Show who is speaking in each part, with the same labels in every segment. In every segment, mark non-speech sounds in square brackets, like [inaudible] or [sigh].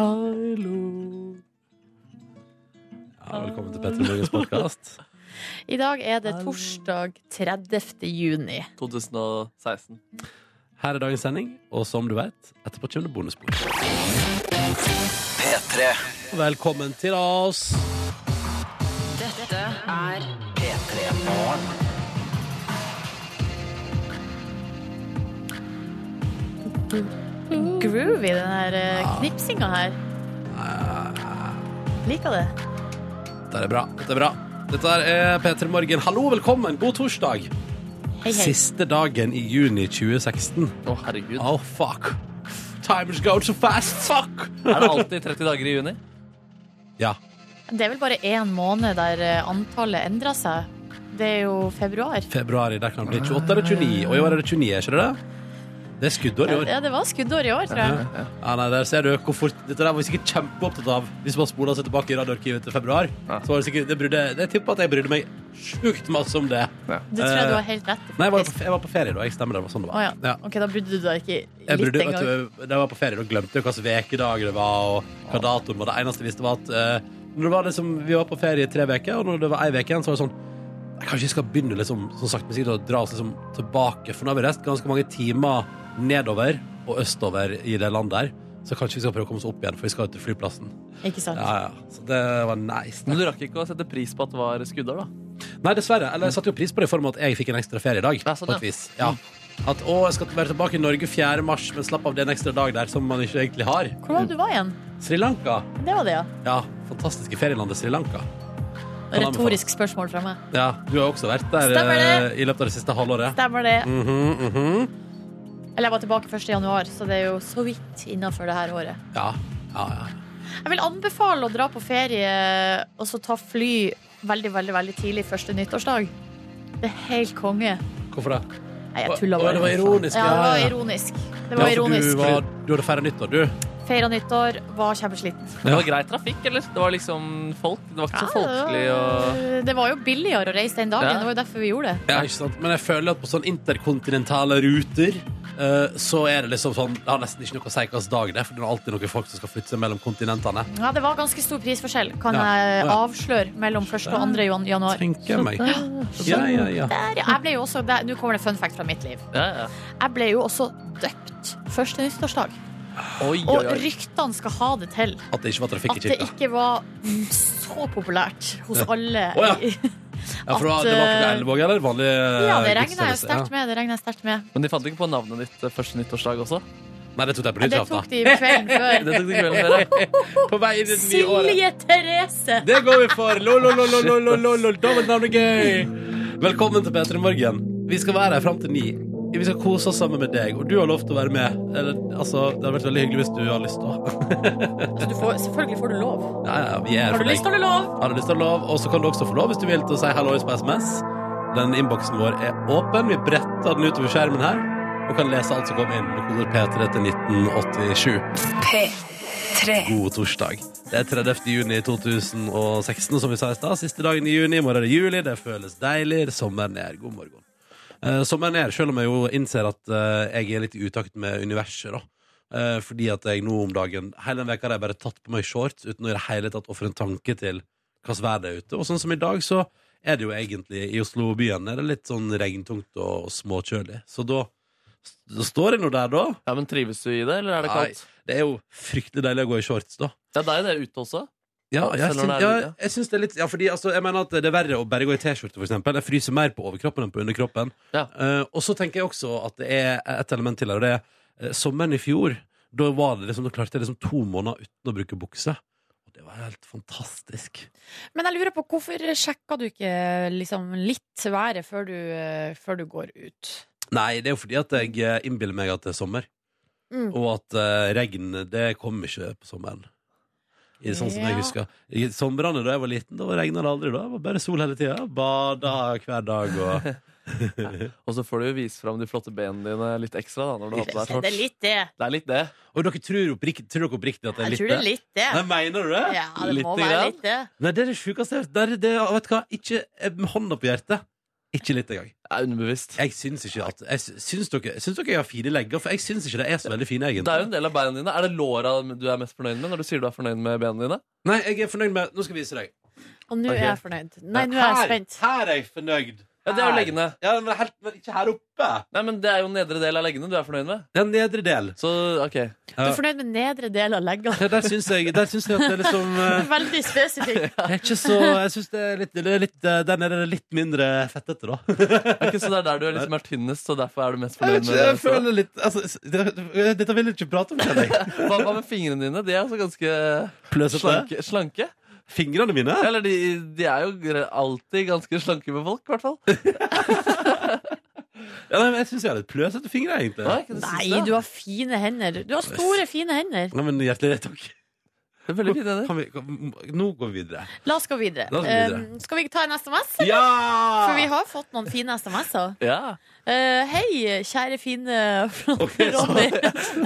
Speaker 1: Hallo. Ja, velkommen til Petter Morgens podkast.
Speaker 2: I dag er det torsdag 30. juni.
Speaker 3: 2016.
Speaker 1: Her er dagens sending, og som du vet, etterpå kommer det bonusbord. Velkommen til oss.
Speaker 4: Dette er
Speaker 2: Groovy, den her
Speaker 1: Ah.
Speaker 2: eh, knipsinga her. Liker det.
Speaker 1: Dette er bra. Dette er bra. Dette er P3 Morgen. Hallo, velkommen. God torsdag.
Speaker 2: Hei, hei.
Speaker 1: Siste dagen i juni 2016.
Speaker 3: Å, herregud.
Speaker 1: Oh, fuck. Times go so fast. Fuck.
Speaker 3: Er det alltid 30 dager i juni?
Speaker 1: Ja.
Speaker 2: Det er vel bare én måned der eh, antallet endrer seg. Det er jo februar.
Speaker 1: Februari, der kan det bli 28 eller 29. Og i år er det 29, er ikke det det? Det er skuddår i år.
Speaker 2: Ja, det var skuddår i år, tror jeg.
Speaker 1: Ja. Ja, nei, der ser du hvor fort Dette der var vi sikkert kjempeopptatt av Hvis man spoler seg tilbake i radioarkivet til februar
Speaker 3: Ja.
Speaker 1: Så var det sikkert det brydde, Jeg tipper at jeg brydde meg sjukt masse om det
Speaker 2: Det tror jeg du har helt rett i.
Speaker 1: Eh, Nei, jeg var,
Speaker 2: faktisk.
Speaker 1: på, jeg var på ferie da Jeg stemmer det var sånn det
Speaker 2: Å
Speaker 1: var
Speaker 2: ja. Ok, da brydde du deg ikke
Speaker 1: Jeg
Speaker 2: litt
Speaker 1: brydde, vet
Speaker 2: engang.
Speaker 1: du, da jeg var på ferie da glemte jeg hva slags vekedag det var Og hva datoen var Det eneste jeg visste var at eh, Når det var liksom Vi var på ferie i tre veker Og når det var en veke igjen Så var det sånn «Nei, Kanskje vi skal begynne liksom Sånn sagt men sikkert Å dra oss liksom tilbake For nå har vi rest ganske mange timer Nedover og østover i det landet der Så kanskje vi skal prøve å komme oss opp igjen For vi skal jo til flyplassen
Speaker 2: Ikke sant?
Speaker 1: Ja, ja. Så det var nice.
Speaker 3: Men du rakk ikke å sette pris på at det var skuddår, da?
Speaker 1: Nei, dessverre. Eller jeg satte jo pris på det i form av at jeg fikk en ekstra ferie i dag.
Speaker 3: Ja, sånn,
Speaker 1: på et
Speaker 3: ja.
Speaker 1: vis. Ja. At å, jeg skal være tilbake i Norge 4. mars, men slapp av, det er en ekstra dag der som man ikke egentlig har.
Speaker 2: Hvor var det du var igjen?
Speaker 1: Sri Lanka.
Speaker 2: Det var det, ja.
Speaker 1: Ja, fantastiske ferielandet Sri Lanka. Kan
Speaker 2: Retorisk spørsmål fra meg.
Speaker 1: Ja, du har også vært der
Speaker 2: Stemmer det.
Speaker 1: eh, i løpet av det siste halvåret.
Speaker 2: Stemmer det?
Speaker 1: Mhm, mhm.
Speaker 2: Eller jeg var tilbake 1. januar, så det er jo så vidt innafor det her året.
Speaker 1: Ja, ja, ja.
Speaker 2: Jeg vil anbefale å dra på ferie og så ta fly veldig, veldig veldig tidlig første nyttårsdag. Det er helt konge.
Speaker 1: Hvorfor det?
Speaker 2: Nei, jeg
Speaker 1: Å,
Speaker 2: tulla
Speaker 1: å,
Speaker 2: bare.
Speaker 1: det var ironisk,
Speaker 2: Ja,
Speaker 1: ja,
Speaker 2: det
Speaker 1: ja.
Speaker 2: var ironisk. Det var
Speaker 1: Ja, for Du,
Speaker 2: ironisk.
Speaker 1: var, du hadde feira nyttår, du.
Speaker 2: Feira nyttår, var kjempesliten.
Speaker 3: Det var grei trafikk, eller? Det var liksom folk. Det var ikke så folkelig og
Speaker 2: Det var jo billigere å reise den dagen.
Speaker 3: Ja.
Speaker 2: Det var jo derfor vi gjorde det.
Speaker 1: Ja, ikke sant? Men jeg føler at på sånn interkontinentale ruter eh, så er det liksom sånn Det har nesten ikke noe å si hvilken dag det er, for det er alltid noen folk som skal flytte seg mellom kontinentene.
Speaker 2: Ja, Det var ganske stor prisforskjell, kan
Speaker 1: Ja. Å,
Speaker 2: jeg
Speaker 1: ja.
Speaker 2: avsløre, mellom 1. og 2. jan- januar.
Speaker 1: Tenker jeg meg. Ja, ja, ja.
Speaker 2: Der, ja. jeg ble jo også, der, Nå kommer det fun fact fra mitt liv.
Speaker 3: ja, ja.
Speaker 2: Jeg ble jo også døpt første nyttårsdag.
Speaker 3: Oi, oi,
Speaker 2: Og
Speaker 3: oi.
Speaker 2: ryktene skal ha det til.
Speaker 1: At det ikke var trafikk i
Speaker 2: At det
Speaker 1: kirka.
Speaker 2: ikke var så populært hos alle.
Speaker 1: Å, ja.
Speaker 2: i-
Speaker 1: Ja, for det var,
Speaker 2: at,
Speaker 1: det var ikke
Speaker 2: eh,
Speaker 1: det Elvåg, eller? Vanlig eh,
Speaker 2: ja, det regner jeg
Speaker 1: gudstjeneste,
Speaker 2: sterkt med. Det regner jeg sterkt med.
Speaker 3: Men de fant ikke på navnet ditt eh, første nyttårsdag også?
Speaker 1: Ja. Nei, det tok jeg på
Speaker 2: Ja, Det tok
Speaker 1: nyttårsaften.
Speaker 2: de
Speaker 1: [laughs]
Speaker 2: kvelden
Speaker 3: Det
Speaker 2: før.
Speaker 3: tok de kvelden før, ja.
Speaker 1: På vei inn i det nye året.
Speaker 2: Silje Therese!
Speaker 1: Det går vi for! Lololololololol. Dobbeltnavnegøy! Velkommen til P3 Morgen. Vi skal være her fram til ni. Vi skal kose oss sammen med deg, og du har lov til å være med. Eller, altså, det hadde vært veldig hyggelig hvis du har lyst til å
Speaker 2: Altså, du får, selvfølgelig får du lov.
Speaker 1: Ja, ja, vi er her
Speaker 2: Har du
Speaker 1: for deg.
Speaker 2: lyst, har du lov.
Speaker 1: Har du lyst til å ha lov, og så kan du også få lov hvis du vil til å si hallois på SMS. Den innboksen vår er åpen. Vi bretter den utover skjermen her og kan lese alt som kommer inn med koder P3 til 1987.
Speaker 4: P3.
Speaker 1: God torsdag. Det er 30. juni 2016, som vi sa i stad. Siste dagen i juni. I morgen er det juli. Det føles deilig. Sommeren er god morgen. Eh, sommeren er, selv om jeg jo innser at eh, jeg er litt i utakt med universet, da. Eh, fordi at jeg nå om dagen Hele den veka har jeg bare tatt på meg shorts uten å i det hele tatt ofre en tanke til hva slags vær det er ute. Og sånn som i dag, så er det jo egentlig i Oslo-byen er det litt sånn regntungt og småkjølig. Så da, da står jeg nå der, da.
Speaker 3: ja, Men trives du i det, eller er det
Speaker 1: Nei.
Speaker 3: kaldt?
Speaker 1: Det er jo fryktelig deilig å gå i shorts, da.
Speaker 3: Ja, det er jo det ute også.
Speaker 1: Ja, jeg,
Speaker 3: Selv når
Speaker 1: syns,
Speaker 3: det er
Speaker 1: ja,
Speaker 3: lite.
Speaker 1: jeg syns det er litt Ja, fordi altså, jeg mener at det er verre å bare gå i T-skjorte, for eksempel. Jeg fryser mer på overkroppen enn på underkroppen.
Speaker 3: Ja.
Speaker 1: Eh, og så tenker jeg også at det er et element til her, og det er eh, sommeren i fjor. Da var det liksom, da klarte jeg liksom to måneder uten å bruke bukse. Og det var helt fantastisk.
Speaker 2: Men jeg lurer på, hvorfor sjekka du ikke liksom, litt været før du, eh, før du går ut?
Speaker 1: Nei, det er jo fordi at jeg eh, innbiller meg at det er sommer.
Speaker 2: Mm.
Speaker 1: Og at eh, regn, det kommer ikke på sommeren. I, sånn som
Speaker 2: Ja.
Speaker 1: jeg husker. I somrene da jeg var liten, da regna det aldri. da Det var bare sol hele tida. Bada hver dag og
Speaker 3: Og så får du jo vise fram de flotte benene dine litt ekstra. da når du har på deg
Speaker 2: Det er
Speaker 3: shorts.
Speaker 2: litt det.
Speaker 3: Det er litt det.
Speaker 1: Og dere tror oppriktig, tror dere oppriktig at det er
Speaker 2: Jeg
Speaker 1: litt
Speaker 2: tror det er litt det.
Speaker 1: Nei, mener du det?
Speaker 2: Ja, det må
Speaker 3: lite
Speaker 2: være
Speaker 3: grann.
Speaker 2: litt det.
Speaker 1: Nei, det er det sjukeste jeg har hørt. Det er- det er- Vet du hva, ikke eh, med hånda på hjertet. Ikke litt engang.
Speaker 3: Det er underbevisst.
Speaker 1: Jeg syns ikke at jeg sy- syns dere, syns dere jeg har fine legger, for jeg syns ikke det er så veldig fine,
Speaker 3: Det er jo
Speaker 1: egentlig.
Speaker 3: en del av beina dine. Er det låra du er mest fornøyd med? når du sier du er fornøyd med beina dine?
Speaker 1: Nei, jeg er fornøyd med Nå skal jeg vise deg.
Speaker 2: Og nå
Speaker 3: Ok.
Speaker 2: er jeg fornøyd. Nei, nå er jeg spent.
Speaker 1: Her er jeg fornøyd.
Speaker 3: Ja, Det er jo leggene.
Speaker 1: Ja, men, helt, men ikke her oppe.
Speaker 3: Nei, men Det er jo nedre del av leggene du er fornøyd med.
Speaker 1: Den nedre del.
Speaker 3: Så ok.
Speaker 2: Du
Speaker 1: Ja.
Speaker 2: er fornøyd med nedre del av [laughs] leggene.
Speaker 1: Ja, Der syns jeg, der syns jeg at det er liksom eh,
Speaker 2: Veldig spesifikt.
Speaker 1: det er ikke så, Jeg syns det er litt, det er litt eh, Der nede er det litt mindre fettete, da.
Speaker 3: Ok, Så det er der du er liksom er tynnest, så derfor er du mest
Speaker 1: Jeg
Speaker 3: fornøyd
Speaker 1: vet
Speaker 3: med
Speaker 1: ikke, jeg
Speaker 3: det.
Speaker 1: føler litt altså, s- det- Dette vil jeg ikke prate om, kjenner jeg.
Speaker 3: Hva, hva med fingrene dine? De er altså ganske
Speaker 1: [laughs] Pløsete.
Speaker 3: slanke. slanke.
Speaker 1: Fingrene mine?
Speaker 3: Eller de, de er jo gre- alltid ganske slanke med folk, i hvert fall.
Speaker 1: Ja, nei, men jeg syns jeg har litt pløsete fingre, egentlig.
Speaker 3: Nei, ikke det
Speaker 2: Nei,
Speaker 3: siste.
Speaker 2: du har fine hender. Du har store, fine hender.
Speaker 1: Nei, men Hjertelig takk.
Speaker 3: Det er veldig fine hender.
Speaker 1: Kan vi, kan, nå går vi
Speaker 3: [laughs]
Speaker 1: videre.
Speaker 2: La oss gå videre.
Speaker 1: La oss gå videre.
Speaker 2: Eh, skal vi ta en SMS?
Speaker 1: Ja!
Speaker 2: For vi har fått noen fine SMS-er.
Speaker 3: Ja.
Speaker 2: Eh, hei, kjære fine [laughs]
Speaker 1: Ok, så-
Speaker 2: Ronny.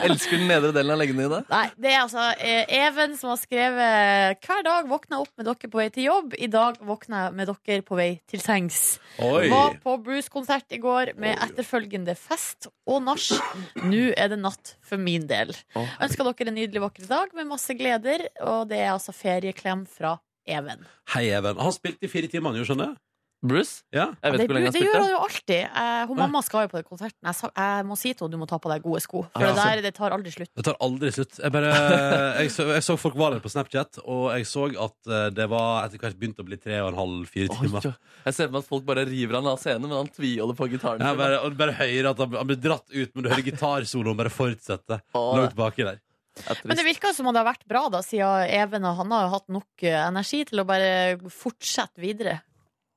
Speaker 3: Elsker den nedre delen av leggene dine.
Speaker 2: Nei, det er altså eh, Even som har skrevet Hver dag våkner jeg opp med dere på vei til jobb. I dag våkner jeg med dere på vei til sengs.
Speaker 1: Oi.
Speaker 2: Var på Bruce-konsert i går med etterfølgende fest og nach. Nå er det natt for min del.
Speaker 3: Å.
Speaker 2: Ønsker dere en nydelig vakker dag med masse gleder, og det er altså ferieklem fra Even.
Speaker 1: Hei, Even. Han spilte i fire timer, han jo, skjønner
Speaker 3: Bruce?
Speaker 1: jeg. Ja.
Speaker 3: Jeg vet
Speaker 2: det,
Speaker 3: ikke hvor lenge han
Speaker 2: det gjør
Speaker 3: spilte.
Speaker 2: han jo alltid. Eh, hun mamma skal jo på den konserten. Jeg, sa, jeg må si til henne du må ta på deg gode sko, for
Speaker 1: Ja.
Speaker 3: altså.
Speaker 2: det der det tar aldri slutt.
Speaker 1: Det tar aldri slutt. Jeg, bare, [laughs] jeg, så, jeg så folk var der på Snapchat, og jeg så at eh, det var etter hvert begynt å bli tre og en halv, fire
Speaker 3: Oi,
Speaker 1: timer.
Speaker 3: ja. Jeg ser for meg at folk bare river han av scenen, men han tviholder på gitaren.
Speaker 1: Jeg
Speaker 3: sin.
Speaker 1: bare, og bare hører at han, han blir dratt ut, men du hører gitarsoloen bare fortsette
Speaker 3: Å,
Speaker 1: langt baki der.
Speaker 3: det er trist.
Speaker 2: Men det virker som om det har vært bra, da, siden Even og han har hatt nok eh, energi til å bare fortsette videre.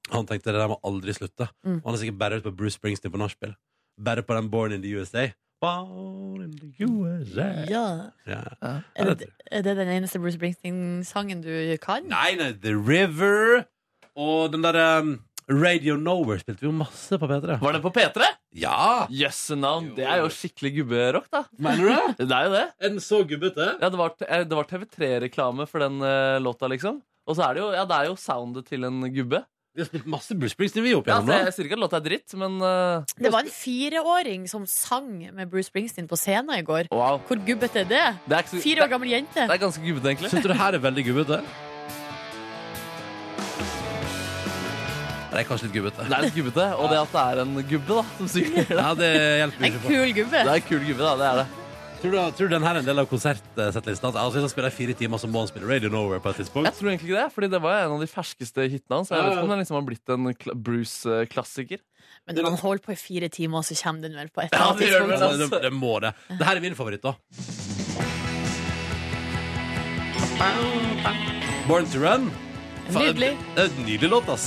Speaker 1: Han tenkte det der må aldri slutte.
Speaker 2: Mm.
Speaker 1: Og han er sikkert bare ute på Bruce Springsteen på nachspiel. Bare på den Born in the USA. Born in the USA.
Speaker 2: Ja.
Speaker 1: Ja.
Speaker 3: Ja.
Speaker 1: Ja,
Speaker 2: Er
Speaker 1: det-
Speaker 2: det, er det den eneste Bruce Springsteen-sangen du kan?
Speaker 1: Nei, nei, The River og den derre um, Radio Nowhere spilte vi jo masse på P3.
Speaker 3: Var det på P3?
Speaker 1: Ja!
Speaker 3: Jøsse navn. Det er jo skikkelig gubberock, da.
Speaker 1: Mener du
Speaker 3: [laughs]
Speaker 1: det?
Speaker 3: Det er jo det.
Speaker 1: Er den så gubbete?
Speaker 3: Ja, det var, eh, det var TV3-reklame for den eh, låta, liksom. Og så er det jo, ja, det er jo soundet til en gubbe.
Speaker 1: Vi har spilt masse Bruce Springsteen, vi, opp
Speaker 3: Ja,
Speaker 1: igjennom.
Speaker 3: altså,
Speaker 1: da.
Speaker 3: jeg sier ikke at låta er dritt, men eh,
Speaker 2: Det var en fireåring som sang med Bruce Springsteen på scenen i går.
Speaker 3: wow.
Speaker 2: Hvor gubbete er det?
Speaker 3: Det er, ikke så,
Speaker 2: Fire år
Speaker 3: det,
Speaker 2: gammel jente.
Speaker 3: det er ganske gubbete,
Speaker 1: [laughs]
Speaker 3: egentlig.
Speaker 1: Syns du det her er veldig gubbete? Det er kanskje litt gubbete.
Speaker 3: Det er litt gubbete, og det at det er en gubbe da, som
Speaker 2: [laughs]
Speaker 3: synger det.
Speaker 1: Ja, det hjelper
Speaker 2: En
Speaker 1: ikke på.
Speaker 2: kul gubbe.
Speaker 3: Det er en kul gubbe, da. Det er det.
Speaker 1: Tror du, tror du den her er en del av konsertsettlisten? At altså, hvis han spiller i fire timer, så må han spille Radio Nowhere på et tidspunkt?
Speaker 3: Jeg tror egentlig ikke det, fordi det var jo en av de ferskeste hitene hans. Så jeg vet ikke om den liksom har blitt en kla- Bruce-klassiker.
Speaker 2: Men når han holder på i fire timer, så kommer den vel på et
Speaker 3: Ja,
Speaker 2: eller annet
Speaker 3: det altså. gjør den
Speaker 2: tidspunkt.
Speaker 3: vel.
Speaker 1: Ja, det, det må det. Det her er min favoritt, da. Born to Run. Faen,
Speaker 2: Nydelig.
Speaker 1: Det er et nydelig låt, ass.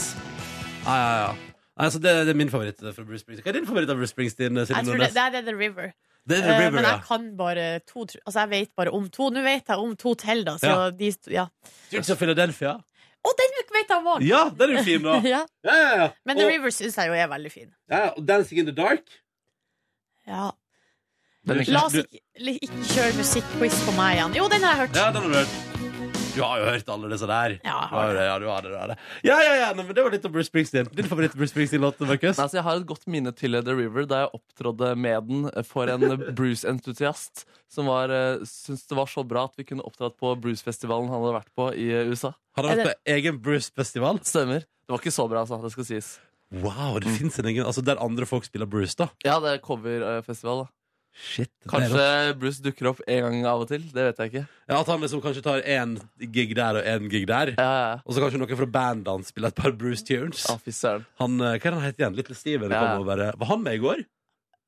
Speaker 1: Ja, ja, ja. Altså, det, det er min favoritt fra Bruce Springsteen. Hva er din favoritt av Bruce Springsteen? eh,
Speaker 2: Jeg
Speaker 1: Silje
Speaker 2: tror det,
Speaker 1: Nordnes?
Speaker 2: det er The River.
Speaker 1: Det er The
Speaker 2: Eh,
Speaker 1: River,
Speaker 2: men
Speaker 1: ja.
Speaker 2: jeg kan bare to tr- Altså, jeg vet bare om to. Nå vet jeg om to til, da. Så
Speaker 1: Ja.
Speaker 2: de sto- ja.
Speaker 1: Streets of Philadelphia.
Speaker 2: Og den vet jeg om [laughs] òg!
Speaker 1: Ja, den er jo fin, da.
Speaker 2: Ja.
Speaker 1: Ja, ja, ja.
Speaker 2: Men The
Speaker 1: Og-
Speaker 2: River syns jeg jo er veldig fin.
Speaker 1: ja, og Dancing in the Dark.
Speaker 2: Ja.
Speaker 3: Den er
Speaker 2: La oss
Speaker 1: Du-
Speaker 2: ikke, li- ikke kjøre musikkquiz på meg igjen. Jo, den har jeg hørt.
Speaker 1: Ja, den har du hørt. Du har jo hørt alle disse der.
Speaker 2: Ja, jeg
Speaker 1: Du
Speaker 2: har
Speaker 1: har det, ja, du har det, du har det. Ja, ja, ja, nei, men det var litt om Bruce Springsteen. Din favoritt Bruce Springsteen-låt, Markus?
Speaker 3: Nei, altså, jeg har et godt minne til The River, da jeg opptrådde med den for en Bruce-entusiast som var, eh, syntes det var så bra at vi kunne opptrådt på Bruce-festivalen han hadde vært på i eh, USA.
Speaker 1: Har
Speaker 2: Er
Speaker 1: han vært
Speaker 2: det-
Speaker 1: på egen Bruce-festival?
Speaker 3: Stemmer. Det var ikke så bra, altså. Det skal sies.
Speaker 1: Wow, det finnes en egen Altså der andre folk spiller Bruce da
Speaker 3: Ja, det er coverfestival, da.
Speaker 1: Shit
Speaker 3: Kanskje Bruce dukker opp en gang av og til. Det vet jeg ikke.
Speaker 1: ja, At han liksom kanskje tar en gig der og en gig der
Speaker 3: Ja, ja, ja.
Speaker 1: Og så kanskje noen fra bandet hans spiller et par Bruce tunes
Speaker 3: Ah, Fy søren.
Speaker 1: Han, eh, hva er han heter igjen? Little Steven
Speaker 3: Ja.
Speaker 1: kom og bare, eh, Var han med i går?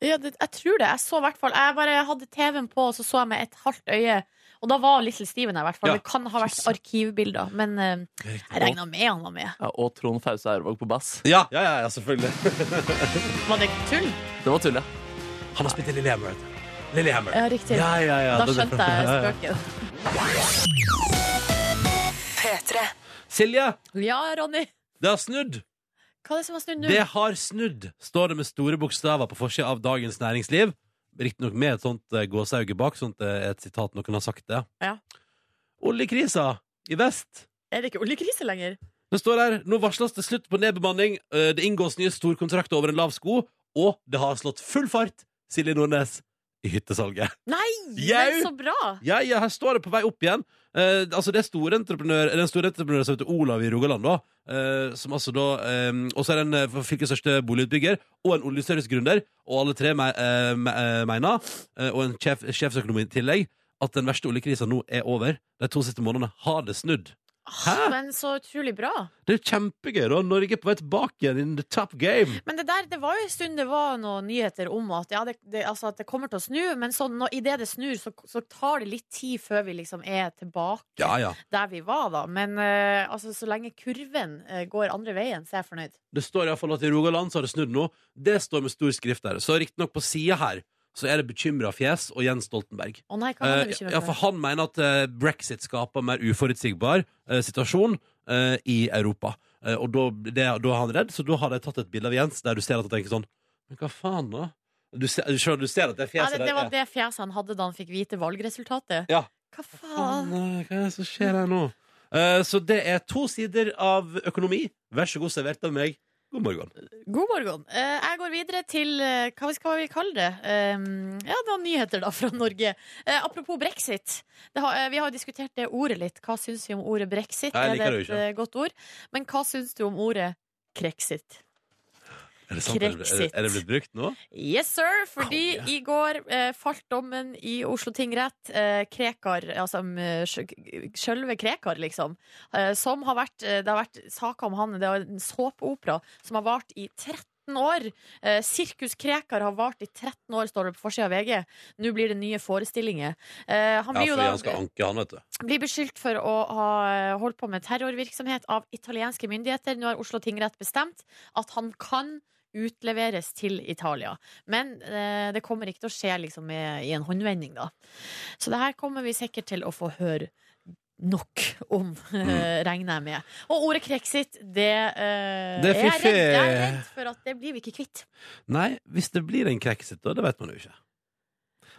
Speaker 2: Ja, det, jeg tror det. Jeg så i hvert fall Jeg bare hadde TV-en på, og så så jeg med et halvt øye. Og da var Little Steven her, i hvert fall.
Speaker 1: Ja.
Speaker 2: Det kan ha vært arkivbilder. Men eh, jeg regna med han var med.
Speaker 3: Ja, og Trond Fause Aurvåg på bass.
Speaker 1: Ja, ja, ja, ja, selvfølgelig [laughs]
Speaker 2: Var det tull?
Speaker 3: Det var tull, ja.
Speaker 1: Han har spilt i Lillehammer Lillehammer
Speaker 2: Ja, riktig.
Speaker 1: Ja, ja, ja
Speaker 2: Da
Speaker 1: den er
Speaker 2: skjønte
Speaker 1: fra-
Speaker 2: jeg
Speaker 1: ja, ja.
Speaker 2: spøken.
Speaker 4: P3.
Speaker 1: Silje,
Speaker 2: Ja, Ronny.
Speaker 1: det har snudd
Speaker 2: Hva er det som har snudd nå?
Speaker 1: Det har snudd, står det med store bokstaver på forsida av Dagens Næringsliv. Riktignok med et sånt eh, gåsehauge bak, sånt eh, et sitat noen har sagt det.
Speaker 2: Ja.
Speaker 1: Oljekrisa i vest.
Speaker 2: Er det ikke oljekrise lenger?
Speaker 1: Det står her nå varsles det slutt på nedbemanning, eh, det inngås nye storkontrakter over en lav sko, og det har slått full fart, Silje Nordnes, i hyttesalget.
Speaker 2: Nei,
Speaker 1: Jau!
Speaker 2: men så bra!
Speaker 1: Ja, ja, her står det på vei opp igjen. Eh, altså Det er store entreprenør, den store entreprenøren som heter Olav i Rogaland, da. eh, som altså da eh, Og så er det en eh, fylkets største boligutbygger og en oljeservicegründer. Og alle tre me eh, me eh, mener, eh, og en sjef sjefsøkonom i tillegg, at den verste oljekrisa nå er over. De to siste månedene har det snudd. Hæ?
Speaker 2: Ah, Men så utrolig bra.
Speaker 1: Det er jo kjempegøy, da. Norge er på vei tilbake igjen in the top game.
Speaker 2: Men det der, det var jo en stund det var noen nyheter om at, ja, det, det, altså at det kommer til å snu, men så når, i det det snur, så, så tar det litt tid før vi liksom er tilbake
Speaker 1: Ja, ja.
Speaker 2: der vi var, da. Men eh, altså, så lenge kurven eh, går andre veien, så er jeg fornøyd.
Speaker 1: Det står iallfall at i Rogaland så har det snudd nå. Det står med stor skrift der. Så riktignok på sida her så er det bekymra fjes og Jens Stoltenberg.
Speaker 2: Å nei, hva er det
Speaker 1: Eh,
Speaker 2: du
Speaker 1: ja, for han mener at eh, brexit skaper mer uforutsigbar eh, situasjon eh, i Europa. Eh, og da, det, da er han redd, så da har de tatt et bilde av Jens der du ser at han tenker sånn Men hva faen, da? Du ser, du ser- du ser at det
Speaker 2: Ja,
Speaker 1: fjeset
Speaker 2: det, det
Speaker 1: der
Speaker 2: var
Speaker 1: er
Speaker 2: det fjeset han hadde da han fikk vite valgresultatet.
Speaker 1: Ja.
Speaker 2: Hva faen?
Speaker 1: Faen, eh, Hva er det som skjer her nå? Eh, så det er to sider av økonomi. Vær så god servert av meg. God morgen.
Speaker 2: God morgen. Eh, jeg går videre til eh, hva skal vi kalle det? Um, ja, det var nyheter da fra Norge. Eh, apropos brexit. Det har, eh, vi har jo diskutert det ordet litt. Hva syns vi om ordet brexit?
Speaker 1: Jeg liker
Speaker 2: er
Speaker 1: det
Speaker 2: det et
Speaker 1: jo ikke.
Speaker 2: eh, godt ord? Men hva syns du om ordet krexit?
Speaker 1: Er det sant? Er det, er, det- er det blitt brukt nå?
Speaker 2: Yes, sir! Fordi
Speaker 1: Konge.
Speaker 2: i går eh, falt dommen i Oslo tingrett. Eh, Krekar, altså mm, sj- sjølve Krekar, liksom. Eh, som har vært, eh, det har vært saker om han. Det er en såpeopera som har vart i 13 år. Eh, Sirkus Krekar har vart i 13 år, står det på forsida av VG. Nå blir det nye forestillinger. Eh,
Speaker 1: Ja,
Speaker 2: han blir jo
Speaker 1: fordi
Speaker 2: da
Speaker 1: han skal anke, han, vet du.
Speaker 2: blir beskyldt for å ha eh, holdt på med terrorvirksomhet av italienske myndigheter. Nå har Oslo tingrett bestemt at han kan utleveres til Italia. Men eh, det kommer ikke til å skje liksom, med, i en håndvending, da. Så det her kommer vi sikkert til å få høre nok om, [laughs] eh, regner jeg med. Og ordet krexit, det, eh,
Speaker 1: Mm. Det er
Speaker 2: jeg, er
Speaker 1: fiffig.
Speaker 2: redd, jeg er redd for at det blir vi ikke kvitt.
Speaker 1: Nei, hvis det blir en kreksit, da, det vet man jo ikke.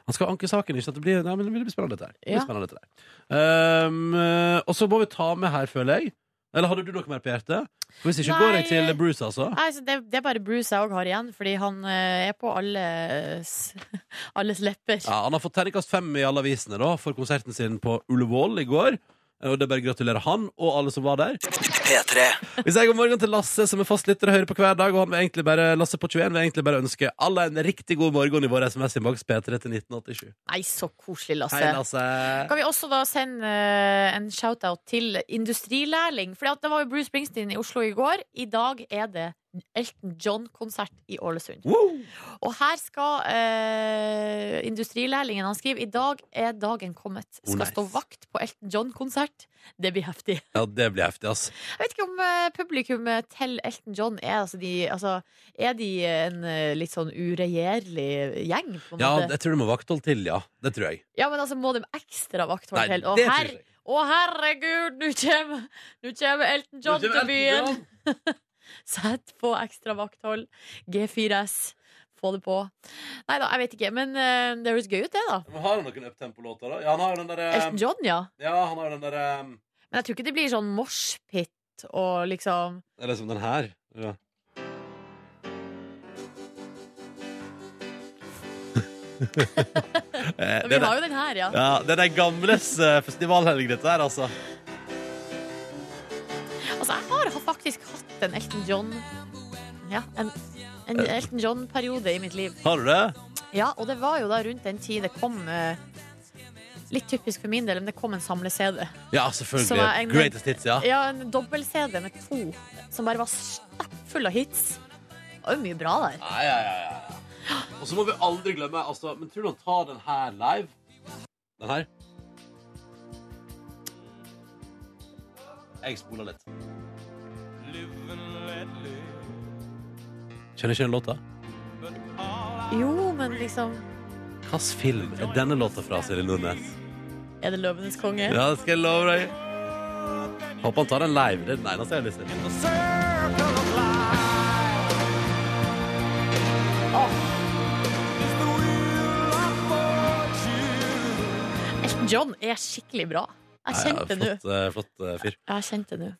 Speaker 1: Han skal anke saken, ikke sant? Det blir, nei, men det blir spennende dette her. Det blir
Speaker 2: Ja.
Speaker 1: spennende dette her. Um, eh, og så må vi ta med her, føler jeg. Eller hadde du noe mer på hjertet? For hvis ikke går jeg
Speaker 2: Nei.
Speaker 1: til Bruce, altså.
Speaker 2: Nei, så det, det er bare Bruce jeg òg har igjen, fordi han eh, er på alles, [laughs] alles lepper.
Speaker 1: Ja, han har fått terningkast fem i alle avisene da, for konserten sin på Ullevål i går. Eh, Og det er bare å gratulere han og alle som var der. Vi sier god morgen til Lasse, som er fastlytter og hører på hver dag. Og han vil egentlig bare, Lasse på 21 vil egentlig bare ønske alle en riktig god morgen i vår SMS-innboks P3 til 1987.
Speaker 2: Nei, så koselig, Lasse.
Speaker 1: Hei, Lasse.
Speaker 2: Kan vi også da sende eh, en shout-out til industrilærling? For det var jo Bruce Springsteen i Oslo i går. I dag er det Elton John-konsert i Ålesund.
Speaker 1: Woo!
Speaker 2: Og her skal eh, industrilærlingen han skriver I dag er dagen kommet. Skal
Speaker 1: nice.
Speaker 2: stå vakt på Elton John-konsert. Det blir heftig.
Speaker 1: Ja, det blir heftig, ass.
Speaker 2: Jeg vet ikke om eh, publikummet til Elton John er altså, de, altså, Er de en eh, litt sånn uregjerlig gjeng, på en
Speaker 1: Ja,
Speaker 2: måte?
Speaker 1: jeg tror du må vakthold til, ja. Det tror jeg.
Speaker 2: Ja, men altså, må de ekstra vakthold til? Og
Speaker 1: det
Speaker 2: her Å, herregud, nå kommer, nå kommer Elton John til byen! Sett på ekstra vakthold. G4S. Få det på. Nei da, jeg vet ikke, men eh, det høres gøy ut, det, da.
Speaker 1: Har han noen uptempo-låter, da? Ja, han har jo den derre
Speaker 2: Elton John, ja.
Speaker 1: Ja, han har jo den eh, derre
Speaker 2: Men jeg tror ikke det blir sånn moshpit og liksom
Speaker 1: Eller som den her.
Speaker 2: [laughs]
Speaker 1: Ja. Eh,
Speaker 2: Men
Speaker 1: det,
Speaker 2: Vi
Speaker 1: er,
Speaker 2: har jo den her, ja.
Speaker 1: ja, det er den gamles eh, festivalhelg, dette her, altså.
Speaker 2: Altså, jeg har faktisk hatt en Elton John Ja, en, en Elton John-periode i mitt liv.
Speaker 1: Har du det?
Speaker 2: Ja, og det var jo da rundt den tid det kom eh, Litt typisk for min del, men det kom en samle-CD.
Speaker 1: Ja,
Speaker 2: Som
Speaker 1: selvfølgelig.
Speaker 2: er en-
Speaker 1: Greatest hits, ja.
Speaker 2: Ja, en dobbel-CD med to som bare var stappfull av hits. Det var jo mye bra der.
Speaker 1: Ja, ja, ja, ja. Og så må vi aldri glemme altså, Men tror du han tar den her live? Den her? Jeg spoler litt. Kjenner ikke den låta?
Speaker 2: Jo, men liksom
Speaker 1: Hvilken film er denne låta fra, Silje Nordnes?
Speaker 2: Er det 'Løvenes konge'?
Speaker 1: Ja, det skal jeg love deg. Håper han tar den live. Det er den eneste jeg har lyst til.
Speaker 2: Elton John er skikkelig bra.
Speaker 1: Ja, ja,
Speaker 2: Jeg kjente det nå.
Speaker 1: Flott, eh, flott eh, fyr.
Speaker 2: Jeg kjente det nå.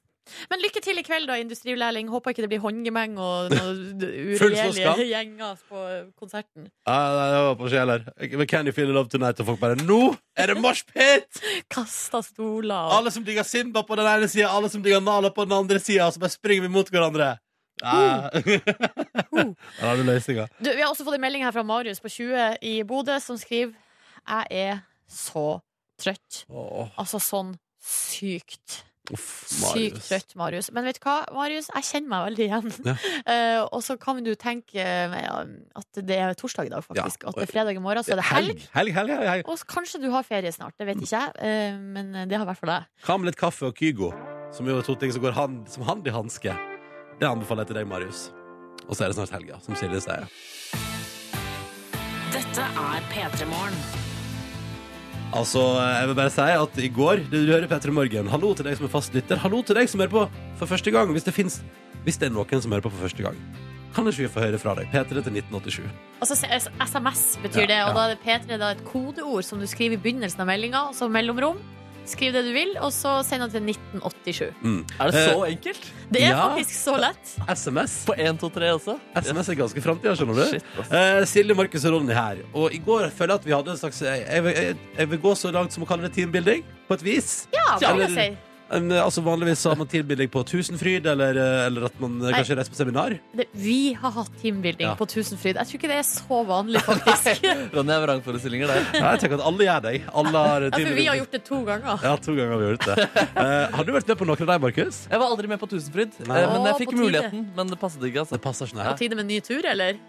Speaker 2: Men lykke til i kveld, da, industrilærling. Håper ikke det blir håndgemeng og noen
Speaker 1: [laughs] Full
Speaker 2: uregjerlige
Speaker 1: slåsskamp.
Speaker 2: gjenger på konserten.
Speaker 1: Ah, nei, det var på sjel her. Men Can you feel the love tonight? Og folk bare Nå er det moshpit!
Speaker 2: Kasta stoler og
Speaker 1: Alle som digger Simba på den ene sida, alle som digger Nala på den andre sida, og så bare springer vi mot hverandre. Ah. [laughs]
Speaker 2: ho.
Speaker 1: Der har du løsninga.
Speaker 2: Du, vi har også fått en melding her fra Marius på 20 i Bodø, som skriver Jeg er så trøtt. Altså sånn sykt. Sykt trøtt, Marius. Men vet du hva, Marius? Jeg kjenner meg veldig igjen.
Speaker 1: Ja.
Speaker 2: [laughs] Eh, og så kan du tenke eh, ja, at det er torsdag i dag, faktisk.
Speaker 1: Ja,
Speaker 2: At det er fredag i morgen, så er det helg.
Speaker 1: Helg, Mm. helg, helg. helg, helg.
Speaker 2: Og så kanskje du har ferie snart, det vet ikke jeg. eh, Men det har i hvert fall jeg.
Speaker 1: Hva med litt kaffe og Kygo? Som jo er to ting som går hand, som hand i hanske. Det anbefaler jeg til deg, Marius. Og så er det snart helga, som Silje sier.
Speaker 4: Dette er P3 Morgen.
Speaker 1: Altså, jeg vil bare si at i går Du hører Petter Morgen. Hallo til deg som er fastlytter. Hallo til deg som hører på for første gang. Hvis det, finnes, hvis det er noen som hører på for første gang, kan ikke vi få høre fra deg. P3 til 1987.
Speaker 2: Altså s- SMS betyr
Speaker 1: Ja,
Speaker 2: det, og
Speaker 1: ja.
Speaker 2: da er det P3 da er et kodeord som du skriver i begynnelsen av meldinga, altså mellomrom. Skriv det du vil, og så send det til 1987.
Speaker 3: Er det så enkelt?
Speaker 2: Det er
Speaker 1: Ja.
Speaker 2: faktisk så lett.
Speaker 1: SMS.
Speaker 3: På 1, 2, 3 også?
Speaker 1: SMS er ganske framtida, skjønner du.
Speaker 3: Shit, ass.
Speaker 1: Eh, Silje, Markus og Ronny her. Og i går føler jeg at vi hadde en slags Jeg, jeg, vil- jeg, jeg vil gå så langt som å kalle det teambuilding, på et vis.
Speaker 2: Ja, det vil jeg si.
Speaker 1: Eller- En, eh, altså Vanligvis så har man teambuilding på Tusenfryd, eller, eh, eller at man eh, kanskje reiser på
Speaker 2: [laughs]
Speaker 1: seminar.
Speaker 2: Det, vi har hatt teambuilding
Speaker 1: Ja.
Speaker 2: på Tusenfryd. Jeg tror ikke det er så
Speaker 1: [laughs]
Speaker 2: vanlig, faktisk. ja,
Speaker 3: Ronny har vrangforestillinger der.
Speaker 1: Ja, jeg tenker at alle gjør det. Alle har teambuilding.
Speaker 2: for vi har
Speaker 1: på-
Speaker 2: gjort det to ganger.
Speaker 1: Ja, to ganger har vi gjort
Speaker 2: [laughs]
Speaker 1: det. Eh, har du vært med på noen av dem, Markus?
Speaker 3: Jeg var aldri med på Tusenfryd, eh,
Speaker 1: Nei.
Speaker 3: men jeg
Speaker 2: Å,
Speaker 3: fikk
Speaker 2: på tide.
Speaker 3: muligheten. Men det passet ikke. altså
Speaker 1: Det passer ikke,
Speaker 2: På
Speaker 1: nei.
Speaker 2: tide med en ny tur, eller?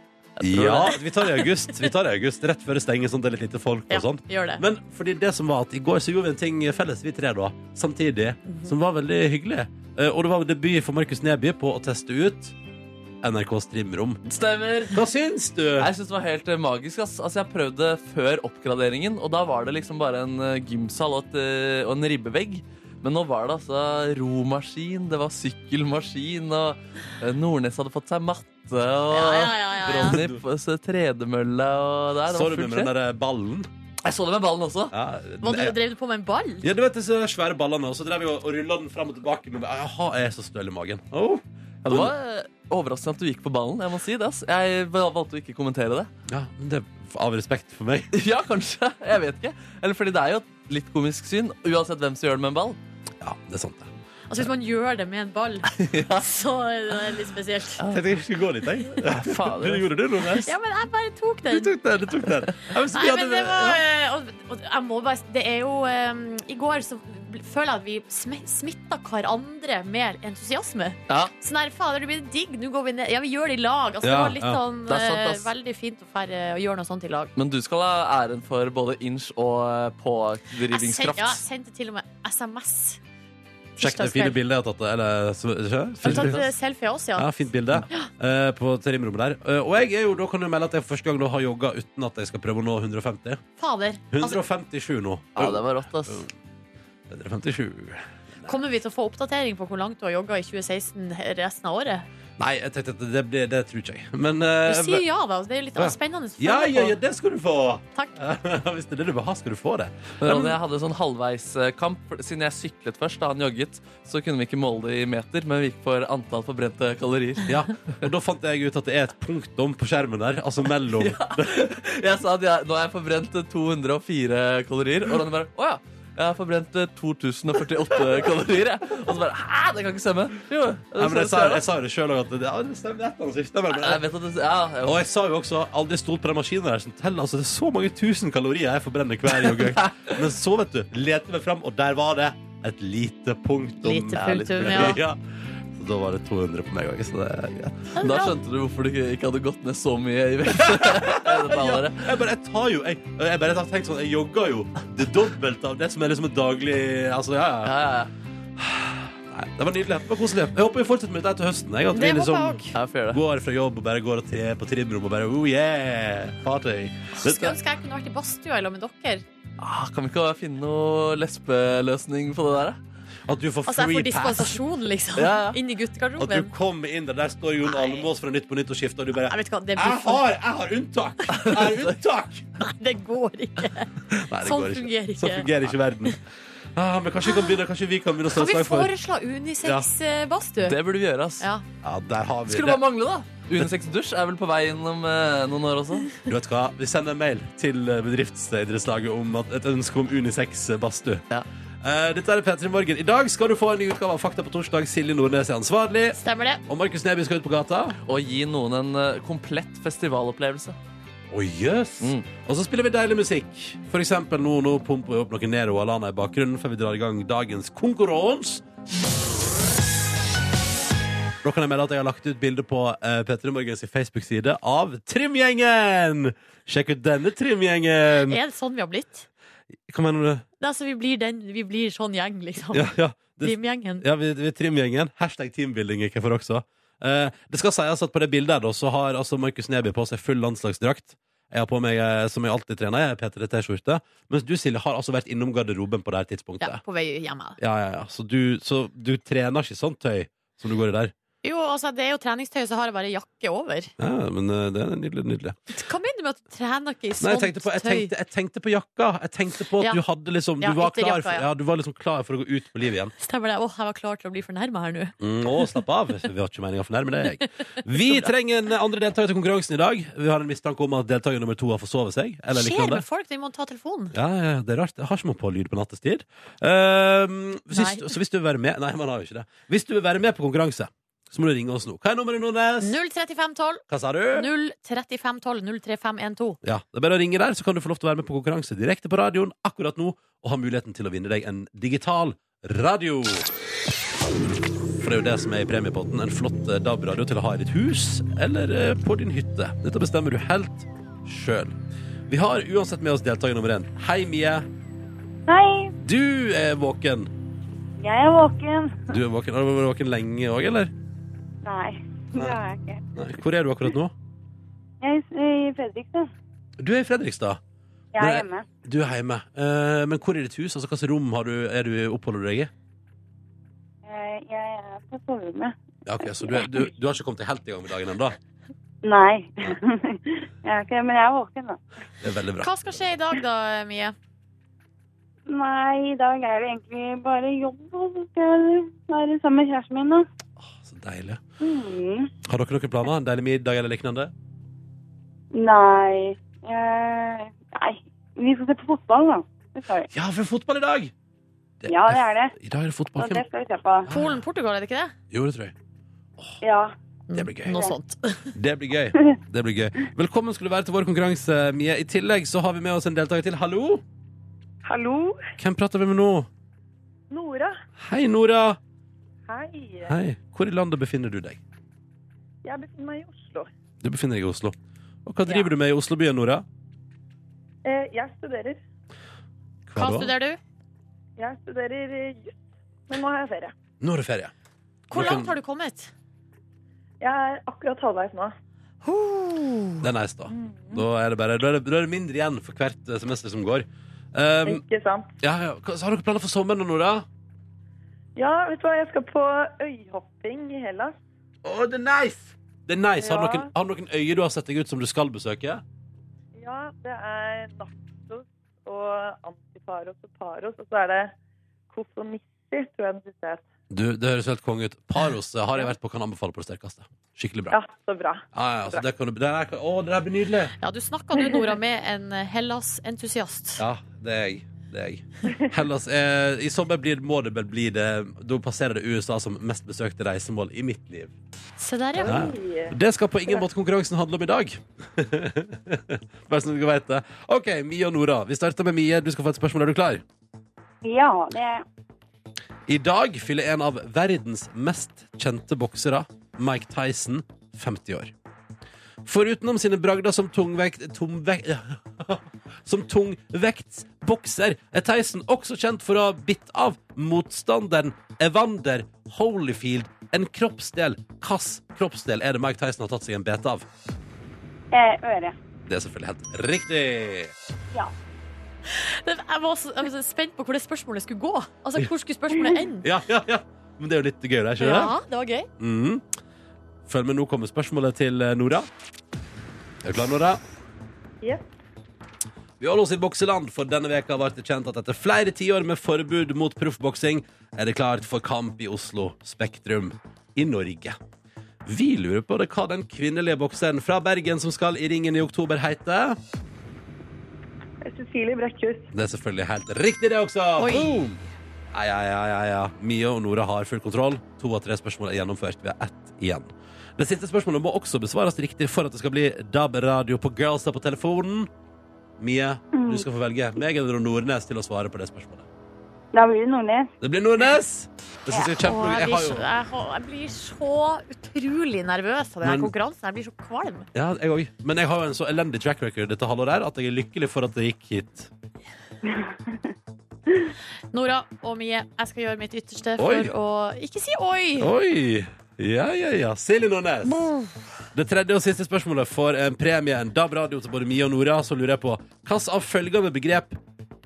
Speaker 1: Ja, vi tar det i august. Vi tar det i august Rett før det stenger, sånn det er litt lite folk og
Speaker 2: Ja,
Speaker 1: sånn.
Speaker 2: gjør
Speaker 1: [laughs]
Speaker 2: det.
Speaker 1: Men fordi det som var at i går så gjorde vi en ting felles, vi tre da, samtidig, som var veldig hyggelig. Eh, Og det var debut for Markus Neby på å teste ut NRK Streamrom.
Speaker 3: Stemmer.
Speaker 1: Hva syns du?
Speaker 3: Jeg synes det var helt eh, magisk. Ass. Altså, jeg prøvde det før oppgraderingen, og da var det liksom bare en eh, gymsal og, et, eh, og en ribbevegg. Men nå var det altså romaskin, det var sykkelmaskin, og eh, Nordnes hadde fått seg matte, og
Speaker 2: Ja, ja, ja, ja, ja.
Speaker 3: Ronny på så tredemølle, og der, det
Speaker 1: Så
Speaker 3: var
Speaker 1: du med
Speaker 3: fullt
Speaker 1: den
Speaker 3: skje.
Speaker 1: derre ballen?
Speaker 3: Jeg så det med ballen også.
Speaker 1: Ja,
Speaker 2: Hva, du,
Speaker 1: den er-
Speaker 2: drev du på med en ball?
Speaker 1: ja, du vet disse svære ballene, og så drev vi og rulla den fram og tilbake. Men jaha, jeg er så støl i magen. Oh. Ja,
Speaker 3: Det
Speaker 1: men-
Speaker 3: var eh, overraskende at du gikk på ballen, jeg må si det. Ass. Jeg valgte å ikke kommentere det. [laughs]
Speaker 1: ja, men det er av respekt for meg. [laughs]
Speaker 3: Ja, kanskje. Jeg vet ikke. Eller fordi det er jo et litt komisk syn, uansett hvem som gjør det med en ball.
Speaker 1: Ja, det er sant, det.
Speaker 2: Altså Hvis man gjør det med en
Speaker 1: [laughs]
Speaker 2: ball, så er det litt spesielt.
Speaker 1: Jeg tenkte jeg skulle gå litt, jeg.
Speaker 3: Fader.
Speaker 1: gjorde det, Nordnes.
Speaker 2: Ja, men jeg bare tok
Speaker 1: Du
Speaker 2: den.
Speaker 1: tok den. du tok den Ja, men så
Speaker 2: Nei,
Speaker 1: vi hadde-
Speaker 2: men det
Speaker 1: ja.
Speaker 2: var eh, og, og jeg må bare, s- Det er jo eh, I går så bl- føler jeg at vi sm- smitta hverandre med entusiasme.
Speaker 3: Ja.
Speaker 2: Sånn her, fader, det blir digg, nå går vi ned. Ja, vi gjør det i lag. Altså, det
Speaker 1: Ja,
Speaker 2: var litt
Speaker 1: ja.
Speaker 2: sånn
Speaker 3: Det er sant,
Speaker 2: eh,
Speaker 3: ass.
Speaker 2: Veldig fint å fære, å gjøre noe sånt i lag.
Speaker 3: Men du skal ha æren for både inch og eh,
Speaker 2: Jeg, send, ja, jeg
Speaker 3: pådrivningskraft.
Speaker 2: sendte til og med SMS.
Speaker 1: Sjekk det fine bildet jeg har tatt. Eller, så, ikke?
Speaker 2: Har du tatt eh, selfie av oss, ja?
Speaker 1: Ja, fint bilde eh, på trimrommet der. Eh, og jeg er jo, da kan du melde at jeg for første gang nå har jogga uten at jeg skal prøve å nå 150.
Speaker 2: Fader. Altså,
Speaker 1: 157 nå.
Speaker 3: Ja, det var rått, ass.
Speaker 1: 157.
Speaker 2: kommer vi til å få oppdatering på hvor langt du har jogga i 2016 resten av året?
Speaker 1: Nei, jeg tenkte at det, blir, det tror ikke jeg. Men
Speaker 2: Du
Speaker 1: eh,
Speaker 2: sier ja, da. Altså, Det er litt
Speaker 1: Ja.
Speaker 2: spennende. å
Speaker 1: ja,
Speaker 2: følge
Speaker 1: ja,
Speaker 2: på.
Speaker 1: ja, det skal du få! [laughs]
Speaker 2: Takk.
Speaker 1: Hvis det er det du vil ha, skal du få det.
Speaker 3: Ronny, jeg hadde sånn halvveiskamp. for- Siden jeg syklet først da han jogget, så kunne vi ikke måle det i meter, men vi gikk for antall forbrente kalorier. [laughs]
Speaker 1: Ja, Og da fant jeg ut at det er et punktum på skjermen der, altså mellom
Speaker 3: Jeg sa at jeg, nå har jeg forbrent 204 kalorier, og Ronny bare Å ja. Jeg har forbrent 2048 kalorier. Jeg. Og så bare Hæ, det kan ikke stemme! Jo, det
Speaker 1: Nei, men jeg, sa,
Speaker 3: stemmer.
Speaker 1: jeg sa jo det sjøl òg, at det, ja, det stemmer. Det er et eller annet som stemmer, men-
Speaker 3: Jeg vet at det, ja, ja.
Speaker 1: Og jeg sa jo også aldri stolt på den maskinen der som teller. Altså, det er så mange tusen kalorier jeg forbrenner hver
Speaker 2: [laughs]
Speaker 1: joggeøkt. Men så, vet du, leter vi fram, og der var det et lite punktum.
Speaker 2: Lite
Speaker 1: [laughs] Ja, litt-
Speaker 2: punktum, ja.
Speaker 1: Så da var det 200 på meg òg, så det er greit.
Speaker 2: Ja, det er
Speaker 3: Da
Speaker 2: bra.
Speaker 3: skjønte du hvorfor du ikke- ikke hadde gått ned så mye i vekt. [laughs] Dette
Speaker 1: Ja,
Speaker 3: alderet.
Speaker 1: jeg bare jeg tar jo jeg, jeg bare har tenkt sånn, jeg jogger jo det dobbelte av det som er liksom et daglig Altså, ja, ja.
Speaker 3: Ja, ja, ja.
Speaker 1: Nei, det var nydelig. Det var koselig. Jeg håper vi fortsetter med dette til høsten. Jeg, at vi
Speaker 2: Det håper
Speaker 1: liksom
Speaker 2: jeg òg.
Speaker 3: Jeg får gjøre det.
Speaker 1: går fra jobb og bare går og tre på trimrom og bare oh yeah, party.
Speaker 2: Skulle ønske jeg kunne vært i badstua i lag med dere.
Speaker 3: Ah, kan vi ikke finne noe lesbeløsning på det der? da?
Speaker 1: At du får
Speaker 2: Altså, jeg får
Speaker 1: free pass.
Speaker 2: dispensasjon, liksom.
Speaker 3: Ja, ja.
Speaker 2: Inn i
Speaker 1: At du
Speaker 2: guttegarderoben.
Speaker 1: kommer inn der, der står Jon
Speaker 2: Nei.
Speaker 1: Almaas fra Nytt på Nytt og skifter, og du bare
Speaker 2: Jeg vet ikke hva, det,
Speaker 1: jeg
Speaker 2: blir for...
Speaker 1: har, jeg har unntak! Jeg har unntak!
Speaker 2: [laughs] det går ikke.
Speaker 1: Nei, det
Speaker 2: Sånn
Speaker 1: går ikke.
Speaker 2: fungerer
Speaker 1: Sånn
Speaker 2: ikke.
Speaker 1: fungerer ikke verden. Ah, men kanskje vi kan begynne, kanskje vi kan begynne å stå
Speaker 2: Kan vi
Speaker 1: slag for
Speaker 2: foreslå unisex-badstue?
Speaker 3: Det burde vi gjøre, ass.
Speaker 2: Ja.
Speaker 1: Ja, der har vi
Speaker 3: Skulle
Speaker 1: det.
Speaker 3: bare mangle, da. Unisex dusj er vel på vei innom eh, noen år også.
Speaker 1: Du vet hva, Vi sender en mail til eh, bedriftsidrettslaget om at et ønske om unisex-badstue.
Speaker 3: Ja.
Speaker 1: Eh, dette er P3 Morgen. I dag skal du få en ny utgave av Fakta på torsdag. Silje Nordnes er ansvarlig.
Speaker 2: Stemmer det.
Speaker 1: Og Markus Neby skal ut på gata.
Speaker 3: Og gi noen en eh, komplett festivalopplevelse.
Speaker 1: Å, jøss.
Speaker 3: Mm.
Speaker 1: Og så spiller vi deilig musikk. For eksempel nå, nå pumper vi opp noe Nero og Alana i bakgrunnen før vi drar i gang dagens konkurranse. Nå kan jeg melde at jeg har lagt ut bilde på eh, P3 Morgens Facebook-side av Trimgjengen! Sjekk ut denne Trimgjengen!
Speaker 2: Er det sånn vi har blitt?
Speaker 1: Hva mener du?
Speaker 2: Det er altså, vi, blir den, vi blir sånn gjeng, liksom.
Speaker 1: Ja, ja. Det,
Speaker 2: Teamgjengen.
Speaker 1: ja vi, vi er Trimgjengen. Hashtag teambuilding gikk jeg for også. Eh, det skal sies at på det bildet her da, så har altså Markus Neby på seg full landslagsdrakt. Jeg har på meg, eh, som jeg alltid trener, jeg er P3T-skjorte. Mens du, Silje, har altså vært innom garderoben på det her tidspunktet.
Speaker 2: Ja, på vei hjem. ja.
Speaker 1: Ja, ja, ja. Så du, så du trener ikke sånt tøy som du går i der?
Speaker 2: Jo, altså, det er jo treningstøy, så har jeg bare jakke over.
Speaker 1: Ja, men eh, det er nydelig, nydelig.
Speaker 2: Hva mener du med at du trener ikke i
Speaker 1: Nei, jeg
Speaker 2: sånt
Speaker 1: tenkte, på, jeg,
Speaker 2: tøy?
Speaker 1: tenkte, jeg tenkte på jakka. Jeg tenkte på at
Speaker 2: Ja.
Speaker 1: du hadde liksom Du
Speaker 2: Ja,
Speaker 1: var
Speaker 2: ytterjakka,
Speaker 1: klar for,
Speaker 2: ja.
Speaker 1: ja, du var liksom klar for å gå ut på livet igjen.
Speaker 2: Stemmer det. Åh, jeg var klar til å bli fornærma her nå.
Speaker 1: Mm, å, slapp av. Vi har ikke meninga å fornærme deg. Vi trenger en eh, andre deltaker til konkurransen i dag. Vi har en mistanke om at deltaker nummer to har forsovet seg. Eller
Speaker 2: Skjer
Speaker 1: liknande.
Speaker 2: med folk? De må ta telefonen.
Speaker 1: Ja, ja, ja, det er rart. Jeg har ikke man på lyd på nattestid. Ehm, hvis,
Speaker 2: Nei.
Speaker 1: så hvis du vil være med Nei, man har jo ikke det. Hvis du vil være med på konkurranse, så må du ringe oss nå. Hva er nummeret, Nordnes?
Speaker 2: 03512.
Speaker 1: Hva sa du?
Speaker 2: 03512. 03512.
Speaker 1: Ja, det er bare å ringe der, så kan du få lov til å være med på konkurranse direkte på radioen akkurat nå, og ha muligheten til å vinne deg en digital radio. For det er jo det som er i premiepotten. En flott eh, DAB-radio til å ha i ditt hus eller eh, på din hytte. Dette bestemmer du helt sjøl. Vi har uansett med oss deltaker nummer én. Hei, Mie.
Speaker 5: Hei,
Speaker 1: Du er våken.
Speaker 5: jeg er våken.
Speaker 1: Du er våken. Har du vært våken lenge òg, eller?
Speaker 5: Nei, [laughs] det er jeg ikke.
Speaker 1: Nei. Hvor er du akkurat nå?
Speaker 5: Jeg er i Fredrikstad.
Speaker 1: Du er i Fredrikstad.
Speaker 5: Jeg
Speaker 1: Nei.
Speaker 5: er hjemme.
Speaker 1: Du er hjemme. Eh, men hvor er ditt hus? Altså, Hvilket rom har du, er du, oppholder du deg i?
Speaker 5: Eh, Jeg er på soverommet.
Speaker 1: Ja, ok, Så du, er- du, du har ikke kommet deg helt i gang med dagen ennå?
Speaker 5: Nei, [laughs] jeg er ikke, men jeg er våken da.
Speaker 1: Det er veldig bra.
Speaker 2: Hva skal skje i dag, da, Mie?
Speaker 5: Nei, i dag er det egentlig bare jobb, og så skal jeg være sammen med kjæresten min da.
Speaker 1: Åh, Så deilig.
Speaker 5: Mm.
Speaker 1: Har dere noen planer? En deilig middag eller lignende?
Speaker 5: Nei, eh, nei, vi skal se på fotball da. Det skal vi.
Speaker 1: Ja, for fotball i dag! Det-
Speaker 5: Ja, det er det.
Speaker 1: I dag er det fotball.
Speaker 5: Og det skal vi se på.
Speaker 2: Polen-Portugal, er det ikke det?
Speaker 1: Jo, det tror jeg.
Speaker 5: Ja,
Speaker 1: Det blir gøy.
Speaker 2: Noe sånt.
Speaker 1: Det blir gøy. Det blir gøy. Velkommen skal du være til vår konkurranse, Mie. I tillegg så har vi med oss en deltaker til. Hallo!
Speaker 6: Hallo,
Speaker 1: Hvem prater vi med nå?
Speaker 6: Nora.
Speaker 1: Hei, Nora.
Speaker 6: Hei.
Speaker 1: Hei. Hvor i landet befinner du deg?
Speaker 6: Jeg befinner meg i Oslo.
Speaker 1: Du befinner deg i Oslo. Og hva driver du med i Oslobyen, Nora?
Speaker 6: Eh, jeg studerer.
Speaker 2: Hva
Speaker 1: da?
Speaker 2: studerer du?
Speaker 6: Jeg studerer eh, juss, men nå har jeg ferie.
Speaker 1: Nå er det ferie.
Speaker 2: Hvor
Speaker 1: Nå kan-
Speaker 2: langt har du kommet?
Speaker 6: Jeg er akkurat halvveis nå.
Speaker 1: Det er nice, da.
Speaker 6: Mm.
Speaker 1: Da er det, bare, da er det, da er det mindre igjen for hvert eh, semester som går. Um,
Speaker 6: Ikke sant?
Speaker 1: Ja, ja. Hva- Så har dere planer for sommeren nå, Nora?
Speaker 6: Ja, vet du hva, jeg skal på øyhopping i Hellas.
Speaker 1: Oh, det er nice! Det er nice. Har, du
Speaker 6: Ja.
Speaker 1: noen, har du noen øyer du har sett deg ut som du skal besøke?
Speaker 6: Ja, det er Naxos og Antiparos og Paros, og så er det Kofonissi, tror jeg den siste het.
Speaker 1: Du, Det høres helt konge ut. Paros eh, har jeg vært på, kan anbefale på det sterkeste. Skikkelig bra.
Speaker 6: Ja, så bra.
Speaker 1: Ja, ja, så det, kan du, det, der, kan- å, det der blir nydelig.
Speaker 2: Ja, du snakka nå, Nora, med en eh, Hellas-entusiast.
Speaker 1: Ja, det er jeg. Det er jeg. Hellas, eh, I sommer blir, må det vel bli det Da passerer det USA som mest besøkte reisemål i mitt liv.
Speaker 2: Se der, ja.
Speaker 1: Ja. Det skal på ingen måte konkurransen handle om i [laughs] dag. Bare så dere vet det. OK, Mie og Nora. Vi starter med Mie. Du skal få et spørsmål. Er du klar?
Speaker 5: ja det er
Speaker 1: I dag fyller en av verdens mest kjente boksere, Mike Tyson, 50 år. Forutenom sine bragder som tungvekt... Tungvekt... [laughs] Som tungvektsbokser er Tyson også kjent for å ha bitt av motstanderen Evander Holyfield en kroppsdel. Hvilken kroppsdel er det Mike Tyson har tatt seg en bete av?
Speaker 5: eh, øre.
Speaker 1: Det er selvfølgelig helt riktig.
Speaker 2: Det- Jeg var så jeg var så spent på hvor det spørsmålet skulle gå. Altså, Hvor skulle spørsmålet ende?
Speaker 1: Ja, ja, ja. Men det er jo litt gøy, det, ikke det?
Speaker 2: Ja, det var gøy.
Speaker 1: Mhm. Følg med, nå kommer spørsmålet til eh, Nora. Er du klar, Nora?
Speaker 6: Yes.
Speaker 1: Vi holder oss i bokseland, for denne veka ble det kjent at etter flere tiår med forbud mot proffboksing, er det klart for kamp i Oslo Spektrum i Norge. Vi lurer på det hva den kvinnelige bokseren fra Bergen som skal i ringen i oktober, heter.
Speaker 6: Cecilie Brekkhus.
Speaker 1: Det er selvfølgelig helt riktig, det også.
Speaker 2: Oi.
Speaker 1: Boom! Ja, ja, ja, ja, ja. Mia og Nora har full kontroll. To av tre spørsmål er gjennomført. Vi har ett igjen. Det siste spørsmålet må også besvares riktig for at det skal bli DAB-radio på Girls på telefonen. Mia, du skal få velge meg eller Nordnes til å svare på det spørsmålet.
Speaker 5: Da blir det Nordnes.
Speaker 1: Det blir Nordnes! Det synes jeg er
Speaker 2: Åh,
Speaker 1: kjempegøy.
Speaker 2: jeg,
Speaker 1: Jeg
Speaker 2: blir
Speaker 1: har
Speaker 2: så,
Speaker 1: jo
Speaker 2: jeg, har, jeg blir så utrolig nervøs av
Speaker 1: Men-
Speaker 2: denne konkurransen. Jeg blir så kvalm.
Speaker 1: ja, jeg òg. Men jeg har jo en så elendig track record dette halvåret her at jeg er lykkelig for at det gikk hit.
Speaker 2: Nora og Mie, jeg skal gjøre mitt ytterste for
Speaker 1: Oi.
Speaker 2: å Ikke si oi!
Speaker 1: Oi! Ja, ja, ja. Silje Nordnes. Det tredje og siste spørsmålet for en premie, en DAB-radio til både Mia og Nora, så lurer jeg på hvilket av følgende begrep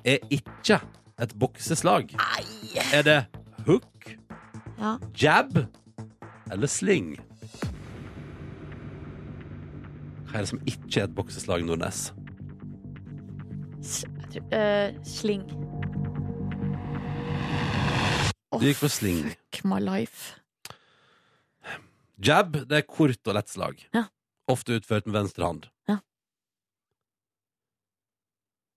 Speaker 1: er ikke et bokseslag? Er det hook,
Speaker 2: Ja.
Speaker 1: jab eller sling? Hva er det som ikke er et bokseslag, Nordnes?
Speaker 2: S- jeg tror- eh, sling.
Speaker 1: Du gikk for sling.
Speaker 2: Fuck my life.
Speaker 1: Jab det er kort og lett slag.
Speaker 2: Ja.
Speaker 1: Ofte utført med venstre hand.
Speaker 2: Ja.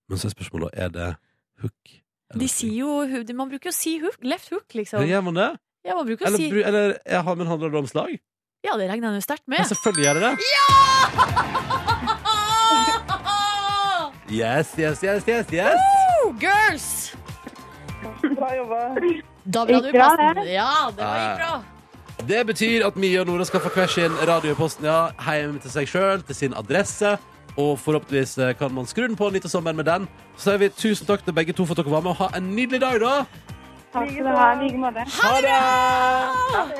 Speaker 1: Men så er spørsmålet er det hook. eller
Speaker 2: De
Speaker 1: sling?
Speaker 2: sier jo hu- de- Man bruker jo å si hook, left hook, liksom.
Speaker 1: Ja, Gjør man det?
Speaker 2: Ja, man bruker å
Speaker 1: Eller,
Speaker 2: si
Speaker 1: bru- eller ja, har- men handler det om slag?
Speaker 2: Ja, det regner jeg jo sterkt med.
Speaker 1: Ja, selvfølgelig gjør det det. Yes, yes, yes, yes, yes.
Speaker 2: Oh, girls!
Speaker 6: Bra jobba.
Speaker 2: Da bra du
Speaker 5: Gikk bra,
Speaker 2: plassen. Ja, det var
Speaker 1: Ja, ja.
Speaker 2: gikk bra.
Speaker 1: Det betyr at Mia og Nora skal få hver sin radioposten ja, hjem til seg sjøl, til sin adresse. Og forhåpentligvis eh, kan man skru den på litt av sommeren med den. Så sier vi tusen takk til begge to for at dere var med, og ha en nydelig dag, da!
Speaker 5: Takk skal du ha. I like måte.
Speaker 1: Ha det!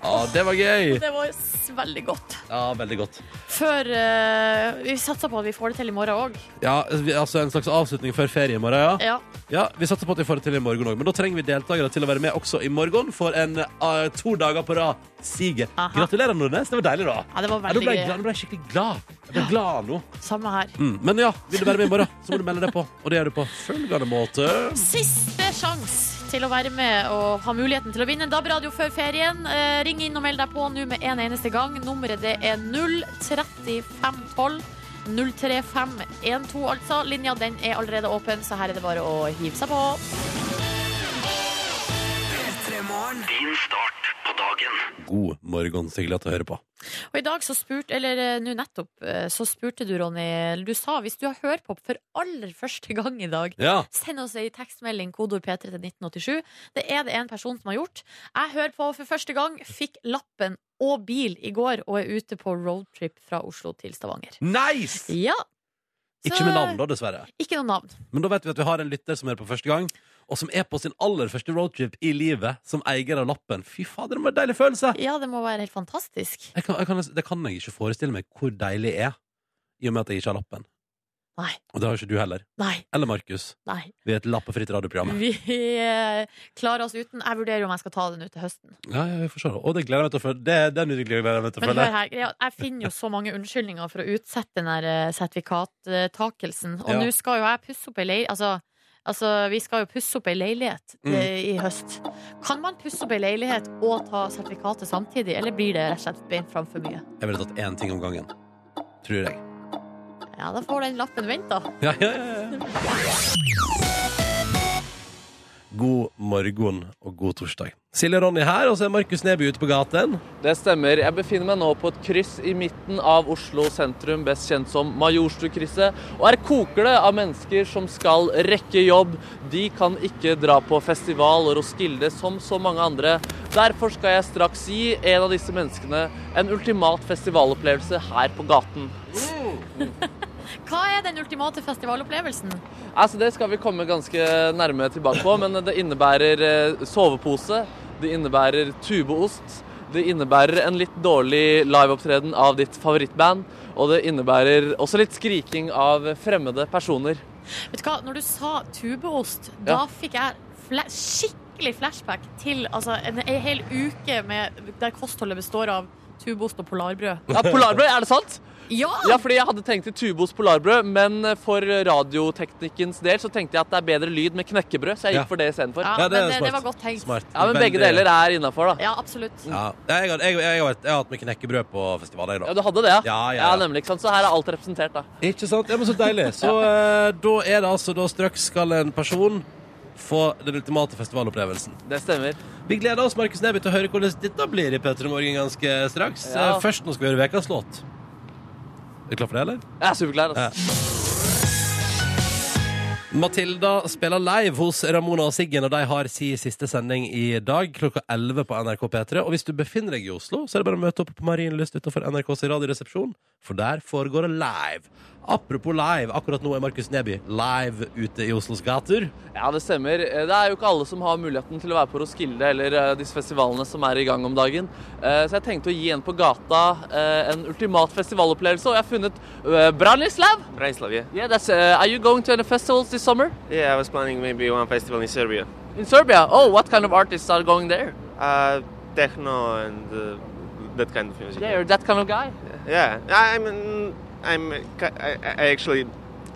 Speaker 1: Ja, det var gøy.
Speaker 2: Det var s- veldig godt.
Speaker 1: Ja, veldig godt.
Speaker 2: Før eh, Vi satser på at vi får det til i morgen òg.
Speaker 1: Ja, vi- altså En slags avslutning før ferie i morgen, ja.
Speaker 2: Ja.
Speaker 1: Ja, Vi satser på at vi får det til i morgen òg, men da trenger vi deltakere til å være med også i morgen for en eh, to dager på rad siger.
Speaker 2: Aha.
Speaker 1: Gratulerer, Nordnes. Det var deilig, da.
Speaker 2: ja, det var
Speaker 1: Ja, nå
Speaker 2: veldig
Speaker 1: ble jeg, glad,
Speaker 2: gøy.
Speaker 1: nå ble jeg skikkelig glad. Jeg ble glad nå.
Speaker 2: Samme her.
Speaker 1: Mm. Men ja, vil du være med i morgen, så må du melde deg på. Og det gjør du på følgende måte.
Speaker 2: Siste sjanse til å være med og ha muligheten til å vinne en DAB-radio før ferien. Eh, ring inn og meld deg på nå med en eneste gang. Nummeret det er 03512. 03512, altså. Linja den er allerede åpen, så her er det bare å hive seg på.
Speaker 1: God morgen, så hyggelig at du hører på.
Speaker 2: Og i dag så spurte, eller eh, nå nettopp, eh, så spurte du, Ronny, eller du sa hvis du har hørpop for aller første gang i dag,
Speaker 1: Ja,
Speaker 2: Send oss ei tekstmelding, kodeord P3 til 1987. Det er det en person som har gjort. Jeg hører på for første gang, fikk lappen og bil i går, og er ute på roadtrip fra Oslo til Stavanger.
Speaker 1: nice!
Speaker 2: Ja. Så-
Speaker 1: Ikke med navn, da, dessverre.
Speaker 2: Ikke noe navn.
Speaker 1: Men da vet vi at vi har en lytter som er på første gang, og som er på sin aller første roadtrip i livet som eier av lappen. Fy fader, det var en deilig følelse!
Speaker 2: Ja, det må være helt fantastisk.
Speaker 1: Jeg kan, jeg kan, det kan jeg ikke forestille meg hvor deilig er, i og med at jeg ikke har lappen.
Speaker 2: Nei.
Speaker 1: Og det har ikke du heller.
Speaker 2: Nei,
Speaker 1: Eller Markus.
Speaker 2: nei.
Speaker 1: Vi er et lappefritt radioprogram.
Speaker 2: Vi eh, klarer oss uten. Jeg vurderer om jeg skal ta den ut til høsten.
Speaker 1: Ja, ja, vi får se. Og det gleder jeg meg til å følge. Det, det er nydelig å glede meg til å
Speaker 2: Men
Speaker 1: følge.
Speaker 2: hør her, greia, jeg finner jo så mange unnskyldninger for å utsette den der eh, sertifikattakelsen. Og
Speaker 1: Ja.
Speaker 2: nå skal jo jeg pusse opp ei leilighet altså, altså, vi skal jo pusse opp ei leilighet eh, i høst. Kan man pusse opp ei leilighet og ta sertifikatet samtidig, eller blir det rett og slett beint fram for mye?
Speaker 1: Jeg ville tatt én ting om gangen. Tror jeg.
Speaker 2: Ja, da får den lappen vente, da.
Speaker 1: Ja, ja, ja, ja. God morgen og god torsdag. Silje og Ronny her, og så er Markus Neby ute på gaten.
Speaker 3: Det stemmer. Jeg befinner meg nå på et kryss i midten av Oslo sentrum, best kjent som Majorstukrysset. Og her koker det av mennesker som skal rekke jobb. De kan ikke dra på festival og Roskilde som så mange andre. Derfor skal jeg straks gi en av disse menneskene en ultimat festivalopplevelse her på gaten.
Speaker 2: Hva er den ultimate festivalopplevelsen?
Speaker 3: Altså, det skal vi komme ganske nærme tilbake på, men det innebærer eh, sovepose, det innebærer tubeost, det innebærer en litt dårlig liveopptreden av ditt favorittband, og det innebærer også litt skriking av fremmede personer.
Speaker 2: Vet du hva, når du sa tubeost, da
Speaker 3: Ja.
Speaker 2: fikk jeg fla skikkelig flashback til altså, en, en hel uke med, der kostholdet består av tubost og polarbrød.
Speaker 3: Ja, Polarbrød, er det sant?
Speaker 2: Ja!
Speaker 3: Ja, fordi jeg hadde tenkt til tubos polarbrød, men for radioteknikkens del så tenkte jeg at det er bedre lyd med knekkebrød, så jeg
Speaker 1: Ja.
Speaker 3: gikk for det istedenfor.
Speaker 2: ja,
Speaker 3: Ja.
Speaker 1: Ja, det er
Speaker 2: men det, det
Speaker 1: smart.
Speaker 2: var godt tenkt.
Speaker 1: Smart.
Speaker 3: ja, men begge deler er innafor, da.
Speaker 2: Ja, absolutt.
Speaker 1: Ja. Jeg, har- jeg, jeg, har vært- jeg har hatt med knekkebrød på festivaler i
Speaker 3: Ja,
Speaker 1: dag.
Speaker 3: du hadde det, ja?
Speaker 1: Ja, ja, ja.
Speaker 3: nemlig, ikke sant? Så her er alt representert, da.
Speaker 1: Ikke sant? Ja, men så deilig. Så eh, da er det altså da straks skal en person få den ultimate festivalopplevelsen.
Speaker 3: Det stemmer.
Speaker 1: Vi gleder oss Markus Neby, til å høre hvordan dette blir i P3 Morgen ganske straks.
Speaker 3: Ja.
Speaker 1: Eh, Først nå skal vi høre ukas låt. Er du klar for det, eller?
Speaker 3: Jeg er superklar. Altså.
Speaker 1: Matilda spiller live hos Ramona og Siggen, og de har si siste sending i dag klokka 11 på NRK P3. Og hvis du befinner deg i Oslo, så er det bare å møte opp på Marienlyst utenfor NRKs radioresepsjon, for der foregår det live. Apropos live, akkurat nå er Markus Neby live ute i Oslos gater.
Speaker 3: Ja, det stemmer. Eh, Det er jo ikke alle som har muligheten til å være på Roskilde eller eh, disse festivalene som er i gang om dagen. Eh, Så jeg tenkte å gi en på gata eh, en ultimat festivalopplevelse, og jeg har funnet eh, Branislav.
Speaker 7: Bratislava, yeah.
Speaker 3: Yeah, that's, eh, are you going to any festivals this summer?
Speaker 7: Yeah, I was planning maybe one festival in Serbia.
Speaker 3: In Serbia? Oh, what kind of artists are going there?
Speaker 7: Uh, techno and uh, that kind of music.
Speaker 3: Yeah, you're that kind of guy.
Speaker 7: Yeah, I'm I'm ki- I, I actually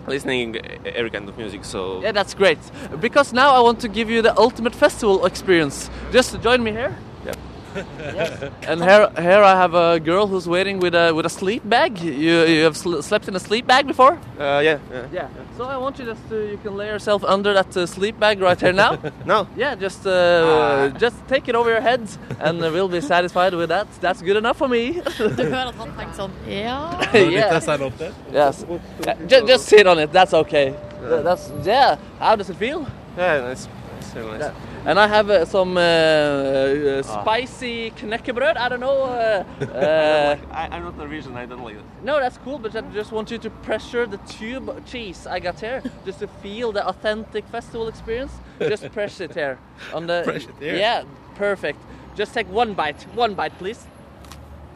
Speaker 7: listening every kind of music. So uh,
Speaker 3: Yeah, that's great. Because now I want to give you the ultimate festival experience. Just join me here.
Speaker 7: Yep.
Speaker 3: Yes. [laughs] And here, here I have a girl who's waiting with a with a sleep bag. You you have sl- slept in a sleep bag before?
Speaker 7: uh, yeah, yeah.
Speaker 3: Yeah. So I want you just to you can lay yourself under that uh, sleep bag right here [laughs] now.
Speaker 7: No,
Speaker 3: yeah, just uh, just take it over your head, and uh, we'll be satisfied with that. That's good enough for me. [laughs]
Speaker 2: Du hører at han tenker sånn Ja.
Speaker 3: yeah. Yes. Yeah, just, just sit on it. That's okay. Th- That's yeah. How does it feel?
Speaker 7: yeah, it's, it's really nice.
Speaker 3: And I have uh, some uh, uh, spicy knäckebröd. I don't know. Uh, [laughs] uh,
Speaker 7: I, I'm not Norwegian. I don't like it.
Speaker 3: no, that's cool, but I just want you to pressure the tube cheese I got here, just to feel the authentic festival experience. Just press it here on the.
Speaker 1: Press it here?
Speaker 3: Yeah, perfect. Just take one bite. One bite, please.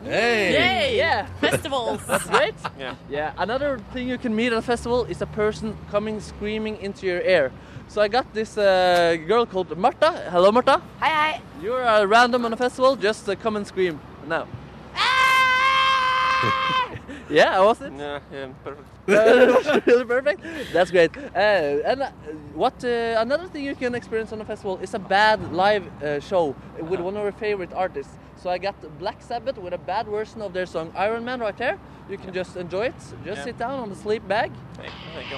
Speaker 1: Hey!
Speaker 2: Yay!
Speaker 3: Yeah.
Speaker 2: Festivals!
Speaker 3: Right?
Speaker 7: Yeah.
Speaker 3: Yeah. Another thing you can meet at a festival is a person coming screaming into your ear. So I got this uh, girl called Marta. Hello, Marta.
Speaker 8: Hei, hei.
Speaker 3: You're uh, random on a festival, just uh, come and scream now. [laughs] yeah, I was it.
Speaker 7: Yeah, yeah,
Speaker 3: [laughs]
Speaker 7: perfect.
Speaker 3: really perfect. That's great. Uh, and uh, what uh, another thing you can experience on a festival is a bad live uh, show with one of your favorite artists. So I got Black Sabbath with a bad version of their song Iron Man right there. You can just enjoy it. Just
Speaker 7: Yeah.
Speaker 3: sit down on the sleep bag.
Speaker 7: Hey, thank you.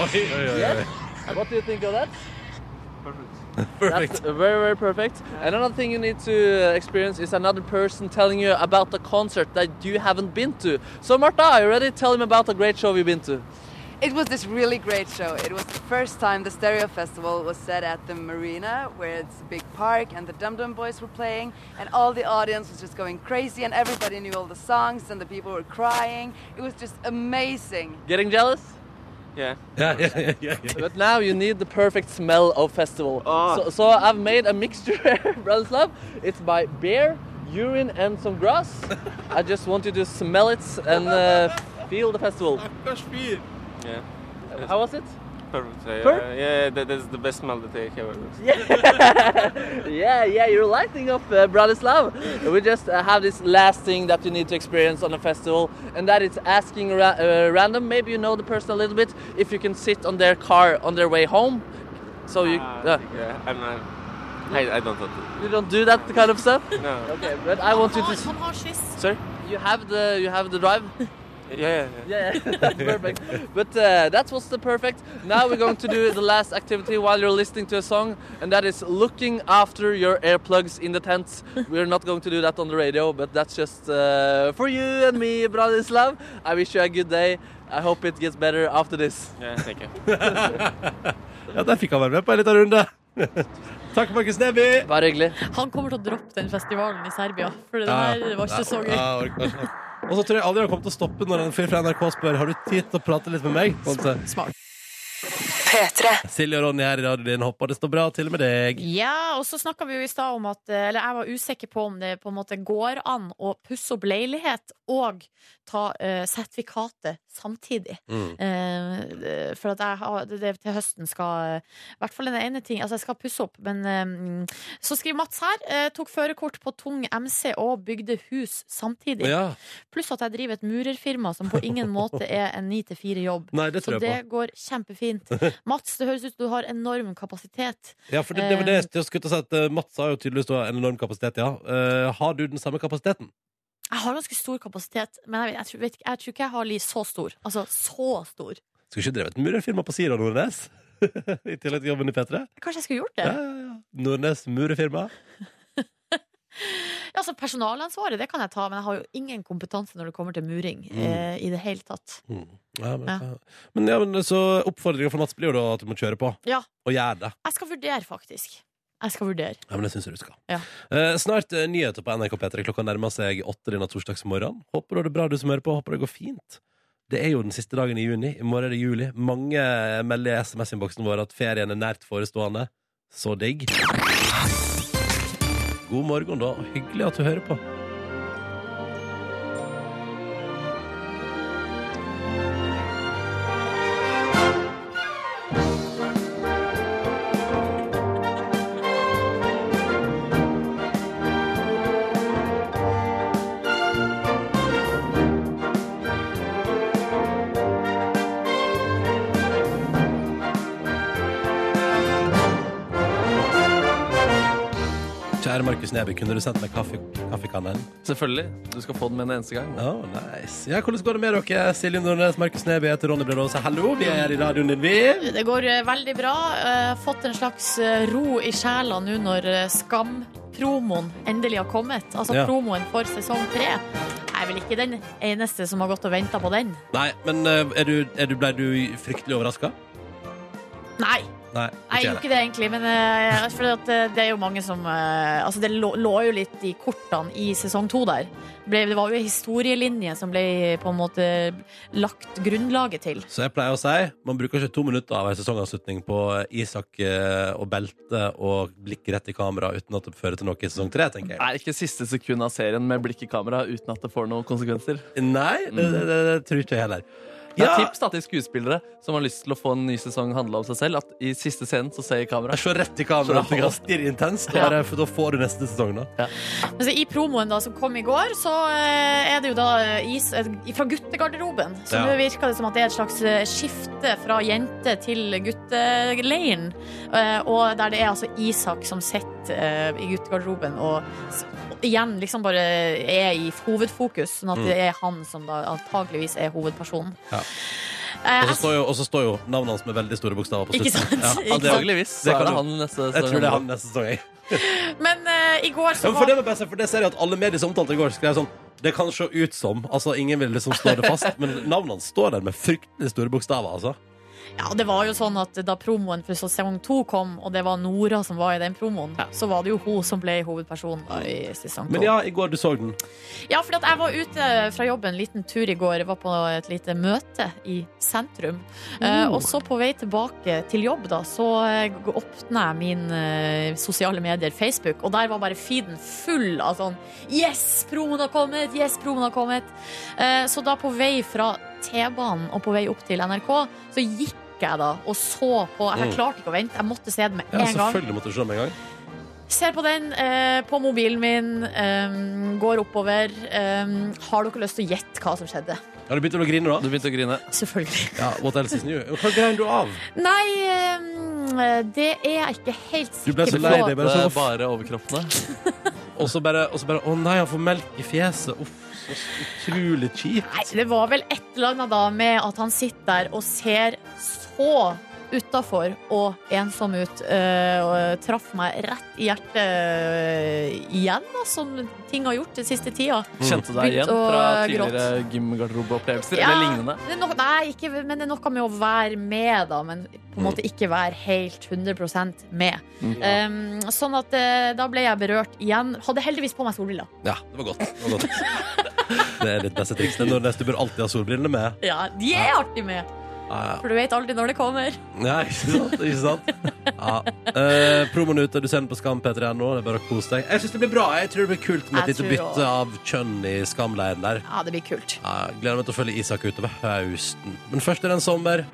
Speaker 1: Oi, oi, oi.
Speaker 3: Yeah. What do you think of that?
Speaker 7: Perfect.
Speaker 1: Perfect.
Speaker 3: That's very, very perfect. And another thing you need to uh, experience is another person telling you about the concert that you haven't been to. So, Marta, are you ready to tell him about the great show you've been to?
Speaker 8: It was this really great show. It was the first time the Stereo Festival was set at the marina, where it's a big park, and the Dum Dum Boys were playing, and all the audience was just going crazy, and everybody knew all the songs, and the people were crying. It was just amazing.
Speaker 3: Getting jealous?
Speaker 7: Yeah.
Speaker 1: Ja, ja, ja, ja, ja.
Speaker 3: But now you need the perfect smell of festival.
Speaker 7: Ah.
Speaker 3: So, so I've made a mixture, [laughs] Bratislav. It's by beer, urine, and some grass. I just want you to smell it and uh, feel the festival.
Speaker 7: Yeah.
Speaker 3: How was it?
Speaker 7: Perfect. Uh, Yeah,
Speaker 3: Per-
Speaker 7: yeah that, that's the best smell that I have ever.
Speaker 3: Yeah, yeah, you're lighting up, uh, Bratislav. We just uh, have this last thing that you need to experience on a festival, and that is asking ra- uh, random. Maybe you know the person a little bit. If you can sit on their car on their way home, so you
Speaker 7: Uh,
Speaker 3: uh,
Speaker 7: yeah, I'm not. I, I don't want to.
Speaker 3: you don't do that kind of stuff.
Speaker 7: No.
Speaker 3: [laughs] Okay, but I want you to.
Speaker 2: Han,
Speaker 3: s-
Speaker 2: han har skyss.
Speaker 7: Sorry.
Speaker 3: You have the you have the drive.
Speaker 7: Yeah, yeah,
Speaker 3: [laughs]
Speaker 7: yeah.
Speaker 3: Yeah, [laughs] that's perfect. But uh, that was the perfect. Now we're going to do the last activity while you're listening to a song, and that is looking after your earplugs in the [laughs] tent. We're not going to do that on the radio, but that's just uh, for you and me, Bratislav. I wish you a good day. I hope it gets better after [laughs] this.
Speaker 7: Yeah, thank you.
Speaker 1: ja, der fikk han være med på en liten runde. [laughs] Takk, Markus Neby.
Speaker 3: Bare hyggelig.
Speaker 2: Han kommer til å droppe den festivalen i Serbia, for det der var ikke så gøy.
Speaker 1: Ja, jeg orker ikke. Og så tror jeg aldri han kommer til å stoppe når en fyr fra NRK spør Har du tid til å prate litt med meg. Sånn, så-
Speaker 2: Smart.
Speaker 1: Silje og Ronny her i radioen din. Håper det står bra til med deg.
Speaker 2: Ja, og så snakka vi jo i stad om at eh, Eller jeg var usikker på om det på en måte går an å pusse opp leilighet og ta eh, sertifikatet samtidig.
Speaker 1: Mm.
Speaker 2: Eh, for at jeg har, det, det, til høsten skal eh, I hvert fall den ene ting Altså, jeg skal pusse opp, men eh, Så skriver Mats her. eh, tok førerkort på tung MC og bygde hus samtidig.
Speaker 1: Ja.
Speaker 2: Pluss at jeg driver et murerfirma som på ingen måte er en ni til fire-jobb.
Speaker 1: Nei, det
Speaker 2: Så
Speaker 1: tror
Speaker 2: det
Speaker 1: jeg på.
Speaker 2: går kjempefint. Mats, det høres ut som du har enorm kapasitet.
Speaker 1: Ja, for det, det var det jeg skulle til å si at eh, Mats har jo tydeligvis da en enorm kapasitet, ja. Eh, har du den samme kapasiteten?
Speaker 2: Jeg har ganske stor kapasitet, men jeg, vet- jeg, tror- vet, ikke- jeg tror ikke jeg har li så stor. Altså så stor.
Speaker 1: Skulle ikke drevet et murerfirma på Sira Nordnes? [laughs] I tillegg til jobben i P3?
Speaker 2: Kanskje jeg skulle gjort
Speaker 1: Ja,
Speaker 2: det?
Speaker 1: ja, ja. Nordnes murerfirma.
Speaker 2: Ja, altså Personalansvaret det kan jeg ta, men jeg har jo ingen kompetanse når det kommer til muring. Eh, I det hele tatt.
Speaker 1: Mm. Ja, men,
Speaker 2: Ja.
Speaker 1: men, ja, men så oppfordringa for Mats blir jo da at du må kjøre på.
Speaker 2: Ja.
Speaker 1: Og gjøre det.
Speaker 2: Jeg skal vurdere, faktisk. Jeg skal vurdere.
Speaker 1: Ja, men det syns jeg du skal.
Speaker 2: Ja.
Speaker 1: Eh, snart eh, nyheter på NRK P3. Klokka nærmer seg åtte denne torsdagsmorgenen. Håper du har det bra, du som hører på. Håper det går fint. Det er jo den siste dagen i juni. I morgen er det juli. Mange melder i SMS-innboksen vår at ferien er nært forestående. Så digg. God morgen, da. Hyggelig at du hører på. Kjære Markus Neby, kunne du sendt meg kaffe, kaffekannen?
Speaker 3: Selvfølgelig. Du skal få den med en eneste gang.
Speaker 1: Oh, nice. Ja, hvordan går det med dere? Silje Nordnes, Markus Neby, jeg heter Ronny Brede Aase. Hallo, vi er her i radioen din, vi.
Speaker 2: Det går eh, veldig bra. Eh, fått en slags eh, ro i sjela nå når eh, Skam-promoen endelig har kommet. Altså
Speaker 1: Ja.
Speaker 2: promoen for sesong tre. Jeg er vel ikke den eneste som har gått og venta på den.
Speaker 1: Nei, men eh, er du, er du, ble du fryktelig overraska?
Speaker 2: Nei,
Speaker 1: Nei, jeg.
Speaker 2: jeg gjorde ikke det egentlig, men eh, fordi at, eh, det er jo mange som eh, Altså, det lå, lå jo litt i kortene i sesong to der. Ble, det var jo en historielinje som ble på en måte lagt grunnlaget til.
Speaker 1: Så jeg pleier å si man bruker ikke to minutter av en sesongavslutning på Isak eh, og belte og blikk rett i kamera uten at det fører til noe i sesong tre, tenker jeg.
Speaker 3: Er ikke siste sekund av serien med blikk i kamera uten at det får noen konsekvenser.
Speaker 1: Nei, det, det, det, det tror ikke jeg heller.
Speaker 3: Det
Speaker 1: Ja,
Speaker 3: er tips da til skuespillere som har lyst til å få en ny sesong handla om seg selv. At i siste scenen så ser jeg kamera.
Speaker 1: se rett i kamera og stirr intenst, og
Speaker 2: Ja.
Speaker 1: bare- for da får du neste sesong, da.
Speaker 2: Men så Altså, I promoen da, som kom i går, så eh, er det jo da eh, is eh, fra guttegarderoben. Så
Speaker 1: Ja.
Speaker 2: nå virker det som at det er et slags eh, skifte fra jente til gutteleiren. Eh, Og der det er altså Isak som sitter eh, i guttegarderoben og s- og igjen liksom bare er i hovedfokus. Sånn at det er han som da antageligvis er hovedpersonen.
Speaker 1: Mm. Ja.
Speaker 2: Eh,
Speaker 1: Og så
Speaker 2: jeg-
Speaker 1: står jo, og så står jo navnet hans med veldig store bokstaver på
Speaker 2: Ikke
Speaker 1: slutten.
Speaker 2: sant? Ikke sant?
Speaker 3: Antageligvis så
Speaker 1: Det kan
Speaker 3: er det
Speaker 1: du-
Speaker 3: han neste
Speaker 1: Jeg tror det er
Speaker 3: sesong.
Speaker 1: han neste sesong. jeg.
Speaker 2: Men eh, i går
Speaker 1: Ja,
Speaker 2: så
Speaker 1: men for,
Speaker 2: var
Speaker 1: det var best, for det ser jeg at alle medier som omtalte i går, skrev sånn Det kan se ut som Altså, ingen vil liksom slå det fast, [laughs] men navnet hans står der med fryktelig store bokstaver, altså.
Speaker 2: Ja, det var jo sånn at da promoen for sesong to kom, og det var Nora som var i den promoen, så var det jo hun som ble hovedpersonen da i sesong to.
Speaker 1: Men ja, i går du så den.
Speaker 2: Ja, for at jeg var ute fra jobb en liten tur i går. Jeg var på et lite møte i sentrum. Eh, og så på vei tilbake til jobb, da, så uh, åpna jeg min eh, sosiale medier, Facebook, og der var bare feeden full av sånn Yes, promoen har kommet! Yes, promoen har kommet! Eh, så da på vei fra T-banen og på vei opp til NRK, så gikk jeg da og så på Jeg
Speaker 1: Mm.
Speaker 2: klarte ikke å vente, jeg måtte se det med
Speaker 1: Ja,
Speaker 2: en gang.
Speaker 1: selvfølgelig måtte du se den med en gang.
Speaker 2: Ser på den eh, på mobilen min, eh, går oppover. Eh, har dere lyst til å gjette hva som skjedde?
Speaker 1: Ja, du begynte vel å grine
Speaker 3: Du
Speaker 1: da?
Speaker 3: begynte å grine.
Speaker 2: Selvfølgelig.
Speaker 1: Ja, What else is new? Hva grein du av?
Speaker 2: Nei, eh, det er jeg ikke helt
Speaker 1: Du
Speaker 2: sikker
Speaker 1: ble så lei deg,
Speaker 2: på.
Speaker 1: bare
Speaker 3: Det
Speaker 1: sånn
Speaker 3: er
Speaker 1: uff.
Speaker 3: bare overkroppene.
Speaker 1: Og så bare, og så bare Å nei, han får melk i fjeset. Uff, så utrolig kjipt.
Speaker 2: Nei, det var vel et eller annet da med at han sitter der og ser så utafor og ensom ut. eh, og traff meg rett i hjertet eh, igjen, da, som ting har gjort den siste tida.
Speaker 1: Mm.
Speaker 3: Kjente deg igjen
Speaker 2: Begynte å
Speaker 3: fra
Speaker 2: gråte.
Speaker 3: tidligere gymgarderobeopplevelser
Speaker 2: Ja.
Speaker 3: eller lignende.
Speaker 2: Det er noe, nei, ikke, men det er noe med å være med, da, men på en
Speaker 3: Mm.
Speaker 2: måte ikke være helt 100 med. Um, sånn at eh, da ble jeg berørt igjen. Hadde heldigvis på meg solbriller.
Speaker 1: Ja, det var godt. Det, var [laughs] godt. det er ditt beste triks. Det er når du bør alltid ha solbrillene med.
Speaker 2: Ja, de er artig med!
Speaker 1: ja.
Speaker 2: For du vet aldri når det kommer.
Speaker 1: Ja, ikke sant? Ikke sant? Ja. Eh, promoen er ute, du ser den på Skam P3.no. Det er bare å kose deg. Jeg syns det blir bra. Jeg tror det blir kult med et
Speaker 2: Jeg
Speaker 1: lite
Speaker 2: tror
Speaker 1: bytte
Speaker 2: også.
Speaker 1: av kjønn i Skamleiren der.
Speaker 2: Ja, det blir kult.
Speaker 1: Ja, jeg gleder meg til å følge Isak utover høsten. Men først er det en sommer.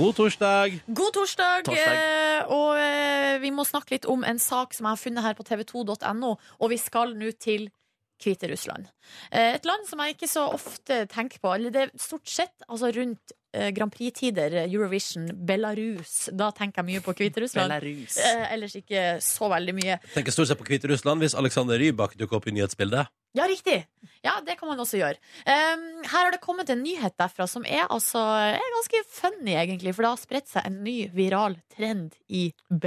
Speaker 1: God torsdag.
Speaker 2: God torsdag!
Speaker 3: Torsdag.
Speaker 2: eh, Og eh, vi må snakke litt om en sak som jeg har funnet her på tv2.no, og vi skal nå til Hviterussland. Eh, Et land som jeg ikke så ofte tenker på. Eller det er stort sett altså rundt eh, Grand Prix-tider, Eurovision, Belarus. Da tenker jeg mye på Hviterussland.
Speaker 3: Belarus.
Speaker 2: Eh, Ellers ikke så veldig mye.
Speaker 1: Tenker stort sett på Hviterussland hvis Alexander Rybak dukker opp i nyhetsbildet.
Speaker 2: Ja, riktig. Ja, det kan man også gjøre. Ehm, her har det kommet en nyhet derfra som er, altså, er ganske funny, egentlig. For det har spredt seg en ny viral trend i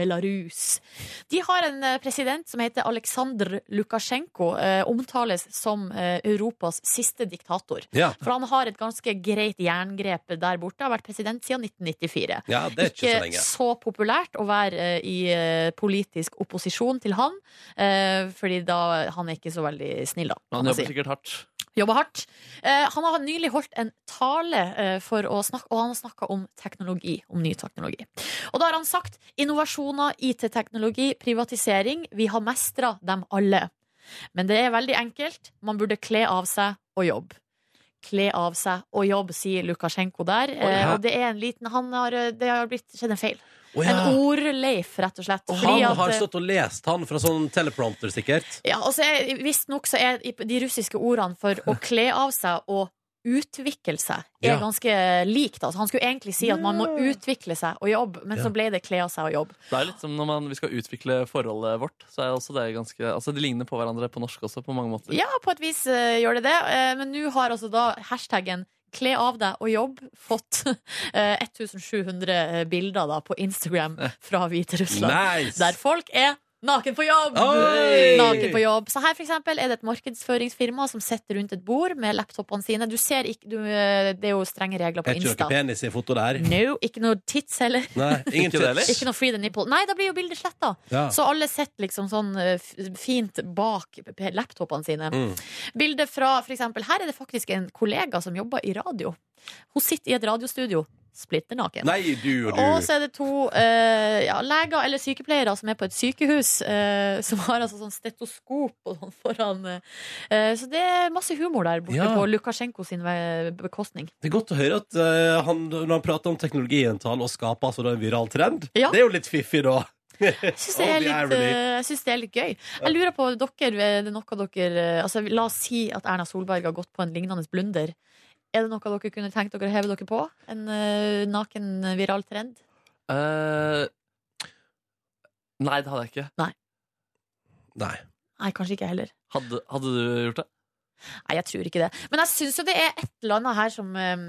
Speaker 2: Belarus. De har en eh, president som heter Aleksandr Lukasjenko. eh, omtales som eh, Europas siste diktator.
Speaker 1: Ja,
Speaker 2: For han har et ganske greit jerngrep der borte. Har vært president siden 1994
Speaker 1: ja det er ikke, så lenge.
Speaker 2: populært å være eh, i eh, politisk opposisjon til han, eh, fordi da han er ikke så veldig snill, da. kan
Speaker 3: Han
Speaker 2: man
Speaker 3: jobber
Speaker 2: si.
Speaker 3: sikkert hardt.
Speaker 2: Jobber hardt. Eh, han har nylig holdt en tale, eh, for å snakke, og han har snakka om teknologi. Om ny teknologi. Og da har han sagt innovasjoner, IT-teknologi, privatisering. Vi har mestra dem alle. Men det er veldig enkelt. Man burde kle av seg og jobbe. Kle av seg og jobb, sier Lukasjenko der. Eh, og det er en liten Han har, eh, det har blitt skjedd en feil.
Speaker 1: Å, ja.
Speaker 2: En ordleif, rett og slett.
Speaker 1: Og
Speaker 2: Fordi
Speaker 1: han
Speaker 2: at- eh,
Speaker 1: har stått og lest han fra sånn teleprompter, sikkert.
Speaker 2: ja, altså, Visstnok så er de russiske ordene for å
Speaker 1: [laughs]
Speaker 2: kle av seg og utvikle seg er
Speaker 1: Ja.
Speaker 2: ganske likt. Altså, han skulle egentlig si at man må utvikle seg og jobbe, men
Speaker 1: Ja.
Speaker 2: så ble det kle av seg og jobbe.
Speaker 3: Det er litt som når man, vi skal utvikle forholdet vårt. Så er også det ganske, altså De ligner på hverandre på norsk også, på mange måter.
Speaker 2: Ja, på et vis eh, gjør det det, eh, men nå har altså da hashtaggen Kle av deg og jobb fått [laughs] eh, 1700 bilder da på Instagram fra Hviterussland.
Speaker 1: Nice!
Speaker 2: Der folk er naken på jobb!
Speaker 1: Oi!
Speaker 2: Naken på jobb. Så her for eksempel er det et markedsføringsfirma som sitter rundt et bord med laptopene sine. Du ser ikke, du, eh, Det er jo strenge regler på
Speaker 1: Er ikke
Speaker 2: Insta.
Speaker 1: noe penis i foto der?
Speaker 2: No, ikke noe tits heller.
Speaker 1: Nei, ingen
Speaker 3: Ikke det heller?
Speaker 1: tips.
Speaker 2: [laughs] Ikke noe free the nipple. Nei, da blir jo bildet sletta.
Speaker 1: Ja.
Speaker 2: Så alle sitter liksom sånn eh, f- fint bak p- laptopene sine.
Speaker 1: Mm.
Speaker 2: Bildet fra for eksempel, Her er det faktisk en kollega som jobber i radio. Hun sitter i et radiostudio, splitter naken.
Speaker 1: Nei, du og du.
Speaker 2: Og så er det to eh, ja, leger eller sykepleiere som er på et sykehus, eh, som har altså sånn stetoskop og sånn foran. eh, så det er masse humor der borte
Speaker 1: Ja.
Speaker 2: på Lukasjenko sin ve-
Speaker 1: [laughs]
Speaker 2: bekostning.
Speaker 1: Det er godt å høre at eh, han, når han prater om teknologi i en tale og skaper altså da en viral trend,
Speaker 2: Ja.
Speaker 1: det er jo litt fiffig da.
Speaker 2: Jeg syns det,
Speaker 1: Oh, the
Speaker 2: er litt,
Speaker 1: irony.
Speaker 2: eh, jeg synes det er litt gøy. Jeg lurer på dere, er det noe dere eh, altså, La oss si at Erna Solberg har gått på en lignende blunder. Er det noe dere kunne tenkt dere å heve dere på? En eh, naken viral trend?
Speaker 3: Eh, nei, det hadde jeg ikke.
Speaker 1: Nei.
Speaker 2: Nei, kanskje ikke heller.
Speaker 3: Hadde, hadde du gjort det?
Speaker 2: Nei, jeg tror ikke det. Men jeg syns jo det er et eller annet her som eh,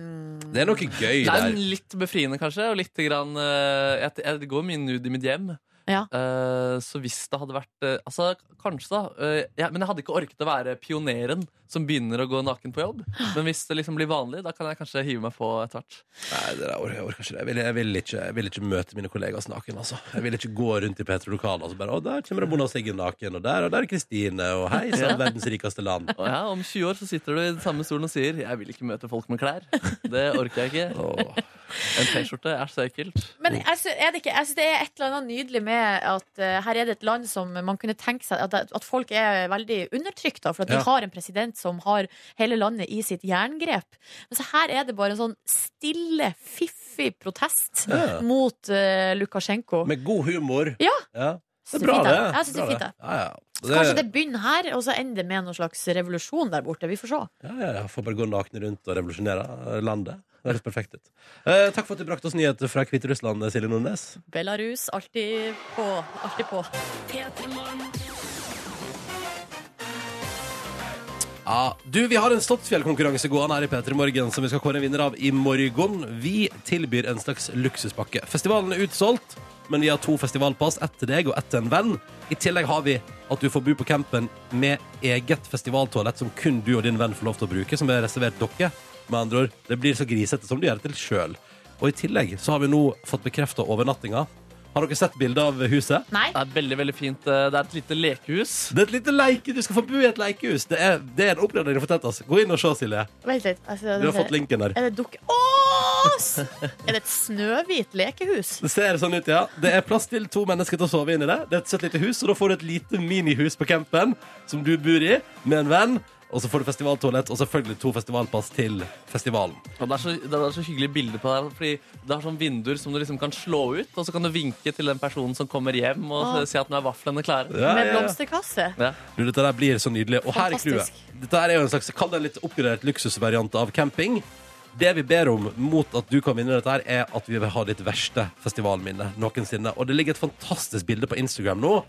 Speaker 1: Det er noe gøy
Speaker 3: Det er
Speaker 1: der.
Speaker 3: en litt befriende, kanskje. Og litt grann, eh, jeg, jeg går mye nude i mitt hjem.
Speaker 2: Ja.
Speaker 3: Eh, så hvis det hadde vært eh, Altså, kanskje, da. eh, ja, men jeg hadde ikke orket å være pioneren som begynner å gå naken på jobb. Men hvis det liksom blir vanlig, da kan jeg kanskje hive meg på etter hvert.
Speaker 1: Nei, det der, orker- jeg orker ikke det. Jeg vil, jeg, vil ikke, jeg vil ikke møte mine kollegaer naken, altså. Jeg vil ikke gå rundt i Petro Lokal og bare Å, der kommer Mona Siggen naken, og der, og der er Kristine, og hei sann, verdens rikeste land.
Speaker 3: Og ja, om 20 år så sitter du i den samme stolen og sier 'jeg vil ikke møte folk med klær'. Det orker jeg ikke.
Speaker 1: Åh.
Speaker 3: En T-skjorte er så ekkelt.
Speaker 2: Men jeg syns det, ikke- jeg synes det er et eller annet nydelig med at eh, her er det et land som man kunne tenke seg At, at folk er veldig undertrykt, da, for at
Speaker 1: Ja.
Speaker 2: de har en president som har hele landet i sitt jerngrep. Men så her er det bare en sånn stille, fiffig protest
Speaker 1: Ja.
Speaker 2: mot eh, Lukasjenko.
Speaker 1: Med god humor.
Speaker 2: Ja.
Speaker 1: Det er bra, det.
Speaker 2: Jeg synes det er
Speaker 1: Bra,
Speaker 2: fint, det.
Speaker 1: Ja, ja.
Speaker 2: Så Kanskje det begynner her, og så ender det med noen slags revolusjon der borte. Vi får se.
Speaker 1: Ja, ja, ja. Får bare gå nakne rundt og revolusjonere landet. Det høres perfekt ut. Eh, takk for at du brakte oss nyheter fra Hviterussland, Silje Nordnes.
Speaker 2: Belarus, alltid på. Alltid på.
Speaker 1: Ja, du, Vi har en Slottsfjell-konkurranse gående her i P3 Morgen som vi skal kåre en vinner av i morgen. Vi tilbyr en slags luksuspakke. Festivalen er utsolgt, men vi har to festivalpass. Ett til deg og ett til en venn. I tillegg har vi at du får bo på campen med eget festivaltoalett som kun du og din venn får lov til å bruke, som er reservert dere. Med andre ord, det blir så grisete som du gjør det til sjøl. Og i tillegg så har vi nå fått bekrefta overnattinga Har dere sett bilde av huset?
Speaker 2: Nei?
Speaker 3: Det er veldig, veldig fint. eh, Det er et lite lekehus.
Speaker 1: Det er et lite leike, Du skal få bo i et leikehus. Det er, det er en oppgradering for Tentas. Gå inn og se, Silje.
Speaker 2: Vent litt. Altså, Jeg ser-
Speaker 1: Du har fått linken der.
Speaker 2: Er det dukke... Å! s- Er det et snøhvit lekehus?
Speaker 1: Det ser sånn ut, ja. Det er plass til to mennesker til å sove inn i det. Det er et søtt lite hus, og da får du et lite minihus på campen som du bor i med en venn. Og så får du festivaltoalett og selvfølgelig to festivalpass til festivalen.
Speaker 3: Og det er så, det er så hyggelig bilde på det her, fordi det har sånn vinduer som du liksom kan slå ut, og så kan du vinke til den personen som kommer hjem og
Speaker 2: Åh.
Speaker 3: si at nå er vaflene klare.
Speaker 1: Ja,
Speaker 2: Med
Speaker 1: ja, ja.
Speaker 2: blomsterkasse?
Speaker 3: Ja.
Speaker 1: Du, dette der blir så nydelig. Og her i crewet.
Speaker 2: Fantastisk.
Speaker 1: Dette her er jo en slags, kall det en litt oppgradert luksusvariant av camping. Det vi ber om mot at du kan vinne dette, her er at vi vil ha ditt verste festivalminne noensinne. Og det ligger et fantastisk bilde på Instagram nå.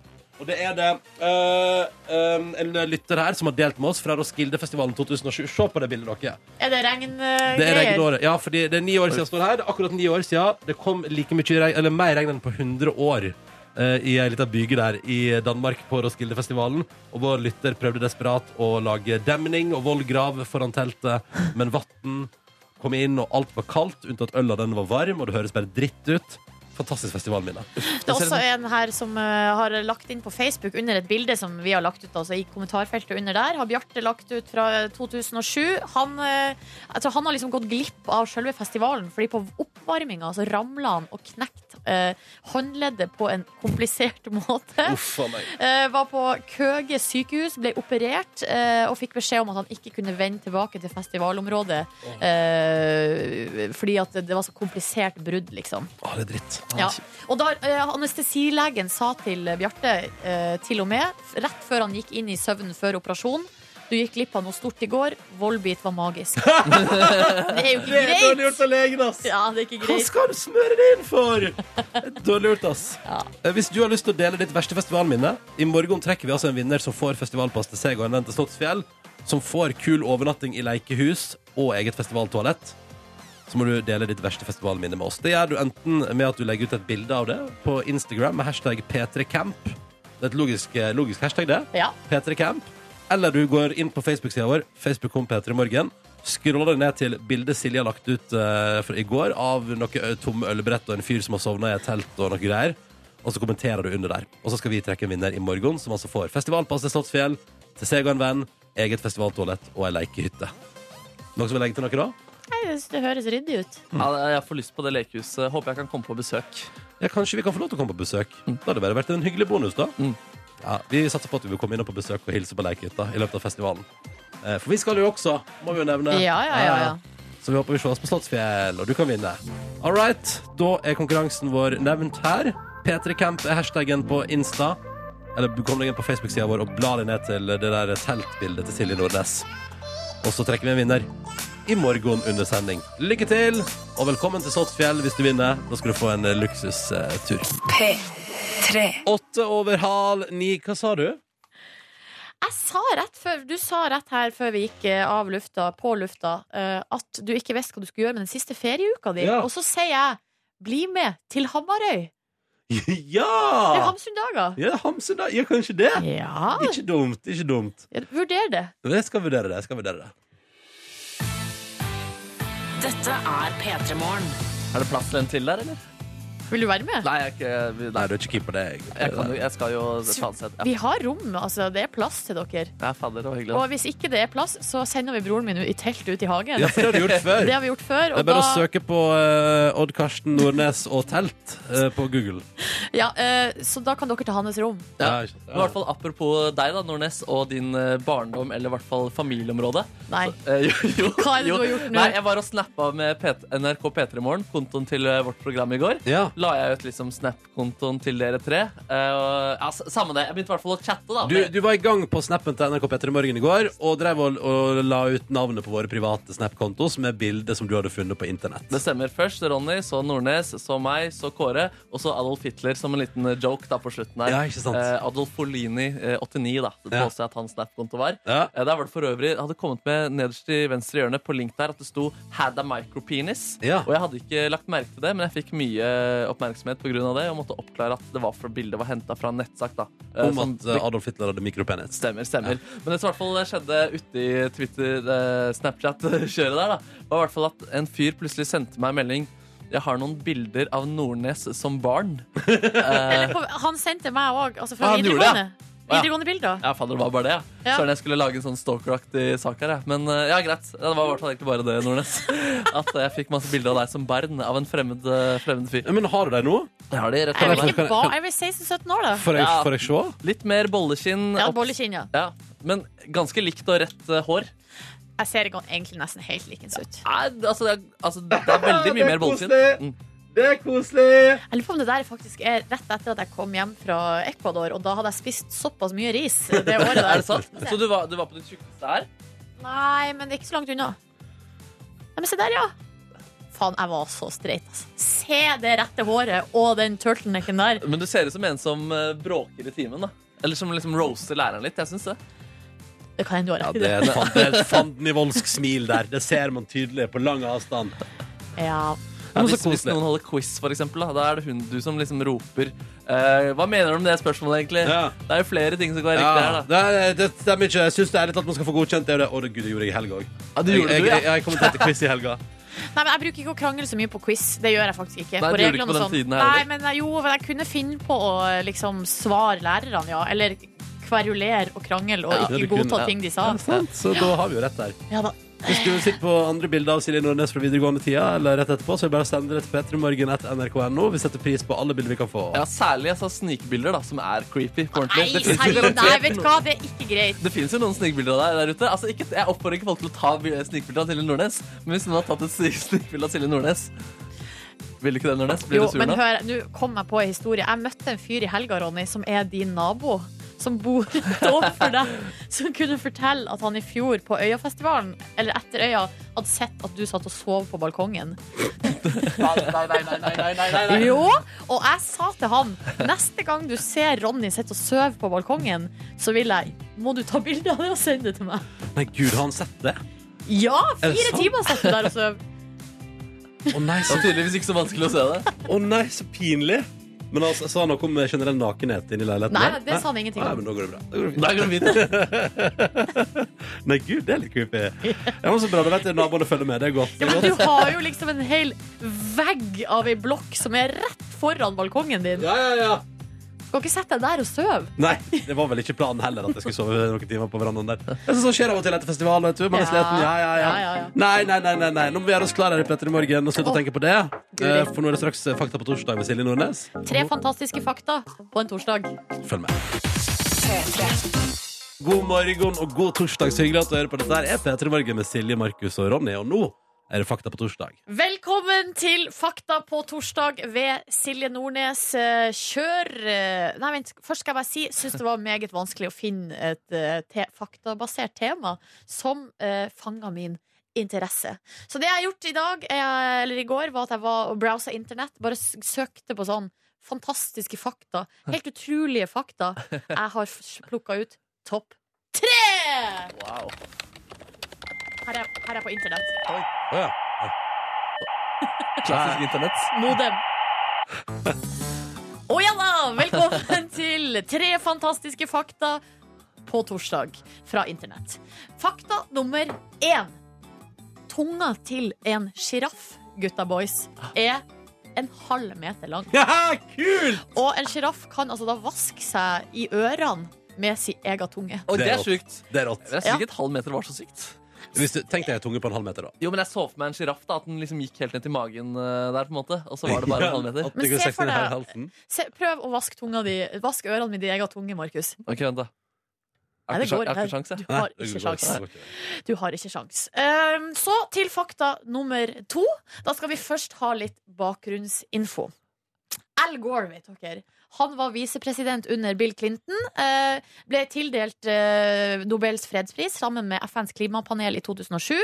Speaker 1: Og det er det øh, øh, en lytter her som har delt med oss fra Roskildefestivalen 2007. Se på det bildet dere.
Speaker 2: Er det
Speaker 1: Det er
Speaker 2: regngreier?
Speaker 1: regnåret. Ja, fordi det er ni år siden jeg står her. Det er akkurat ni år siden det kom like mye regn, eller mer regn enn på 100 år eh, i ei lita byge der i Danmark på Roskildefestivalen. Og vår lytter prøvde desperat å lage demning og vollgrav foran teltet, men vann kom inn, og alt var kaldt, unntatt øla den var varm, og det høres bare dritt ut. Fantastisk festivalminne.
Speaker 2: Det er også en her som eh, har lagt inn på Facebook under et bilde som vi har lagt ut altså i kommentarfeltet under der. Har Bjarte lagt ut fra eh, 2007. Han, eh, jeg tror han har liksom gått glipp av selve festivalen, fordi på oppvarminga så ramla han og knekt eh, håndleddet på en komplisert [laughs] måte.
Speaker 1: Uff a meg.
Speaker 2: Eh, var på Køge sykehus, ble operert eh, og fikk beskjed om at han ikke kunne vende tilbake til festivalområdet eh, fordi at det, det var så komplisert brudd, liksom.
Speaker 1: Å, det er dritt.
Speaker 2: Ja. Og da eh, anestesilegen sa til Bjarte, eh, til og med, rett før han gikk inn i søvnen før operasjon du gikk glipp av noe stort i går. Vollbit var
Speaker 1: [laughs]
Speaker 2: magisk. Det er jo
Speaker 1: Det
Speaker 2: ikke
Speaker 1: er dårlig
Speaker 2: greit!
Speaker 1: gjort av legen, ass!
Speaker 2: Ja, det er ikke
Speaker 1: Hva
Speaker 2: greit.
Speaker 1: skal du smøre det inn
Speaker 2: [laughs]
Speaker 1: for? Dårlig gjort, ass. Eh, Hvis du har lyst til å dele ditt verste festivalminne I morgen trekker vi altså en vinner som får festivalpass til seg og en venn til Slottsfjell. Som får kul overnatting i leikehus og eget festivaltoalett. Så må du dele ditt verste festivalminne med oss. Det gjør du enten med at du legger ut et bilde av det på Instagram med hashtag P3camp. Det er et logisk, eh, logisk hashtag, det.
Speaker 2: Ja.
Speaker 1: P3 Camp. Eller du går inn på Facebook-sida vår, Facebook.com P3 Morgen. Scroller ned til bildet Silje har lagt ut eh, fra i går av noe ø- tomme ølbrett og en fyr som har sovna i et telt og noe greier. Og så kommenterer du under der. Og så skal vi trekke en vinner i morgen, som altså får festivalpass til Slottsfjell, til seg og en venn, eget festivaltoalett og ei lekehytte. Noen som vil legge til noe da?
Speaker 2: Nei, det, det høres ryddig ut.
Speaker 3: Ja, jeg får lyst på det lekehuset. Håper jeg kan komme på besøk.
Speaker 1: Ja, kanskje vi kan få lov til å komme på besøk. Da hadde det bare vært en hyggelig bonus, da.
Speaker 3: Mm.
Speaker 1: Ja, vi satser på at vi vil komme innom på besøk og hilse på lekehytta i løpet av festivalen. Eh, For vi skal jo også, må vi jo nevne.
Speaker 2: Ja, ja, ja, ja.
Speaker 1: Så vi håper vi ses på Slottsfjell, og du kan vinne. All right, da er konkurransen vår nevnt her. P3 Camp er hashtaggen på Insta. Eller kom deg inn på Facebook-sida vår og bla deg ned til det der teltbildet til Silje Nordnes. Og så trekker vi en vinner i morgen under sending. Lykke til, og velkommen til Slottsfjell hvis du vinner. Da skal du få en eh, luksustur. Åtte over halv ni. Hva sa du? [laughs]
Speaker 2: Jeg sa rett før, Du sa rett her før vi gikk eh, av lufta, på lufta, eh, at du ikke visste hva du skulle gjøre med den siste ferieuka di.
Speaker 1: Ja.
Speaker 2: Og så sier jeg 'bli med til Hamarøy'. Det er
Speaker 1: ja!
Speaker 2: Hamsundager.
Speaker 1: Ja, Hamsun, da. Ja, kanskje det.
Speaker 2: Ja,
Speaker 1: Ikke dumt, ikke dumt.
Speaker 2: vurder det.
Speaker 1: Jeg skal vurdere det. jeg skal vurdere det.
Speaker 4: Dette er P3 Morgen.
Speaker 3: Er det plass til en til der, eller?
Speaker 2: Vil du være med?
Speaker 3: Nei, jeg, er ikke,
Speaker 1: Nei,
Speaker 3: nei,
Speaker 1: du er ikke keen på det. Jeg,
Speaker 3: jeg, kan, jo- jeg skal jo faen sett.
Speaker 2: Vi
Speaker 3: Ja,
Speaker 2: har rom. altså Det er plass til dere.
Speaker 3: ja, fader, det var hyggelig.
Speaker 2: Og hvis ikke det er plass, så sender vi broren min ut i telt ut i hagen.
Speaker 1: Ja, for det har du gjort før.
Speaker 2: Det har vi gjort før.
Speaker 1: Det er
Speaker 2: Og
Speaker 1: bare
Speaker 2: da,
Speaker 1: å søke på eh, Odd Karsten Nordnes og telt eh, på Google.
Speaker 2: ja, eh, så da kan dere ta hans rom.
Speaker 3: Ja.
Speaker 1: Ja, ikke sant.
Speaker 3: Men i hvert fall Apropos deg, da, Nordnes, og din eh, barndom, eller i hvert fall familieområde.
Speaker 2: Nei.
Speaker 3: Eh, jo, jo,
Speaker 2: Hva er det
Speaker 3: jo.
Speaker 2: du har gjort nå?
Speaker 3: Nei, Jeg var og snappa med P- NRK P3 Morgen, kontoen til eh, vårt program i går.
Speaker 1: Ja.
Speaker 3: La jeg ut liksom Snap-kontoen til dere tre. Eh, og, ja, s- samme det. Jeg begynte i hvert fall å chatte, da.
Speaker 1: Du, du var i gang på snappen til NRK Petter i morgen i går og drev og, og la ut navnet på våre private Snap-konto som er bildet som du hadde funnet på internett.
Speaker 3: Det stemmer. Først Ronny, så Nordnes, så meg, så Kåre, og så Adolf Hitler som en liten eh, joke da på slutten her.
Speaker 1: Ja, ikke sant?
Speaker 3: Eh, Adolf Polini, eh, 89, da. Det
Speaker 1: Ja.
Speaker 3: påstår jeg at hans Snap-konto var.
Speaker 1: Ja.
Speaker 3: Eh, der var det for øvrig, jeg hadde kommet med nederst i venstre hjørne på link der at det sto 'had a micropenis'.
Speaker 1: Ja.
Speaker 3: Og jeg hadde ikke lagt merke til det, men jeg fikk mye oppmerksomhet pga. det, og måtte oppklare at det var fra bildet var henta fra en nettsak. da. Eh,
Speaker 1: Om
Speaker 3: som
Speaker 1: at eh, Adolf Hitler hadde mikropenis.
Speaker 3: Stemmer, stemmer. Men det som i hvert fall skjedde ute i [laughs] Twitter, eh, Snapchat-kjøret der, da, var i hvert fall at en fyr plutselig sendte meg en melding. Jeg har noen bilder av Nordnes som barn.
Speaker 2: Eller, på- han sendte meg òg, altså fra
Speaker 3: Ah, han gjorde det, ja.
Speaker 2: videregående.
Speaker 3: ja.
Speaker 2: Videregående bilder.
Speaker 3: Ja, fader, det var bare det, ja.
Speaker 2: Ja.
Speaker 3: Søren, jeg skulle lage en sånn stalkeraktig sak her, jeg. Men eh, ja, greit. Ja, Det var i hvert fall egentlig bare det,
Speaker 2: [laughs]
Speaker 3: Nordnes. At eh, jeg fikk masse bilder av deg som barn av en fremmed, eh, fremmed fyr.
Speaker 1: Ja, Men har du dem nå?
Speaker 3: Jeg har de rett
Speaker 2: Jeg er
Speaker 3: over
Speaker 2: vel
Speaker 3: meg.
Speaker 2: ikke ba, jeg er vel 16-17 år, da.
Speaker 1: Får jeg,
Speaker 3: Ja.
Speaker 1: får jeg se?
Speaker 3: Litt mer bolleskinn.
Speaker 2: Ja,
Speaker 3: opp-
Speaker 2: bollekinn, ja.
Speaker 3: Ja, men ganske likt og rett eh, hår.
Speaker 2: Jeg ser ikke- egentlig nesten helt likens ut.
Speaker 3: Nei, altså, det er, altså, det
Speaker 2: [laughs]
Speaker 3: er veldig mye mer bolleskinn. Mm.
Speaker 1: Det er koselig!
Speaker 2: Jeg lurer på om det der faktisk er rett etter at jeg kom hjem fra Ecuador, og da hadde jeg spist såpass mye ris det året der.
Speaker 3: [laughs] Er det sant? Så du var, du var på ditt tjukkeste her?
Speaker 2: Nei, men det er ikke så langt unna. Nei, men se der, ja. Faen, jeg var så streit, altså. Se det rette håret og den turtlenecken der.
Speaker 3: Men du ser ut som en som eh, bråker i timen, da. Eller som liksom roaster læreren litt. Jeg syns det.
Speaker 2: Det kan hende du har
Speaker 1: Ja,
Speaker 2: rett i
Speaker 1: det
Speaker 2: det.
Speaker 1: er et fan- det er et fandenivoldsk smil der. Det ser man tydelig på lang avstand.
Speaker 2: Ja.
Speaker 1: Ja, men så
Speaker 3: hvis, hvis
Speaker 1: koselig.
Speaker 3: noen holder quiz, for eksempel, da, da er det hun du som liksom roper eh, Hva mener du om det spørsmålet, egentlig?
Speaker 1: Ja.
Speaker 3: Det er jo flere ting som går riktig
Speaker 1: Ja,
Speaker 3: her, da.
Speaker 1: det, er- det stemmer ikke. Jeg syns ærlig talt man skal få godkjent det. og det- Å, det gud, det gjorde jeg i helga òg.
Speaker 3: Ja, det gjorde
Speaker 1: jeg,
Speaker 3: du, ja.
Speaker 1: jeg, jeg kommenterte quiz i
Speaker 3: [laughs]
Speaker 1: helga.
Speaker 2: Nei, men Jeg bruker ikke å krangle så mye på quiz. Det gjør jeg faktisk ikke.
Speaker 3: Nei,
Speaker 2: På
Speaker 3: du gjorde
Speaker 2: reglene
Speaker 3: ikke på
Speaker 2: og
Speaker 3: den
Speaker 2: sånn.
Speaker 3: tiden her heller.
Speaker 2: Nei, men jeg- jo, men jeg kunne finne på å liksom svare lærerne, ja. Eller kverulere og krangle og
Speaker 1: Ja,
Speaker 2: ikke
Speaker 1: det kunne-
Speaker 2: godta
Speaker 1: ja.
Speaker 2: ting de sa.
Speaker 1: Så da har vi jo rett der.
Speaker 2: Ja da.
Speaker 1: Hvis du sitter på andre bilder av Silje Nordnes fra videregående tida, eller rett etterpå, så er det bare å sende det til p3morgen.nrk.no. Vi setter pris på alle bilder vi kan få.
Speaker 3: Ja, særlig altså, snikbilder, da, som er creepy. på
Speaker 2: Nei,
Speaker 3: ordentlig. Det finnes jo
Speaker 2: seriøst, nei,
Speaker 3: garantert
Speaker 2: vet du hva, det er ikke greit.
Speaker 3: [laughs] Det fins jo noen snikbilder av deg der ute. Altså, ikke, jeg oppfordrer ikke folk til å ta bi- snikbilder av Silje Nordnes, men hvis noen har tatt et snik- [laughs] snikbilde av Silje Nordnes Vil du ikke det, Nordnes? Blir
Speaker 2: Jo,
Speaker 3: du sur
Speaker 2: men
Speaker 3: nå?
Speaker 2: hør, nå kom jeg på en historie. Jeg møtte en fyr i helga, Ronny, som er din nabo. Som bor [laughs] rett overfor deg. Som kunne fortelle at han i fjor på Øyafestivalen, eller etter Øya, hadde sett at du satt og sov på balkongen.
Speaker 3: Nei, nei, nei, nei, nei, nei, nei.
Speaker 2: Jo, og jeg sa til han Neste gang du ser Ronny sitte og søve på balkongen Så vil jeg Må du ta bilder av det og sende det til meg
Speaker 1: Nei, gud, har han sett det?
Speaker 2: Ja,
Speaker 1: Er det
Speaker 2: fire
Speaker 1: sant?
Speaker 2: timer satt du der og søv
Speaker 1: Å nei,
Speaker 3: Det
Speaker 1: så,
Speaker 3: var tydeligvis ikke så vanskelig å se det.
Speaker 1: å nei, så pinlig. Men altså, sa han noe om generell nakenhet inni leiligheten?
Speaker 2: Nei,
Speaker 1: der?
Speaker 2: det sa han ingenting
Speaker 1: Nei,
Speaker 2: om
Speaker 1: men da går det bra. Da går det fint.
Speaker 3: Da går det fint.
Speaker 1: Nei, gud, det er litt creepy. Ja, men så bra, da vet jeg naboene følger med. Det er godt.
Speaker 2: ja, men du har jo liksom en hel vegg av en blokk Som er rett foran balkongen din
Speaker 1: Ja, ja, ja.
Speaker 2: Skal ikke sette deg der og søve
Speaker 1: Nei, det var vel ikke planen heller at jeg skulle sove noen timer på verandaen der. Det er sånn som skjer av og til etter festival, vet du. Man er
Speaker 2: Ja.
Speaker 1: sliten. Ja, ja, ja.
Speaker 2: Ja, ja, ja.
Speaker 1: Nei, nei, nei, nei, nei. Nå må vi gjøre oss klare her i Petter i morgen og slutte å
Speaker 2: Å,
Speaker 1: tenke på det.
Speaker 2: Guri.
Speaker 1: Eh, For nå er det straks Fakta på torsdag med Silje Nordnes.
Speaker 2: Tre fantastiske fakta på en torsdag
Speaker 1: Følg med. God morgen og god torsdag. Så hyggelig at du hører på dette. her er Petter i morgen med Silje, Markus og Ronny. Og nå er det Fakta på torsdag.
Speaker 2: Velkommen til Fakta på torsdag ved Silje Nordnes. Eh, Kjør eh, Nei, vent. Først skal jeg bare si syns det var meget vanskelig å finne et eh, te faktabasert tema som uh, fanga min interesse. Så det jeg har gjort i dag, eh, eller i går, var at jeg var og browsa internett. Bare s- søkte på sånn fantastiske fakta. Helt utrolige fakta. Jeg har plukka ut topp tre!
Speaker 3: Wow.
Speaker 2: Her er, her er på internett.
Speaker 1: Å ja.
Speaker 3: Klassisk internett.
Speaker 2: Modem. Å ja da! Velkommen til tre fantastiske fakta på torsdag fra internett. Fakta nummer én. Tunga til en sjiraff, gutta boys, er en halv meter lang.
Speaker 1: Haha, kult!
Speaker 2: Og en sjiraff kan altså da vaske seg i ørene med sin egen tunge.
Speaker 3: Og det
Speaker 1: Det er
Speaker 3: er sjukt.
Speaker 1: Det er rått.
Speaker 3: Jeg synes
Speaker 2: Ja.
Speaker 3: ikke et halv meter var så sykt.
Speaker 1: Hvis du, tenk deg en tunge på en halv meter, da.
Speaker 3: Jo, men jeg så for meg en sjiraff, da. At den liksom gikk helt ned til magen eh, der, på en måte. Og så var det bare en halv meter.
Speaker 1: At det
Speaker 2: Men
Speaker 1: går
Speaker 2: se
Speaker 1: 16
Speaker 2: for
Speaker 1: i
Speaker 2: deg-
Speaker 1: halsen.
Speaker 2: Se, prøv å vaske tunga di Vask ørene med din egen tunge, Markus.
Speaker 3: Ok, vent, da.
Speaker 2: Nei,
Speaker 3: Jeg
Speaker 2: det går
Speaker 3: har ikke
Speaker 2: ikke.
Speaker 3: sjans, jeg.
Speaker 2: Du har ikke sjans. Du har ikke sjans. Ehm, så til fakta nummer to. Da skal vi først ha litt bakgrunnsinfo. Al Gore, vet dere. Han var visepresident under Bill Clinton. eh, ble tildelt eh, Nobels fredspris sammen med FNs klimapanel i 2007.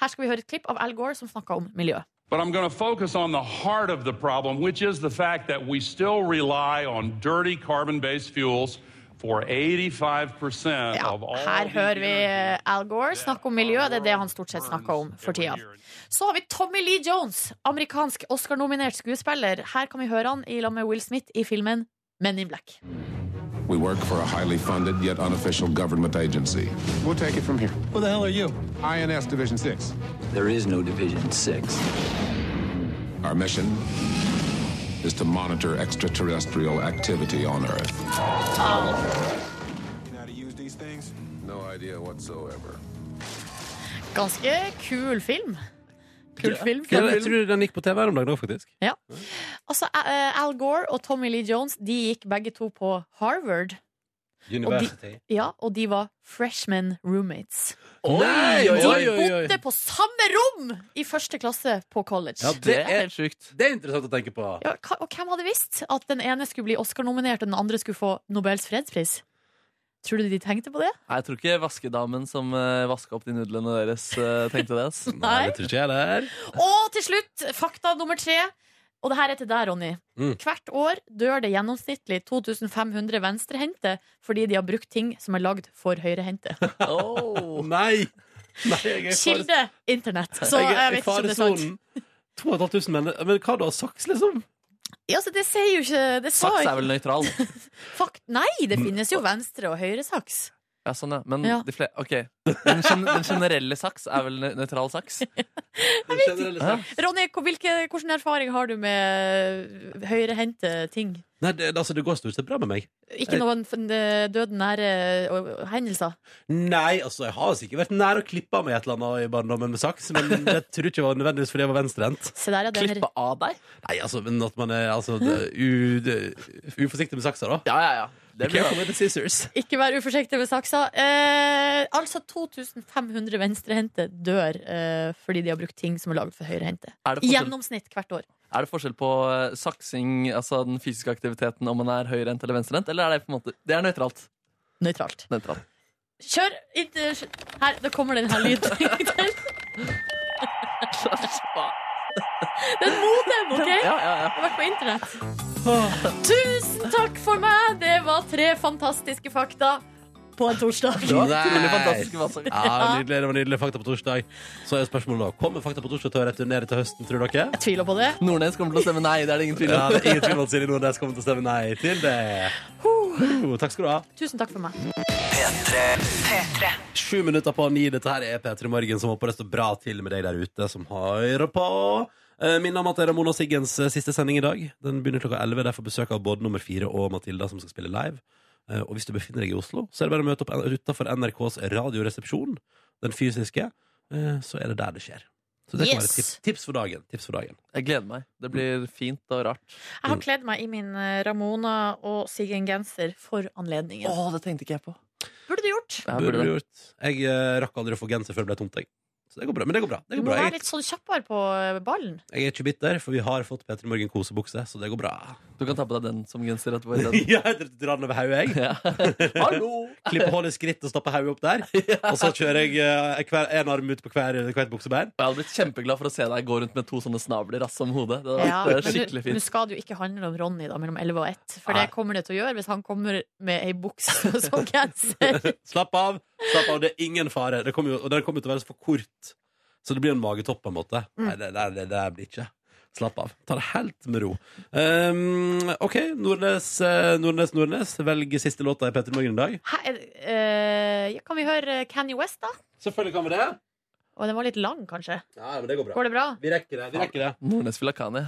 Speaker 2: Her skal vi høre et klipp av Al Gore som snakka om miljø.
Speaker 9: But I'm going to focus on the heart of the problem, which is the fact that we still rely on dirty carbon based fuels for 85%
Speaker 2: Ja,
Speaker 9: of all.
Speaker 2: her
Speaker 9: the
Speaker 2: hører vi eh,
Speaker 9: energy
Speaker 2: Al Gore snakke om miljø. Det er det han stort sett snakker om for tida. Så har vi Tommy Lee Jones, amerikansk Oscar-nominert skuespiller. Her kan vi høre han i lag med Will Smith i filmen Men in Black.
Speaker 10: We work for a highly funded yet unofficial government agency. We'll take it from here. Who the hell are you? INS Division 6.
Speaker 11: There is no Division 6.
Speaker 10: Our mission is to monitor extraterrestrial activity on Earth. No idea whatsoever.
Speaker 2: Ganske kul film. Kul film.
Speaker 1: Ja, jeg tror den gikk på TV her om dagen òg, faktisk.
Speaker 2: Ja. Altså, A- eh, Al Gore og Tommy Lee Jones De gikk begge to på Harvard.
Speaker 1: University.
Speaker 2: Og de, ja, og de var freshman roommates.
Speaker 1: Nei, oi, oi, oi, oi.
Speaker 2: De bodde på samme rom i første klasse på college.
Speaker 1: Ja, det er helt sjukt. Det er interessant å tenke på.
Speaker 2: Ja, hva- og hvem hadde visst at den ene skulle bli Oscar-nominert, og den andre skulle få Nobels fredspris? Tror du de tenkte på det?
Speaker 3: Nei, jeg tror ikke vaskedamen som uh, vaska opp de nudlene deres, eh, tenkte det. ass.
Speaker 2: Nei, det
Speaker 1: tror ikke jeg
Speaker 2: Og til slutt, fakta nummer tre. Og det her er til deg, Ronny.
Speaker 1: Mm.
Speaker 2: Hvert år dør det gjennomsnittlig 2500 venstrehendte fordi de har brukt ting som er lagd for høyrehendte.
Speaker 1: Nei! Nei, jeg er i fare-
Speaker 2: Kilde internett. Så
Speaker 1: Jeg er
Speaker 2: jeg
Speaker 1: i
Speaker 2: vet ikke om det er sant.
Speaker 1: faresonen. 2500 mennesker Men hva da? Saks, liksom?
Speaker 2: Ja, altså, det sier jo ikke det sa
Speaker 3: Saks
Speaker 2: ikke-
Speaker 3: er vel nøytral?
Speaker 2: Fakt, Nei, det
Speaker 1: Mm.
Speaker 2: finnes jo venstre- og høyresaks.
Speaker 3: Ja, sånn, ja. Men
Speaker 2: Ja.
Speaker 3: de fle- ok. Den, gen den generelle saks er vel nø- nøytral saks?
Speaker 1: liksom.
Speaker 2: Ronny, hvor- hvilke, hvilken erfaring har du med høyrehendte ting?
Speaker 1: Nei, det, altså, det går stort sett bra med meg.
Speaker 2: Ikke noen f- døden nære ø, hendelser?
Speaker 1: Nei, altså, jeg har sikkert vært nær å klippe av meg et eller annet i barndommen med saks, men
Speaker 2: [laughs]
Speaker 1: jeg tror ikke det var nødvendigvis fordi jeg var venstrehendt.
Speaker 2: Se der, ja, det er- Klippe
Speaker 3: av deg?
Speaker 1: Nei, altså, men at man er altså, det, u, det, uforsiktig med saksa, da.
Speaker 3: Ja, ja, ja.
Speaker 1: Det
Speaker 3: blir bra.
Speaker 1: blir scissors.
Speaker 2: Ikke vær uforsiktig med saksa. Eh, altså 2500 venstrehendte dør eh, fordi de har brukt ting som er lagd for høyrehendte.
Speaker 3: Er det
Speaker 2: I
Speaker 3: forskjell-
Speaker 2: gjennomsnitt hvert år.
Speaker 3: Er det forskjell på eh, saksing, altså den fysiske aktiviteten, om man er høyrehendt eller venstrehendt, eller er det på en måte Det er nøytralt.
Speaker 2: Nøytralt.
Speaker 3: Nøytralt.
Speaker 2: Kjør! inn til- Her, da kommer den her lyden. [laughs] Den modem, OK?
Speaker 3: Ja, ja, ja.
Speaker 2: Jeg har vært på internett. Tusen takk for meg! Det var tre fantastiske fakta på en torsdag.
Speaker 1: Det var utrolig fantastisk, altså. Ja, nydelig, det var nydelig fakta på torsdag. Så er spørsmålet da Kommer fakta på torsdag til å returnere til høsten, tror dere?
Speaker 2: Jeg tviler på det.
Speaker 3: Nordnes kommer til å stemme nei. Det er det ingen tvil
Speaker 1: Ja,
Speaker 3: om.
Speaker 1: det er [laughs] ingen tvil om at Silje Nordnes kommer til å stemme nei til det. Ho, Takk skal du ha.
Speaker 2: Tusen takk for meg.
Speaker 1: Sju minutter på ni. Dette her er P3 Morgen, som håper det står bra til med deg der ute som hører på. Eh, Minner om at det er Ramona Siggens eh, siste sending i dag. Den begynner klokka 11. Derfor besøk av både nummer fire og Matilda, som skal spille live. Eh, Og hvis du befinner deg i Oslo, så er det bare å møte opp utafor NRKs radioresepsjon, den fysiske. eh, Så er det der det skjer. Så det kan
Speaker 2: Yes.
Speaker 1: være et tips, tips for dagen. Tips for dagen.
Speaker 3: Jeg gleder meg. Det blir fint og rart.
Speaker 2: Jeg har kledd meg i min eh, Ramona og Siggen-genser for anledningen.
Speaker 3: Å, det tenkte ikke jeg på.
Speaker 2: Burde du gjort.
Speaker 1: Burde du gjort. Jeg eh, rakk aldri å få genser før det ble tomt. jeg. Så det går bra. Men det går bra.
Speaker 2: Du
Speaker 1: Det går
Speaker 2: må
Speaker 1: bra.
Speaker 2: være
Speaker 1: Jeg,
Speaker 2: litt sånn kjappere på eh, ballen.
Speaker 1: jeg er ikke bitter, for vi har fått P3 Morgen kosebukse, så det går bra.
Speaker 3: Du kan ta på deg den som genser etterpå.
Speaker 1: [laughs] ja, jeg drar den over hodet, jeg.
Speaker 3: Hallo!
Speaker 1: Klippe hull i skritt og stappe hodet opp der. Og så kjører jeg eh, hver, en arm ut på hver, hvert buksebein.
Speaker 3: Jeg hadde blitt kjempeglad for å se deg gå rundt med to sånne snabler ass, om hodet. Det
Speaker 2: Ja,
Speaker 3: hadde
Speaker 2: men
Speaker 3: vært eh, skikkelig
Speaker 2: nå- nå
Speaker 3: fint.
Speaker 2: skal det jo ikke handle om Ronny da, mellom 11 og 1, for det kommer det til å gjøre hvis han kommer med ei bukse [laughs] som genser.
Speaker 1: Slapp av. slapp av, Det er ingen fare. Det kommer jo, og den kommer til å være så for kort, så det blir en magetopp på en måte. Nei, det, det, det, det blir ikke. Slapp av. Ta det helt med ro. Um, OK, Nordnes, eh, Nordnes, Nordnes. Velg siste låta i P3 Morgen i dag.
Speaker 2: Hæ, er det- eh, ja, kan vi høre Kanye West, da?
Speaker 1: Selvfølgelig kan vi det.
Speaker 2: Og den var litt lang, kanskje.
Speaker 1: Ja, men det går bra.
Speaker 2: Går det bra?
Speaker 1: Vi rekker det. vi rekker det
Speaker 3: Nordnes Filakani.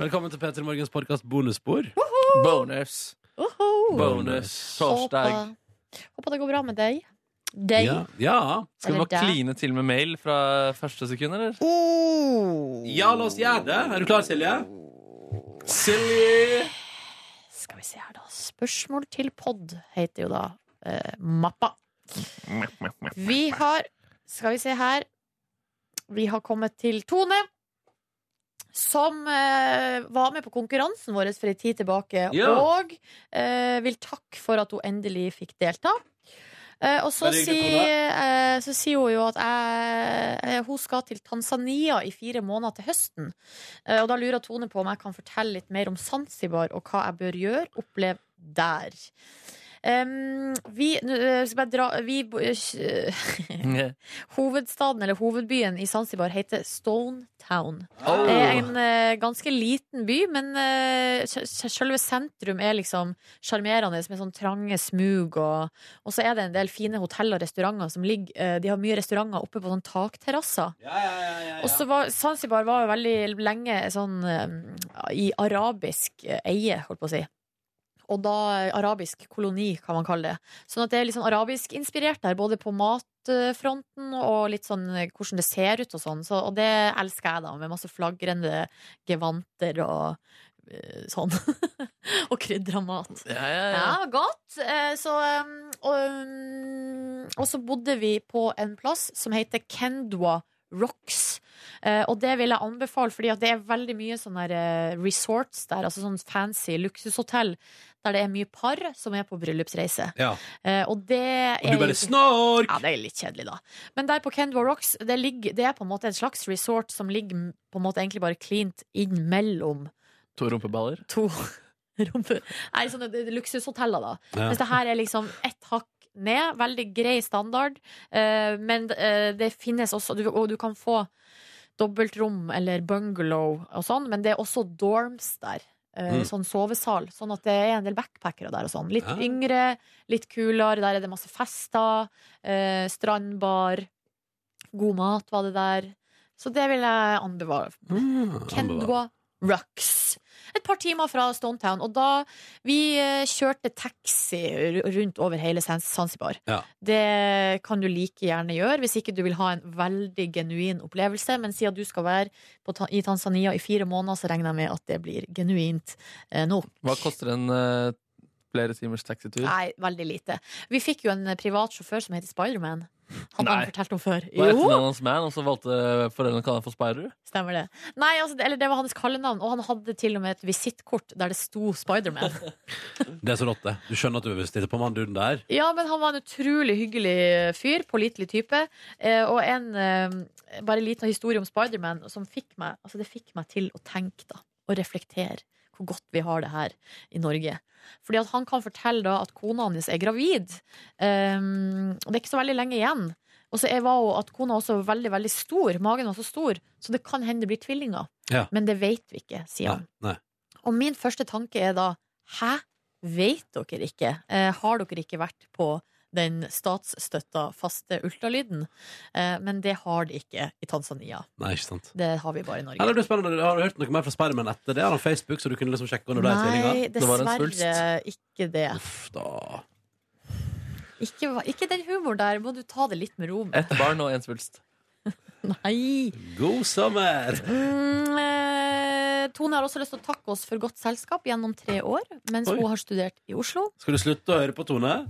Speaker 1: Velkommen til P3 Morgens podkast bonusspor.
Speaker 3: Bonus.
Speaker 2: Oho!
Speaker 1: Bonus.
Speaker 3: Torsdag.
Speaker 2: Håper, håper det går bra med deg. Deg.
Speaker 1: Ja. ja.
Speaker 3: Skal vi
Speaker 2: Eller
Speaker 3: bare
Speaker 2: deg.
Speaker 3: kline til med mail fra første sekund, eller?
Speaker 1: Ja, la oss gjøre det. Er du klar, Silje? Silje!
Speaker 2: Skal vi se her, da. Spørsmål til pod heter jo da eh, mappa. Vi har Skal vi se her. Vi har kommet til Tone. Som eh, var med på konkurransen vår for ei tid tilbake.
Speaker 11: Ja.
Speaker 2: Og eh, vil takke for at hun endelig fikk delta. Eh, og så
Speaker 11: Veldig hyggelig,
Speaker 2: sier,
Speaker 11: Tone.
Speaker 2: eh, så sier hun jo at jeg, eh, hun skal til Tanzania i fire måneder til høsten. Eh, og da lurer Tone på om jeg kan fortelle litt mer om Zanzibar og hva jeg bør gjøre, oppleve der. Um, vi, nå, eh, skal jeg dra, vi bo- eh, Hovedstaden, eller hovedbyen i Zanzibar, heter Stone Town.
Speaker 11: Oh.
Speaker 2: Det er en eh, ganske liten by, men eh, sj- sj- selve sentrum er liksom sjarmerende, med sånn trange smug, og, og så er det en del fine hotell og restauranter som ligger eh, De har mye restauranter oppe på sånn takterrasser. Og så var Zanzibar var jo veldig lenge sånn eh, i arabisk eh, eie, holdt på å si. Og da eh, arabisk koloni, kan man kalle det. Sånn at det er litt sånn arabisk-inspirert der, både på matfronten og litt sånn eh, hvordan det ser ut og sånn. Så, og det elsker jeg, da, med masse flagrende gevanter og eh, sånn. [laughs] og krydra mat.
Speaker 3: Ja, ja, ja.
Speaker 2: Ja, godt. Eh, Så, um, og, um, og så bodde vi på en plass som heter Kendwa Rocks. Eh, og det vil jeg anbefale, fordi at det er veldig mye sånne her, eh, resorts der, altså sånn fancy luksushotell, der det er mye par som er på bryllupsreise.
Speaker 1: Ja.
Speaker 2: Eh, og det
Speaker 1: Og du bare snork!
Speaker 2: Ja, det er litt kjedelig, da. Men der på Kendwa Rocks, det, ligger, det er på en måte en slags resort som ligger m- på en måte egentlig bare cleant inn mellom
Speaker 3: To rumpeballer?
Speaker 2: To [laughs] rumpe... Nei, sånne d- d- luksushoteller, da.
Speaker 3: Ja.
Speaker 2: Mens det her er liksom ett hakk ned. Veldig grei standard. Eh, men eh, det finnes også du, Og du kan få dobbeltrom eller bungalow og sånn, men det er også dorms der. eh,
Speaker 11: Mm.
Speaker 2: Sånn sovesal. Sånn at det er en del backpackere der og sånn. Litt
Speaker 11: Ja.
Speaker 2: yngre, litt kulere. Der er det masse fester. eh, strandbar. God mat var det der. Så det vil jeg anbefale.
Speaker 1: Ah,
Speaker 2: Kendwa Rocks. Et par timer fra Stonetown. Og da vi eh, kjørte taxi ru- rundt over hele Zan- Zanzibar.
Speaker 1: Ja.
Speaker 2: Det kan du like gjerne gjøre hvis ikke du vil ha en veldig genuin opplevelse. Men siden du skal være på, Ta- i Tanzania i fire måneder, så regner jeg med at det blir genuint eh, nok.
Speaker 3: Hva koster en eh, flere timers taxitur?
Speaker 2: Nei, veldig lite. Vi fikk jo en eh, privat sjåfør som heter Spiderman. Han har
Speaker 3: Nei.
Speaker 2: han fortalt om før.
Speaker 3: Hva er
Speaker 2: Jo.
Speaker 3: etternavnet hans man, og så valgte foreldrene å kalle ham for Spider?
Speaker 2: Stemmer det. Nei, altså, det- eller det var hans kallenavn, og han hadde til og med et visittkort der det sto Spiderman.
Speaker 1: Det er så rått, det. Du skjønner at du vil stille på med han duden der.
Speaker 2: Ja, men han var en utrolig hyggelig eh, fyr, pålitelig type. Eh, og en eh, bare en liten historie om Spiderman som fikk meg, altså det fikk meg til å tenke da, og reflektere hvor godt vi har det her i Norge. Fordi at han kan fortelle da at kona hans er gravid. Um, og det er ikke så veldig lenge igjen. Og så er- var hun at kona også var veldig, veldig stor. Magen var så stor. Så det kan hende det blir tvillinger.
Speaker 1: Ja.
Speaker 2: Men det vet vi ikke, sier han.
Speaker 1: Nei.
Speaker 2: Og min første tanke er da Hæ? Vet dere ikke? Eh, har dere ikke vært på den statsstøtta faste ultralyden? Eh, men det har de ikke i Tanzania.
Speaker 1: Nei, ikke sant.
Speaker 2: Det har vi bare i
Speaker 1: Ja,
Speaker 2: Norge.
Speaker 1: det blir spennende. Har du hørt noe mer fra Spiderman etter det? Har han Facebook, så du kunne liksom sjekke når det er
Speaker 2: Nei,
Speaker 1: tvillinger?
Speaker 2: dessverre ikke det.
Speaker 1: da.
Speaker 2: Ikke, va- ikke den humoren der. Må du ta det litt med ro
Speaker 1: Eh.
Speaker 3: [laughs]
Speaker 2: med.
Speaker 3: Ett barn og en svulst.
Speaker 2: Nei!
Speaker 1: God sommer!
Speaker 2: Mm, eh, Tone har også lyst til å takke oss for godt selskap gjennom tre år, mens
Speaker 1: Oi.
Speaker 2: hun har studert i Oslo.
Speaker 1: Skal du slutte å høre på Tone?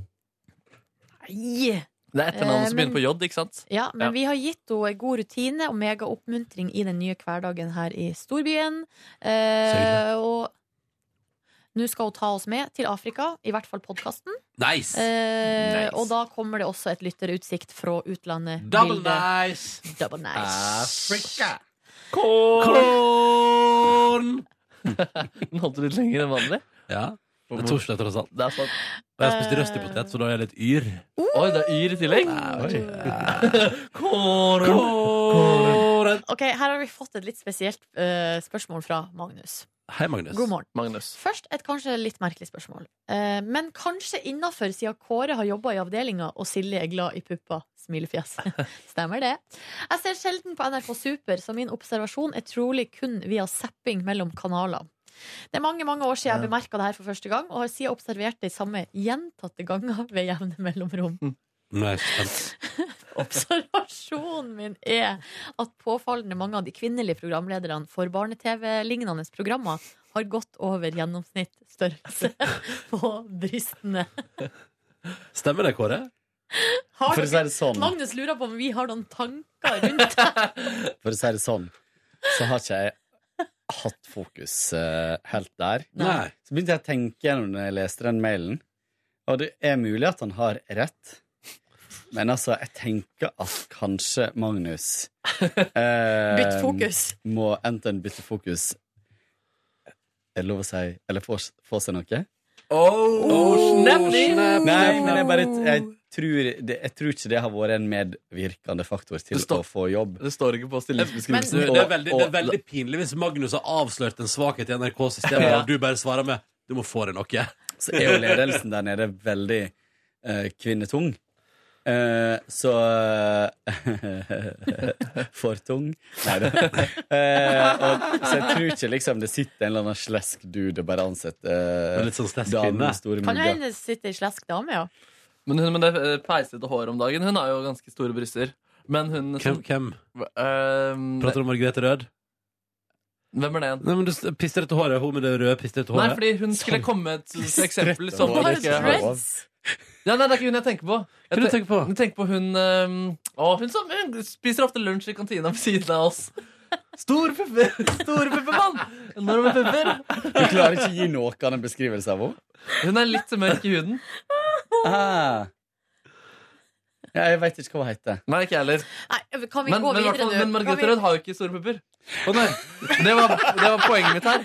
Speaker 2: Nei!
Speaker 3: Det er etternavnet
Speaker 2: Eh,
Speaker 3: som
Speaker 2: men-
Speaker 3: begynner på J, ikke sant?
Speaker 2: Ja, men vi har gitt henne god rutine og megaoppmuntring i den nye hverdagen her i storbyen. Eh, og nå skal hun ta oss med til Afrika, i hvert fall podkasten.
Speaker 1: Nice!
Speaker 2: Eh,
Speaker 1: Nice.
Speaker 2: Og da kommer det også et lytterutsikt fra utlandet.
Speaker 1: Double
Speaker 2: Bilde.
Speaker 1: nice!
Speaker 2: Double nice.
Speaker 1: Afrika! Korn!
Speaker 3: [laughs] Den holdt du litt lenger enn vanlig?
Speaker 1: Ja. Det er torsdag, tross alt.
Speaker 3: Det er sant.
Speaker 1: Og jeg spiste røstepotet, så da er jeg litt yr.
Speaker 3: Oi, det er yr i tillegg?
Speaker 2: [laughs]
Speaker 3: Kåren.
Speaker 2: Ok, Her har vi fått et litt spesielt eh, spørsmål fra Magnus.
Speaker 1: Hei, Magnus.
Speaker 2: God morgen.
Speaker 3: Magnus.
Speaker 2: Først et kanskje litt merkelig spørsmål. Eh, men kanskje innafor, siden Kåre har jobba i avdelinga og Silje er glad i pupper. Smilefjes. Stemmer det. Jeg ser sjelden på NRK Super, så min observasjon er trolig kun via zapping mellom kanaler. Det er mange mange år siden jeg
Speaker 11: Ja.
Speaker 2: bemerka det her for første gang, og har siden observert de samme gjentatte ganger ved jevne mellomrom.
Speaker 1: Nå er jeg spent.
Speaker 2: Observasjonen min er at påfallende mange av de kvinnelige programlederne for barne-TV-lignende programmer har gått over gjennomsnitt størrelse [laughs] på brystene.
Speaker 1: Stemmer det, Kåre?
Speaker 2: Har
Speaker 12: For å si
Speaker 2: dere-
Speaker 12: det sånn.
Speaker 2: Magnus lurer på om vi har noen tanker rundt
Speaker 12: For å si det sånn, så har ikke jeg hatt fokus eh, helt der.
Speaker 1: Nei.
Speaker 12: Så begynte jeg å tenke gjennom når jeg leste den mailen, og det er mulig at han har rett. Men altså, jeg tenker at kanskje Magnus [laughs] eh,
Speaker 2: Bytt fokus.
Speaker 12: Må enten bytte fokus Er det lov å si Eller få, få seg noe?
Speaker 3: Oh, snap,
Speaker 12: Nei, men jeg bare jeg tror, det, jeg tror ikke det har vært en medvirkende faktor til å få jobb.
Speaker 3: Det står ikke på
Speaker 1: Du,
Speaker 12: stillingsbeskrivelsen.
Speaker 1: det, er veldig, det er veldig pinlig hvis Magnus har avslørt en svakhet i NRK-systemet,
Speaker 12: Ja.
Speaker 1: og du bare svarer med 'du må få deg noe'.
Speaker 12: så er jo ledelsen der nede veldig eh, kvinnetung. Eh, så eh, [laughs] For tung? Nei da. Eh, og- så jeg tror ikke liksom det sitter en eller annen slesk dude og bare ansetter eh,
Speaker 1: Litt sånn slesk
Speaker 12: damen
Speaker 1: kvinne.
Speaker 12: med store
Speaker 2: Kan jo
Speaker 12: mugger.
Speaker 2: hende sitte i slesk dame, ja.
Speaker 3: Men hun med det eh, peisete håret om dagen, hun har jo ganske store bryster. Men hun
Speaker 1: Hvem? hvem?
Speaker 3: Ehm,
Speaker 1: Prater du om Margrethe Rød?
Speaker 3: Hvem er det igjen?
Speaker 1: Nei, men du s- Pistrete håret. Hun med det røde, pistrete
Speaker 3: Nei,
Speaker 1: håret.
Speaker 3: fordi hun skulle komme [laughs] med et eksempel
Speaker 1: Strette
Speaker 3: som
Speaker 1: hår.
Speaker 3: ikke
Speaker 1: Dreads.
Speaker 3: Ja, nei, det er ikke hun jeg tenker på. Jeg
Speaker 1: Hvem du
Speaker 3: te-
Speaker 1: tenker på?
Speaker 3: Jeg tenker på hun ehm, Å, hun som hun spiser ofte lunsj i kantina ved siden av oss. Stor pupper! Store pupper, mann! Enorme pupper.
Speaker 12: Du klarer ikke å gi noe av en beskrivelse av henne?
Speaker 3: Hun er litt mørk i huden.
Speaker 12: Ah. Ja, jeg veit ikke hva hun heter.
Speaker 3: Nei, ikke jeg heller.
Speaker 2: Nei, kan vi
Speaker 3: Men,
Speaker 2: gå
Speaker 3: men, i
Speaker 2: videre
Speaker 3: hvert fall-
Speaker 2: nå?
Speaker 3: men Margrethe
Speaker 2: Kan vi-
Speaker 3: Rød har jo ikke store pupper. Å nei, det var, det var poenget mitt her.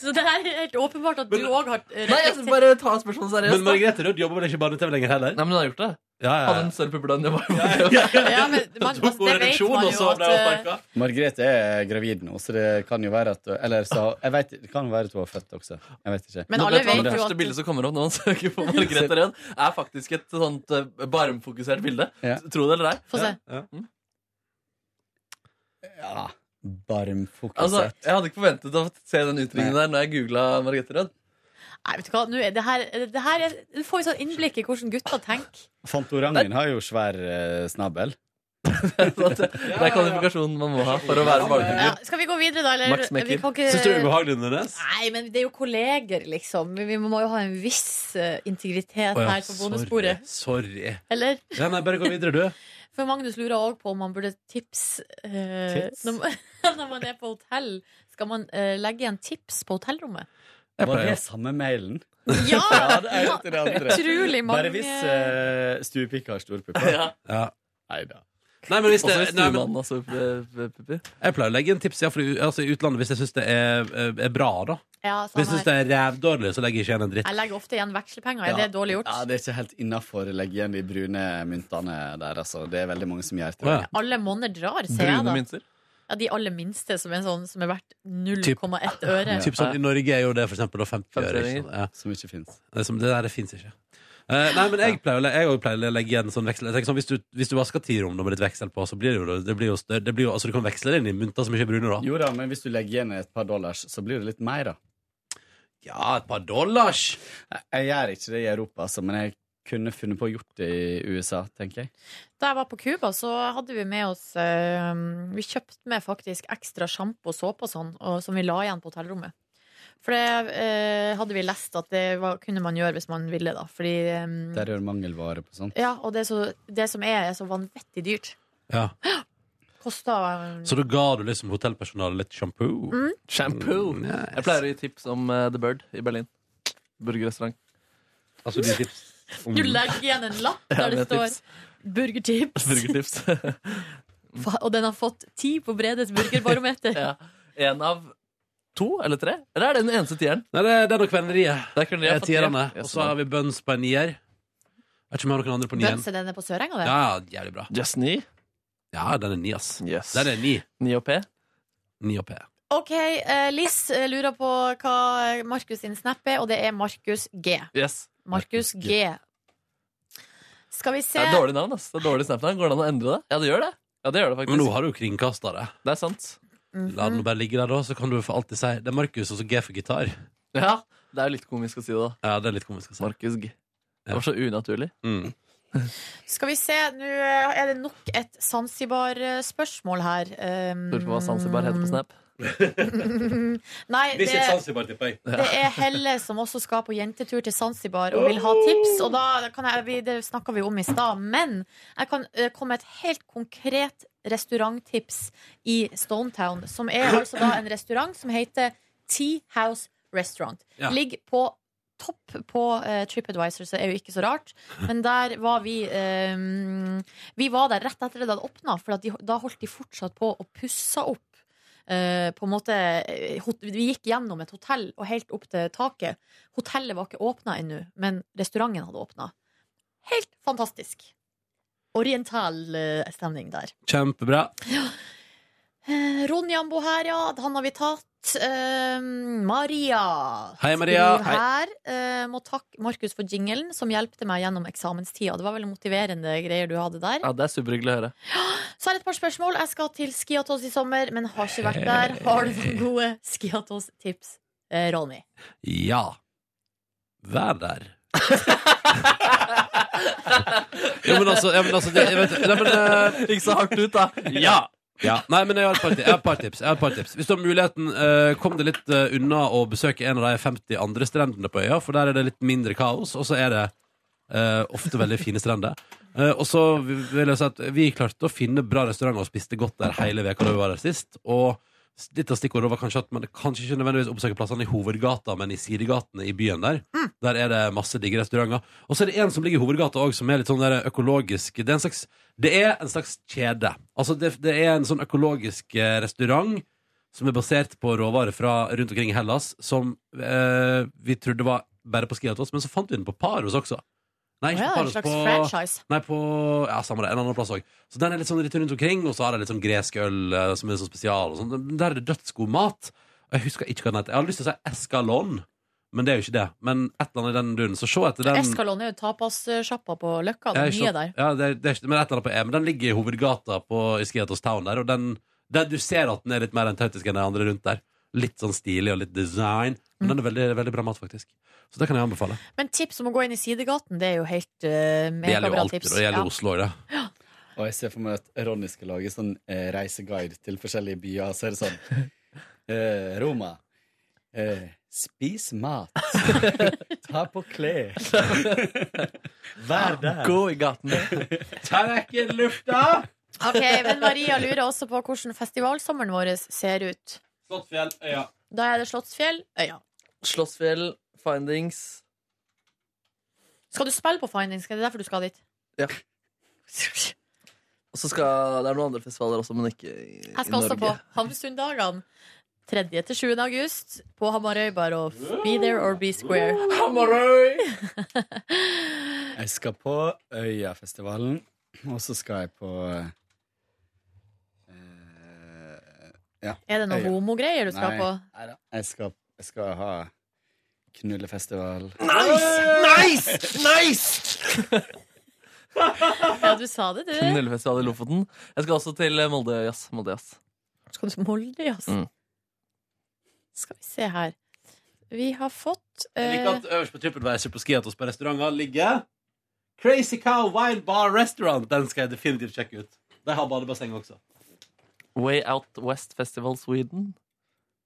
Speaker 2: Så det her er helt åpenbart at du òg har eh,
Speaker 3: Nei, jeg skal bare ta spørsmålet seriøst.
Speaker 1: Men Margrethe Rød jobber vel ikke i barne-TV lenger heller?
Speaker 3: Nei, men hun har gjort det.
Speaker 1: Ja, ja,
Speaker 3: Hadde en større pupper da enn jeg var.
Speaker 2: Ja,
Speaker 1: [laughs]
Speaker 2: men man, altså,
Speaker 1: Tok
Speaker 2: det vet
Speaker 1: ereksjon,
Speaker 2: man
Speaker 1: og
Speaker 2: jo
Speaker 1: så ble hun
Speaker 2: at eh,
Speaker 1: sparka.
Speaker 12: Margrethe er gravid nå, så det kan jo være at Eller så, jeg vet, det kan være at hun har født også. Jeg vet ikke.
Speaker 2: Men alle
Speaker 3: vet
Speaker 2: vet
Speaker 3: Det
Speaker 2: jo
Speaker 3: første
Speaker 2: at-
Speaker 3: bildet som kommer opp [laughs] når man søker på Margrethe Rød, er faktisk et sånt eh, barmfokusert bilde.
Speaker 12: Ja.
Speaker 3: Tro det eller ei.
Speaker 2: Få se.
Speaker 3: Mm.
Speaker 12: Ja, barmfokusert.
Speaker 3: Altså, jeg hadde ikke forventet å se den utringningen der når jeg googla Margrethe [laughs] Rød.
Speaker 2: Nei, vet du hva, nå er det her, det her er, Du får jo sånn innblikk i hvordan gutter tenker.
Speaker 12: Fantorangen har jo svær eh, snabel.
Speaker 3: Det er kvalifikasjonen man må ha for å være
Speaker 2: Ja,
Speaker 3: barnefugl.
Speaker 2: skal vi gå videre, da? Eller?
Speaker 3: Max Mekker.
Speaker 2: Vi kan ikke-
Speaker 1: Syns du det er ubehagelig, Nordnes?
Speaker 2: Nei, men det er jo kolleger, liksom. Vi- Vi må jo ha en viss eh,
Speaker 1: Å,
Speaker 2: integritet
Speaker 1: ja,
Speaker 2: her på bonusbordet.
Speaker 1: Sorry.
Speaker 2: Eller?
Speaker 1: Ja, nei, bare gå videre, du.
Speaker 2: For Magnus lurer òg på om man burde tips eh,
Speaker 1: Tips?
Speaker 2: når, man, [laughs] når man er på hotell. Skal man eh, legge igjen tips på hotellrommet?
Speaker 12: Var det samme mailen?
Speaker 2: Ja!
Speaker 12: [laughs] det er jo til det andre.
Speaker 2: Utrolig mange-
Speaker 12: Bare hvis uh, stuepikka har store pupper.
Speaker 3: Ja.
Speaker 12: Nei da.
Speaker 1: Nei, men hvis
Speaker 3: Også altså,
Speaker 1: det,
Speaker 3: hvis
Speaker 1: nei, men,
Speaker 3: stuemannen har store pu- pu- pupper.
Speaker 1: jeg pleier å legge inn tips ja, for, i- altså, i utlandet hvis jeg syns det er, eh, er bra, da.
Speaker 2: Ja, samme
Speaker 1: Hvis jeg syns det
Speaker 2: her.
Speaker 1: er rævdårlig, så legger jeg ikke igjen en dritt.
Speaker 2: Jeg legger ofte igjen vekslepenger. Er
Speaker 12: Ja.
Speaker 2: det dårlig gjort?
Speaker 12: Ja, det er ikke helt innafor å legge igjen de brune myntene der, altså. Det er veldig mange som gjør det.
Speaker 1: Å, ja.
Speaker 2: Alle monner drar, ser jeg
Speaker 3: Brune
Speaker 2: da.
Speaker 3: mynter.
Speaker 2: Ja, de aller minste som er, sånn, som er verdt
Speaker 1: Typ.
Speaker 2: 0,1 øre.
Speaker 1: Typ sånn, I Norge er jo det for eksempel da 50 øre. Ikke
Speaker 3: Femtiøringer.
Speaker 1: sant? Ja.
Speaker 12: Som ikke fins.
Speaker 1: Det, er som, det der det fins ikke. Eh, nei, men jeg pleier, å le- jeg også pleier å legge igjen sånn veksel. Jeg tenker sånn, hvis, du, hvis du vasker ti rom da med litt veksel på, så blir det jo det blir jo større. Det blir jo, altså, du kan veksle det inn i mynter som ikke er brune, da.
Speaker 12: Jo da, men hvis du legger igjen et par dollars, så blir det litt mer, da.
Speaker 1: Ja, et par dollars!
Speaker 12: Jeg, jeg gjør ikke det i Europa, altså, men jeg kunne funnet på å gjort det i USA, tenker jeg.
Speaker 2: Da jeg var på Cuba, så hadde vi med oss eh, Vi kjøpte med faktisk ekstra sjampo og såpe og sånn, og, som vi la igjen på hotellrommet. For det eh, hadde vi lest at det var, kunne man gjøre hvis man ville, da. Fordi eh,
Speaker 12: Der gjør mangelvare på sånt.
Speaker 2: Ja, og det, er så, det som er, er så vanvittig dyrt.
Speaker 1: Ja.
Speaker 2: Kosta
Speaker 1: Så da ga du liksom hotellpersonalet litt shampoo?
Speaker 2: Mm.
Speaker 3: Shampoo.
Speaker 1: Mm, nice.
Speaker 3: Jeg pleier å gi tips om eh, The Bird i Berlin. Burgerrestaurant.
Speaker 1: Altså de tips om
Speaker 2: Du legger igjen en lapp
Speaker 3: Ja,
Speaker 2: der det
Speaker 3: med
Speaker 2: står
Speaker 3: tips.
Speaker 2: 'burgertips',
Speaker 3: Burgertips. [laughs]
Speaker 2: Fa- og den har fått ti på Bredes burgerbarometer.
Speaker 3: [laughs] ja. En av to eller tre? Eller er det den eneste tieren?
Speaker 1: Nei, det, det er nok venneriet.
Speaker 3: Der kunne de
Speaker 1: Det
Speaker 3: ha
Speaker 1: er
Speaker 3: fått tier.
Speaker 1: tierne.
Speaker 3: Ja,
Speaker 1: Og så
Speaker 3: sånn.
Speaker 1: har vi Buns på en nier. Vet ikke om vi har noen andre på nieren.
Speaker 2: Bønse, den er på Sørenga, det.
Speaker 1: Ja, ja, jævlig bra.
Speaker 3: Just ni.
Speaker 1: Ja, den er ni, ass.
Speaker 3: Yes.
Speaker 1: Den er ni.
Speaker 3: Ni og P.
Speaker 1: Ni og P.
Speaker 2: OK, eh, Liss eh, lurer på hva Markus sin snap er, og det er Markus G.
Speaker 3: Yes.
Speaker 2: Markus G. Skal vi se
Speaker 3: Det er et dårlig navn. ass. Det er dårlig Snapchat. Går det an å endre det? Ja, det gjør det. Ja, det gjør det
Speaker 1: Men nå
Speaker 3: faktisk.
Speaker 1: har du jo kringkasta det.
Speaker 3: Det er sant.
Speaker 2: Mhm.
Speaker 1: La den bare ligge der, da, så kan du for alltid si det er Markus og så G for gitar.
Speaker 3: Ja, Det er jo litt komisk å si det, da.
Speaker 1: Ja, det er litt komisk å si.
Speaker 3: Markus G. Det var så unaturlig.
Speaker 1: Mm.
Speaker 2: Skal vi se, nå eh, er det nok et Zanzibar-spørsmål her. Um,
Speaker 3: Lurer på hva Zanzibar heter på Snap.
Speaker 2: [laughs] Nei, det,
Speaker 1: Zanzibar, tipper jeg.
Speaker 2: det er Helle som også skal på jentetur til Zanzibar og vil ha tips. Og da kan jeg, vi- det snakka vi om i stad, men jeg kan eh, komme med et helt konkret restauranttips i Stonetown. Som er altså da en restaurant som heter Tea House Restaurant.
Speaker 1: Ja.
Speaker 2: Ligger på topp på eh, TripAdvisor, så det er jo ikke så rart. Men der var vi eh, Vi var der rett etter det hadde åpna, for at de, da holdt de fortsatt på å pusse opp eh, på en måte eh, hot- Vi gikk gjennom et hotell og helt opp til taket. Hotellet var ikke åpna ennå, men restauranten hadde åpna. Helt fantastisk. Oriental eh, stemning der.
Speaker 1: Kjempebra.
Speaker 2: Eh, Ronjambo her, ja. Han har vi tatt. Eh, Maria
Speaker 1: Hei, Maria.
Speaker 2: skriver her. Eh, må takke Markus for jinglen, som hjelpte meg gjennom eksamenstida. Det var vel motiverende greier du hadde der.
Speaker 3: Ja, Det er superhyggelig å høre.
Speaker 2: Så er det et par spørsmål. Jeg skal til Skiatos i sommer, men har ikke vært der. Har du noen gode Skiatos-tips, eh, Ronny?
Speaker 1: Ja. Vær der. ja, men altså, ja, men altså det, jeg vet, nei, men,
Speaker 3: Gikk så hardt ut, da.
Speaker 1: Ja. ja. Nei, men jeg har et par, ti- jeg har et par tips. Jeg har et par tips. Hvis du har muligheten, eh, kom deg litt eh, unna og besøk en av de 50 andre strendene på øya, for der er det litt mindre kaos, og så er det eh, ofte veldig fine strender. Eh, og så vil jeg si at vi klarte å finne bra restauranter og spiste godt der hele veka da vi var der sist. Og s- litt av stikkordet var kanskje at man kanskje ikke nødvendigvis oppsøker plassene i hovedgata, men i sidegatene i byen der. Der er det masse digge restauranter. Og så er det en som ligger i hovedgata òg, som er litt sånn der økologisk Det er en slags, det er en slags kjede. Altså, det, det er en sånn økologisk eh, restaurant som er basert på råvarer fra rundt omkring i Hellas, som eh, vi trodde var bare på Skiatos, men så fant vi den på Paros også. Nei,
Speaker 2: Å
Speaker 1: ikke
Speaker 2: ja,
Speaker 1: på Paros,
Speaker 2: en slags
Speaker 1: på,
Speaker 2: franchise.
Speaker 1: Nei, på ja, samme det, en annen plass òg. Så den er litt sånn litt rundt omkring, og så har de litt sånn gresk øl eh, som er sånn spesial. Og sånn. Der er det dødsgod mat. Og Jeg husker ikke hva den heter. Jeg hadde lyst til å si Escalon, men det er jo ikke det. Men et eller annet i den duren. Så se etter den.
Speaker 2: Escalon er jo tapassjappa på Løkka.
Speaker 1: Jeg
Speaker 2: Den
Speaker 1: er
Speaker 2: nye
Speaker 1: ikke-
Speaker 2: der.
Speaker 1: Ja, det, er- det er ikke, men et eller annet på E. Men den ligger i hovedgata på, i Skiatos Town der, og den, der du ser at den er litt mer autentisk enn de andre rundt der. Litt sånn stilig og litt design. Men den er veldig, veldig bra mat, faktisk. Så det kan jeg anbefale.
Speaker 2: Men tips om å gå inn i sidegaten, det er jo helt uh,
Speaker 1: Det gjelder jo
Speaker 2: megabra
Speaker 1: alt.
Speaker 2: tips.
Speaker 1: og Det gjelder
Speaker 2: Ja.
Speaker 1: Oslo òg, det.
Speaker 12: Og jeg ser for meg at Ronny skal lage sånn eh, reiseguide til forskjellige byer. Så er det [laughs] sånn eh, Roma. Eh, spis [laughs] mat. Ta på klær. Vær der.
Speaker 3: Gå i gatene.
Speaker 1: Ta vekk lufta.
Speaker 2: Ok, men Maria lurer også på hvordan festivalsommeren vår ser ut.
Speaker 1: Slottsfjell, øya.
Speaker 2: Da er det Slottsfjell, øya.
Speaker 3: Slottsfjell, Findings.
Speaker 2: Skal du spille på Findings? Er det derfor du skal dit?
Speaker 3: Ja.
Speaker 2: [laughs]
Speaker 3: Og så skal Det er noen andre festivaler også, men ikke i, i
Speaker 2: Jeg skal også på
Speaker 3: Norge.
Speaker 2: Hamsundagene. 3. til 7. august på Hamarøy Bar og Be There or Be Square.
Speaker 3: Hamarøy!
Speaker 12: Jeg skal på Øyafestivalen, og så skal jeg på eh, ja,
Speaker 2: Er det noe
Speaker 12: Øya.
Speaker 2: homogreier du skal
Speaker 12: Nei.
Speaker 2: på?
Speaker 12: Neida. Jeg skal, jeg skal ha knullefestival.
Speaker 3: Nice! Nice!
Speaker 2: Ja, du sa det, du.
Speaker 3: Knullefestival i Lofoten. Jeg skal også til eh, Molde Jazz. Molde Jazz.
Speaker 2: Skal du til Molde, ja?
Speaker 3: Mm.
Speaker 2: Skal vi se her. Vi har fått
Speaker 1: Jeg
Speaker 2: eh,
Speaker 1: liker at øverst på TripAdvisor på Skiatos på restauranter ligger Crazy Cow Wine Bar Restaurant. Den skal jeg definitivt sjekke ut. De har badebasseng også.
Speaker 3: Way Out West Festival Sweden.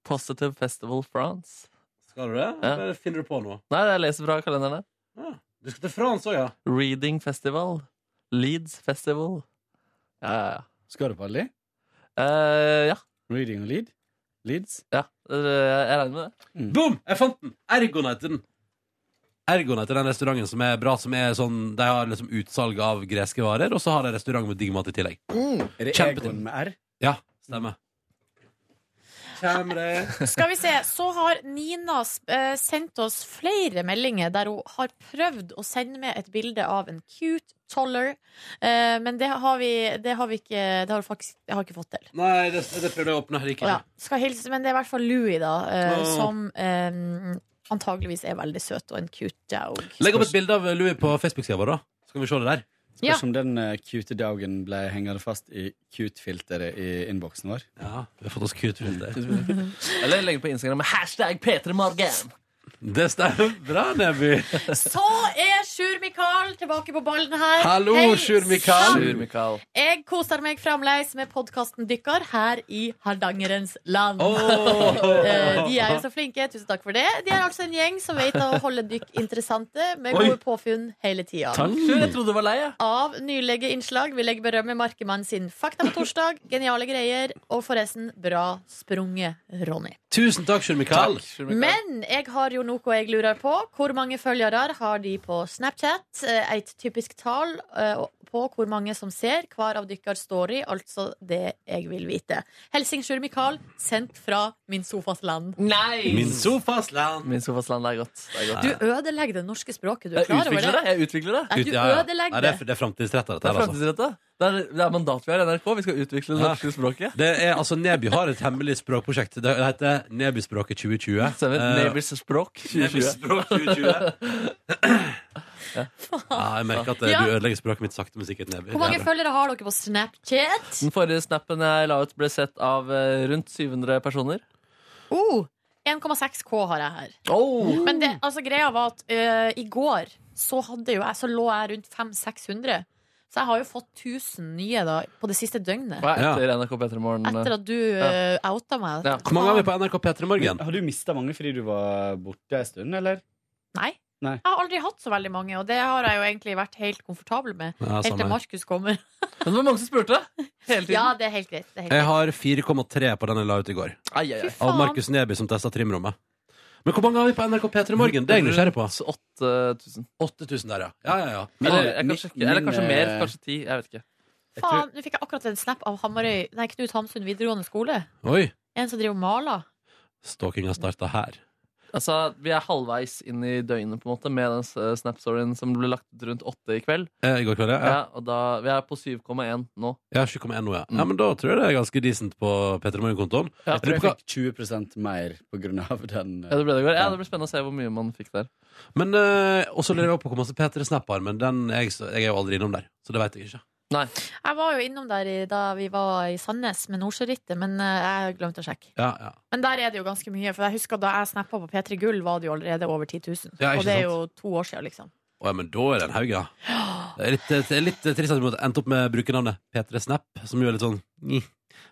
Speaker 3: Positive Festival France.
Speaker 1: Skal du det?
Speaker 3: Ja.
Speaker 1: Eller finner du på noe?
Speaker 3: Nei, jeg leser fra kalenderen. her.
Speaker 1: Du skal til France òg, ja?
Speaker 3: Reading Festival. Leeds Festival. Ja, ja, ja.
Speaker 12: Skal du på alle de?
Speaker 3: Eh, ja.
Speaker 12: Reading og lead? Leeds?
Speaker 3: ja. eh, Jeg regner med det.
Speaker 1: Boom! Jeg fant den! Ergon heter den. Ergon heter den restauranten som er bra. Som er sånn, de har liksom utsalg av greske varer, og så har de restaurant med digg mat i tillegg.
Speaker 12: Er det
Speaker 1: Kjempetid.
Speaker 12: Egon med R?
Speaker 1: Ja, stemmer. Kjem det.
Speaker 2: Skal vi se, så har Nina eh, sendt oss flere meldinger der hun har prøvd å sende med et bilde av en cute toller, eh, men det har vi, det har vi ikke, det har hun faktisk, jeg har ikke fått til.
Speaker 1: Nei, det, det prøvde jeg å åpne her ikke.
Speaker 2: Ja, skal hilse, men det er i hvert fall Louis, da, eh,
Speaker 1: Åh.
Speaker 2: som eh, antageligvis er veldig søt og en cute dog.
Speaker 1: Legg opp et bilde av Louis på Facebook-sida vår, da. Så kan vi se det der.
Speaker 2: Ja.
Speaker 12: Spørs om den eh, cute dagen ble hengende fast i cute-filteret i innboksen vår.
Speaker 1: Ja, vi har fått oss cute-filter.
Speaker 3: Eller legge på Instagram med hashtag P3morgen.
Speaker 1: Det stemmer bra,
Speaker 2: [laughs]
Speaker 1: Neby.
Speaker 2: Så er Sjur Mikael tilbake på ballen her.
Speaker 1: Hallo,
Speaker 2: Hei,
Speaker 1: Sjur Mikael.
Speaker 2: sann.
Speaker 3: Sjur Mikael.
Speaker 2: Jeg koser meg fremleis med podkasten dykkar her i Hardangerens land.
Speaker 1: Åh.
Speaker 2: Eh, De er jo så flinke, tusen takk for det. De er altså en gjeng som vet å holde dykk interessante med
Speaker 3: Oi.
Speaker 2: gode påfunn hele tida.
Speaker 3: Takk. Sjur, jeg trodde du var lei, jeg.
Speaker 2: Av nylige innslag vil jeg berømme Markemann sin Fakta på torsdag. Geniale greier. Og forresten, bra sprunget, Ronny.
Speaker 1: Tusen takk, Sjur Mikael.
Speaker 3: Sjur Mikael.
Speaker 2: Men jeg har jo noe jeg lurer på. Hvor mange følgere har de på Snapchat? sett eh, eit typisk tal eh, på hvor mange som ser hver av dykkar story, altså det jeg vil vite. Helsingsjur Mikael, sendt fra min sofas land.
Speaker 3: Nei!
Speaker 1: Min sofas land.
Speaker 3: Min sofas land, det er godt. Det er godt.
Speaker 2: Du ødelegger det norske språket. Du er
Speaker 3: jeg
Speaker 2: klar over
Speaker 3: utvikler det.
Speaker 2: det?
Speaker 3: Jeg utvikler det.
Speaker 2: Nei, du ødelegger
Speaker 1: Nei, det er, det er framtidsrettet,
Speaker 3: Det
Speaker 1: dette
Speaker 3: er
Speaker 1: her, altså.
Speaker 3: framtidsrettet. Det er, det er mandat vi har i NRK. Vi skal utvikle det
Speaker 1: Ja.
Speaker 3: norske språket.
Speaker 1: Det er, altså, Neby har et hemmelig språkprosjekt. Det heter Nebyspråket 2020. [laughs]
Speaker 3: Stemmer.
Speaker 1: Eh,
Speaker 3: Neighbors språk 2020.
Speaker 1: Nebyspråk 2020. Ja, jeg merker at eh,
Speaker 2: Ja.
Speaker 1: du ødelegger språket mitt sakte, men sikkert, Neby.
Speaker 2: Hvor mange
Speaker 1: Det er bra.
Speaker 2: følgere har dere på Snapchat?
Speaker 3: Den forrige snappen jeg la ut, ble sett av eh, rundt 700 personer.
Speaker 2: Oh, 1,6K har jeg her.
Speaker 3: Oh.
Speaker 2: Men det, altså, greia var at eh, i går så, hadde jo jeg, så lå jeg rundt 500-600. Så jeg har jo fått 1000 nye da, på det siste døgnet.
Speaker 3: Hva er etter NRK P3 Morgen?
Speaker 2: Etter at du
Speaker 3: Ja.
Speaker 2: eh, outa meg.
Speaker 1: Hvor mange har vi på NRK P3 Morgen?
Speaker 12: Har du mista mange fordi du var borte en stund, eller?
Speaker 2: Nei.
Speaker 12: Nei.
Speaker 2: Jeg har aldri hatt så veldig mange, og det har jeg jo egentlig vært helt komfortabel med.
Speaker 1: Ja,
Speaker 2: helt
Speaker 1: samme
Speaker 2: til
Speaker 1: her.
Speaker 2: Markus kommer.
Speaker 3: Men det var mange som spurte. Hele tiden.
Speaker 2: Ja, det er helt greit. Det er helt
Speaker 1: Jeg
Speaker 2: greit.
Speaker 1: har 4,3 på den jeg la ut i går.
Speaker 3: Ai, ai, ai.
Speaker 1: Av Markus Neby, som testa trimrommet. Men hvor mange har vi på NRK P3 Morgen? Det er jeg nysgjerrig på.
Speaker 3: 8000.
Speaker 1: 8000 der, ja. Ja, ja, ja.
Speaker 3: eh, Eller, jeg kan sjekke. Eller kanskje mer. Kanskje ti. Jeg vet ikke.
Speaker 2: Faen, nå fikk jeg akkurat en snap av Hamarøy, nei, Knut Hamsun videregående skole.
Speaker 1: Oi!
Speaker 2: En som driver og maler.
Speaker 1: Stalkinga starta her.
Speaker 3: Altså, Vi er halvveis inn i døgnet på en måte med den eh, Snap-storyen som ble lagt ut rundt åtte i kveld.
Speaker 1: Eh, I går kveld, ja.
Speaker 3: Ja,
Speaker 1: ja.
Speaker 3: og da, Vi er på 7,1 nå.
Speaker 1: Ja, 7,1 nå, ja. ja. Men da tror jeg det er ganske decent på P3 Morgen-kontoen.
Speaker 12: Jeg
Speaker 1: Jeg
Speaker 12: tror jeg
Speaker 1: lurer på hva-
Speaker 12: fikk 20 mer på grunn av den. eh,
Speaker 3: Ja, Det ble det i går. Ja, det blir spennende å se hvor mye man fikk der.
Speaker 1: Men eh, også lurer jeg på hvor masse P3 Snap har, men den, jeg, jeg er jo aldri innom der. Så det veit jeg ikke.
Speaker 3: Nei,
Speaker 2: Jeg var jo innom der i, da vi var i Sandnes med Nordsjørittet, men eh, jeg glemte å sjekke.
Speaker 1: Ja, ja.
Speaker 2: Men der er det jo ganske mye, for jeg husker da jeg snappa på P3 Gull, var det jo allerede over 10 000.
Speaker 1: Ja, ikke
Speaker 2: og det er
Speaker 1: sant?
Speaker 2: jo to år siden, liksom.
Speaker 1: Å, ja, men da er det en haug, ja. Det er litt, det er litt trist at vi måtte endte opp med brukernavnet P3 Snap, som jo er litt sånn mm.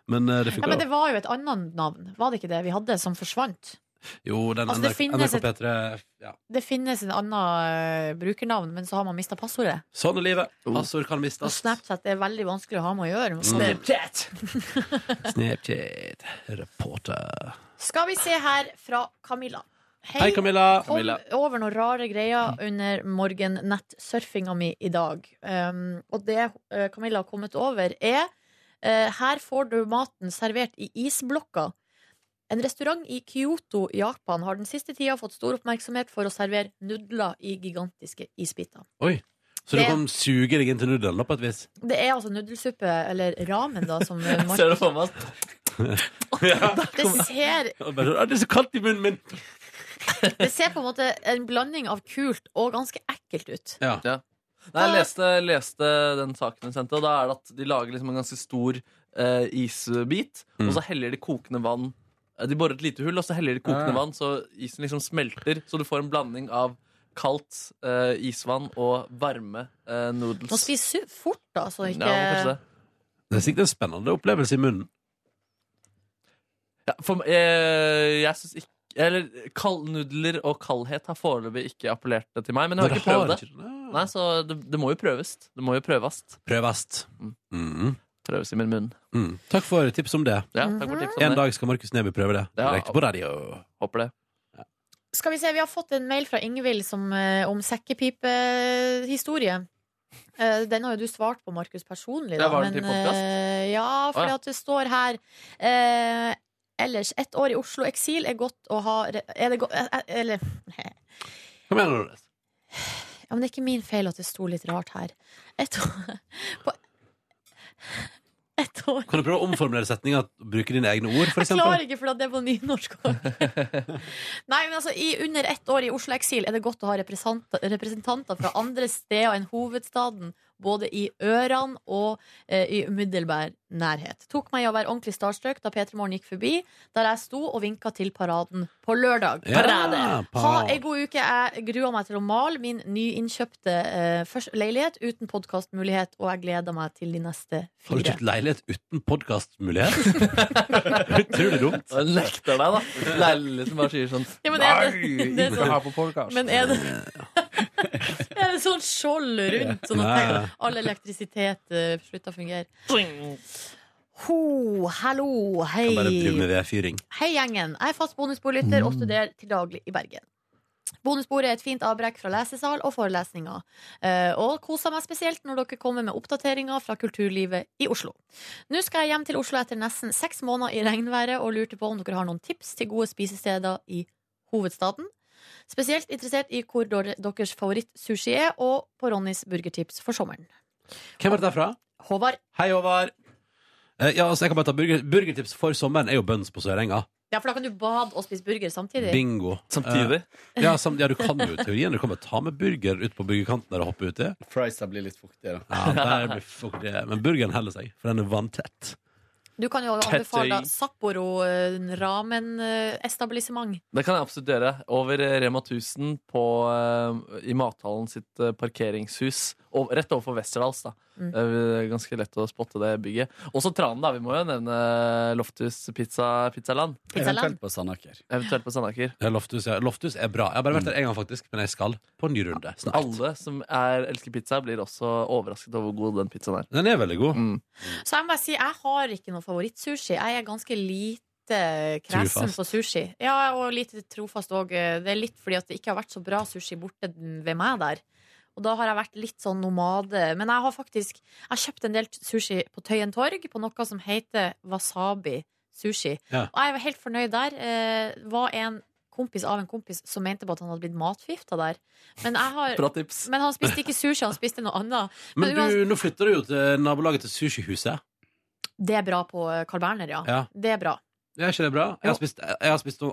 Speaker 1: Men eh, det
Speaker 2: Ja,
Speaker 1: funker
Speaker 2: men
Speaker 1: jo.
Speaker 2: det var jo et annet navn, var det ikke det vi hadde, som forsvant?
Speaker 1: Jo, den
Speaker 2: Altså, det
Speaker 1: NRK,
Speaker 2: finnes
Speaker 1: NRK P3 ja.
Speaker 2: Det finnes en annen eh, brukernavn, men så har man mista passordet.
Speaker 1: Sånn er livet. Passord kan
Speaker 2: Og
Speaker 1: mistes.
Speaker 2: Snapchat er veldig vanskelig å ha med
Speaker 1: Mm.
Speaker 2: å gjøre.
Speaker 1: Snapchat. Reporter.
Speaker 2: Skal vi se her fra Camilla.
Speaker 1: Hei, Camilla.
Speaker 2: Kom
Speaker 1: Camilla.
Speaker 2: over noen rare greier under morgennettsurfinga mi i dag. Um, og det eh, Camilla har kommet over, er eh, Her får du maten servert i isblokka. En restaurant i Kyoto i Japan har den siste tida fått stor oppmerksomhet for å servere nudler i gigantiske isbiter.
Speaker 1: Oi. Så du
Speaker 2: Det-
Speaker 1: kan suge deg inn til nudelen, da, på et vis?
Speaker 2: Det er altså nudelsuppe, eller ramen, da, som
Speaker 1: [laughs]
Speaker 2: Mark
Speaker 3: Ser du for meg?
Speaker 2: Det ser,
Speaker 1: Og bare sånn, «Å, Det er så kaldt i munnen min!
Speaker 2: det ser på en måte en blanding av kult og ganske ekkelt ut.
Speaker 1: Ja.
Speaker 3: Ja. Nei, jeg leste, leste den saken hun sendte, og da er det at de lager liksom en ganske stor eh, isbit,
Speaker 1: Mm.
Speaker 3: og så heller de kokende vann eh, De borer et lite hull, og så heller de kokende
Speaker 12: Ah.
Speaker 3: vann, så isen liksom smelter, så du får en blanding av kaldt eh, isvann og varme eh, noodles.
Speaker 2: Man spiser su- fort, da, så
Speaker 3: Ja, kanskje
Speaker 2: ikke
Speaker 3: det.
Speaker 1: Det er sikkert en spennende opplevelse i munnen.
Speaker 3: Ja, for, eh, jeg synes ikke eller, kald, Nudler og kaldhet har foreløpig ikke appellert det til meg. Men jeg har
Speaker 1: Dere
Speaker 3: ikke prøvd
Speaker 1: har
Speaker 3: det.
Speaker 1: ikke det. Nei.
Speaker 3: Nei, så det, det må jo prøves. Det må jo prøvast.
Speaker 1: Prøvast.
Speaker 3: Mm.
Speaker 1: Mm.
Speaker 3: Prøves i min munn.
Speaker 1: Mm. Takk for tips om det.
Speaker 3: Ja, takk for
Speaker 2: Mm.
Speaker 3: tipset. om
Speaker 1: En
Speaker 3: det.
Speaker 1: dag skal Markus Neby prøve det.
Speaker 3: Ja.
Speaker 1: Direkte på radio.
Speaker 3: Håper det.
Speaker 2: Skal vi se, vi har fått en mail fra Ingvild som, eh, om sekkepipehistorie. Eh, den har jo du svart på, Markus, personlig. Da,
Speaker 3: Ja, var det til
Speaker 2: eh,
Speaker 3: podcast?
Speaker 2: ja, for
Speaker 3: Å, ja.
Speaker 2: at det står her eh, Ellers, ett år i Oslo-eksil er godt å ha re- Er det godt Eller Ja,
Speaker 1: Kom igjen, Nordnes.
Speaker 2: men det er ikke min feil at det sto litt rart her. Ett år [laughs] på, Ett år
Speaker 1: Kan du prøve å omformulere setninga? Bruke dine egne ord, for
Speaker 2: Jeg klarer
Speaker 1: eksempel?
Speaker 2: ikke, for det er på nynorsk også.
Speaker 1: [laughs]
Speaker 2: Nei, men altså, i under ett år i Oslo-eksil er det godt å ha representanter, representanter fra andre steder enn hovedstaden, både i ørene og eh, i umiddelbar nærhet. Tok meg i å være ordentlig starstruck da P3 Morgen gikk forbi, der jeg sto og vinka til paraden på lørdag.
Speaker 1: Ja,
Speaker 2: Ha
Speaker 1: parade.
Speaker 2: ei god uke. Jeg gruer meg til å male min nyinnkjøpte eh, først- leilighet uten podkastmulighet, og jeg gleder meg til de neste
Speaker 1: Har du
Speaker 2: fire.
Speaker 1: kjøpt leilighet uten podkastmulighet? Utrolig dumt.
Speaker 3: Og jeg nekter deg, da. Leiligheten bare sier sånn
Speaker 2: Ja, men er det-
Speaker 3: Nei,
Speaker 2: det er
Speaker 3: ikke
Speaker 2: sånn-
Speaker 3: her på podcast.
Speaker 2: Men er det
Speaker 1: [laughs]
Speaker 2: Er det sånn skjold rundt, sånn
Speaker 1: Ja, ja.
Speaker 2: at all elektrisitet eh, slutter å fungere? Ho, hallo, hei.
Speaker 1: Kan bare drive med vedfyring.
Speaker 2: Hei, gjengen. Jeg er fast bonusbolytter og studerer til daglig i Bergen. Bonusbordet er et fint avbrekk fra lesesal og forelesninger. Eh, og koser meg spesielt når dere kommer med oppdateringer fra kulturlivet i Oslo. Nå skal jeg hjem til Oslo etter nesten seks måneder i regnværet og lurte på om dere har noen tips til gode spisesteder i hovedstaden. Spesielt interessert i hvor dere- deres favorittsushi er, og på Ronnys burgertips for sommeren.
Speaker 1: Hvem er dette fra?
Speaker 2: Håvard.
Speaker 1: Hei, Håvard. Eh, Ja, altså, jeg kan bare ta burger, burgertips for sommeren er jo bønns på Sørenga.
Speaker 2: Ja, for da kan du bade og spise burger samtidig.
Speaker 1: Bingo.
Speaker 3: Samtidig?
Speaker 1: Eh, ja, sam, ja, du kan jo i teorien. Du kan bare ta med burger ut på burgerkanten der og hoppe uti.
Speaker 12: Friesa blir litt fuktige, da.
Speaker 1: Ja, der blir fuck det. Men burgeren heller seg, for den er vanntett.
Speaker 2: Du kan jo anbefale da Sapporo eh, ramen eh, etablissement.
Speaker 3: Det kan jeg absolutt gjøre. Over eh, Rema 1000 på, eh, i mathallen sitt eh, parkeringshus. Og, rett overfor Westerdals. da. Eh,
Speaker 2: Mm.
Speaker 3: Det er Ganske lett å spotte det bygget. Også Tranen, da. Vi må jo nevne eh, Loftus Pizza, Pizzaland.
Speaker 2: Pizzaland. Eventuelt
Speaker 12: på Sandaker.
Speaker 3: Eventuelt på Sandaker.
Speaker 1: Ja, Loftus, ja. Loftus er bra. Jeg har bare vært der én gang, faktisk, men jeg skal på en ny runde snart.
Speaker 3: Alle som er, elsker pizza, blir også overrasket over hvor god den pizzaen er.
Speaker 1: Den er veldig
Speaker 3: Mm.
Speaker 1: god.
Speaker 2: [laughs] Så jeg må bare si, jeg har ikke noe favorittsushi. Jeg er ganske lite kresen
Speaker 1: Trufast.
Speaker 2: på sushi. Ja, og lite trofast òg. Det er litt fordi at det ikke har vært så bra sushi borte ved meg der. Og da har jeg vært litt sånn nomade. Men jeg har faktisk Jeg har kjøpt en del sushi på Tøyen torg, på noe som heter wasabi sushi.
Speaker 11: Ja.
Speaker 2: Og jeg var helt fornøyd der. Eh, var en kompis av en kompis som mente på at han hadde blitt matforgifta der. Men, jeg
Speaker 3: Bra
Speaker 2: har,
Speaker 3: tips.
Speaker 2: men han spiste ikke sushi, han spiste noe annet.
Speaker 1: Men
Speaker 2: uansett-
Speaker 1: du, nå flytter du jo til nabolaget til sushihuset.
Speaker 2: det er bra på Carl Berner, ja.
Speaker 1: Ja.
Speaker 2: Det er bra.
Speaker 1: Er ikke det bra? Jeg har spist, jeg har spist noe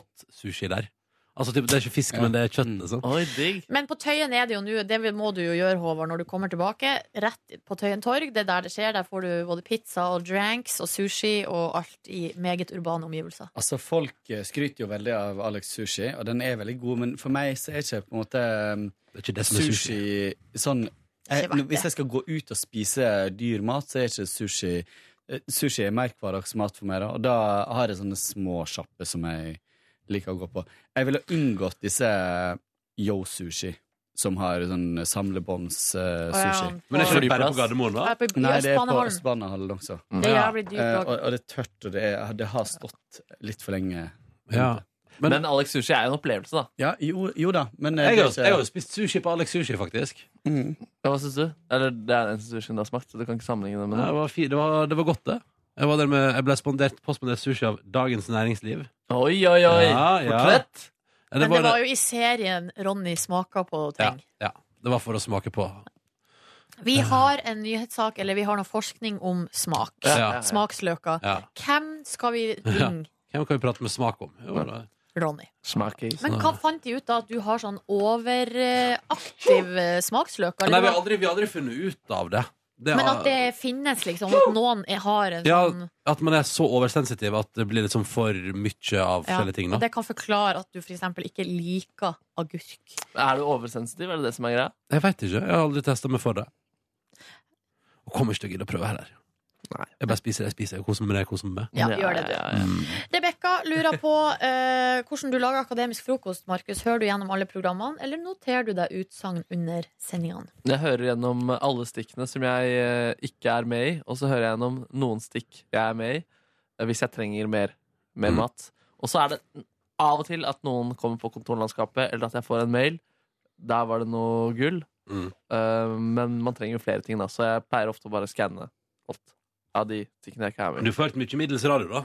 Speaker 1: entrecôte-sushi der. Altså, typ, det er ikke fisk, men det er kjøtt. Liksom.
Speaker 3: Oi, digg.
Speaker 2: Men på Tøyen er det jo nå, det må du jo gjøre, Håvard, når du kommer tilbake. Rett på Tøyen torg, det er der det skjer. Der får du både pizza og dranks og sushi og alt i meget urbane omgivelser.
Speaker 12: Altså, Folk eh, skryter jo veldig av Alex sushi, og den er veldig god, men for meg så er ikke på en måte um,
Speaker 1: som er
Speaker 12: sushi,
Speaker 1: sushi.
Speaker 12: sånn jeg,
Speaker 1: Ikke verdt det.
Speaker 12: Hvis jeg skal gå ut og spise dyr mat, så er ikke sushi eh, Sushi er mer hverdagsmat for meg, da, og da har jeg sånne små sjapper som jeg liker å gå på. Jeg ville unngått disse yo-sushi. Som har sånn
Speaker 2: Å ja,
Speaker 12: samlebånds-sushi.
Speaker 2: på- Men er ikke det
Speaker 1: bare på Gardermoen, da?
Speaker 2: Ja, på- i
Speaker 12: Nei, det er på
Speaker 2: Østbanehallen.
Speaker 12: Østbanehallen også.
Speaker 2: Det er jævlig dyrt,
Speaker 12: Eh,
Speaker 2: og-
Speaker 12: og, og det er tørt, og det, er, det har stått litt for lenge.
Speaker 3: Men, Alex Sushi er jo en opplevelse, da.
Speaker 12: Ja, jo, jo da, men eh,
Speaker 1: Jeg
Speaker 12: det
Speaker 1: har,
Speaker 12: er ikke-
Speaker 1: jeg har jo spist sushi på Alex Sushi, faktisk.
Speaker 3: Ja, Hva syns du? Eller det er den sushien du har smakt, så du kan ikke sammenligne det med
Speaker 1: Nei, Det
Speaker 3: noe.
Speaker 1: var, fi- det var, det var godt, det. Jeg, var der med, jeg ble spondert, påspondert sushi av Dagens Næringsliv.
Speaker 3: Oi, oi, oi. Portrett?
Speaker 1: Ja,
Speaker 2: Men det var jo i serien Ronny smaker på ting.
Speaker 1: ja, ja, det var for å smake på.
Speaker 2: Vi har en nyhetssak, eller vi har noe forskning om smak.
Speaker 1: Ja, ja, ja.
Speaker 2: Smaksløker.
Speaker 1: Ja.
Speaker 2: Hvem skal vi
Speaker 1: Ja.
Speaker 2: ringe?
Speaker 1: Hvem kan vi prate med smak om? Jo, da.
Speaker 2: Ronny.
Speaker 3: Smakis.
Speaker 2: Men hva fant de ut da? At du har sånn overaktiv eh, smaksløker?
Speaker 1: Nei, vi
Speaker 2: eller
Speaker 1: har, aldri, vi har aldri funnet ut av det. Det
Speaker 2: Men
Speaker 1: har-
Speaker 2: at det finnes, liksom. At noen er, har en
Speaker 1: ja,
Speaker 2: sånn
Speaker 1: At man er så oversensitiv at det blir liksom for mye av
Speaker 2: ja,
Speaker 1: forskjellige ting.
Speaker 2: Og
Speaker 1: Da.
Speaker 2: det kan forklare at du f.eks. ikke liker agurk.
Speaker 3: Er du oversensitiv? Er det det som er greia?
Speaker 1: Jeg veit ikke. Jeg har aldri testa meg for det. Og kommer ikke til å gidde å prøve heller. Jeg bare spiser det jeg spiser, og koser meg med det jeg koser meg med.
Speaker 2: Ja, gjør det, du. Rebekka lurer på [laughs] eh, hvordan du lager akademisk frokost, Markus. Hører du gjennom alle programmene, eller noterer du deg utsagn under sendingene?
Speaker 3: Jeg hører gjennom alle stikkene som jeg eh, ikke er med i, og så hører jeg gjennom noen stikk jeg er med i, eh, hvis jeg trenger mer, mer mat. Og så er det av og til at noen kommer på kontorlandskapet, eller at jeg får en mail. Der var det noe gull. Eh, men man trenger jo flere ting, da, så jeg pleier ofte å bare skanne alt av de tingene jeg ikke er med i.
Speaker 1: Du får hørt mye middels radio, da.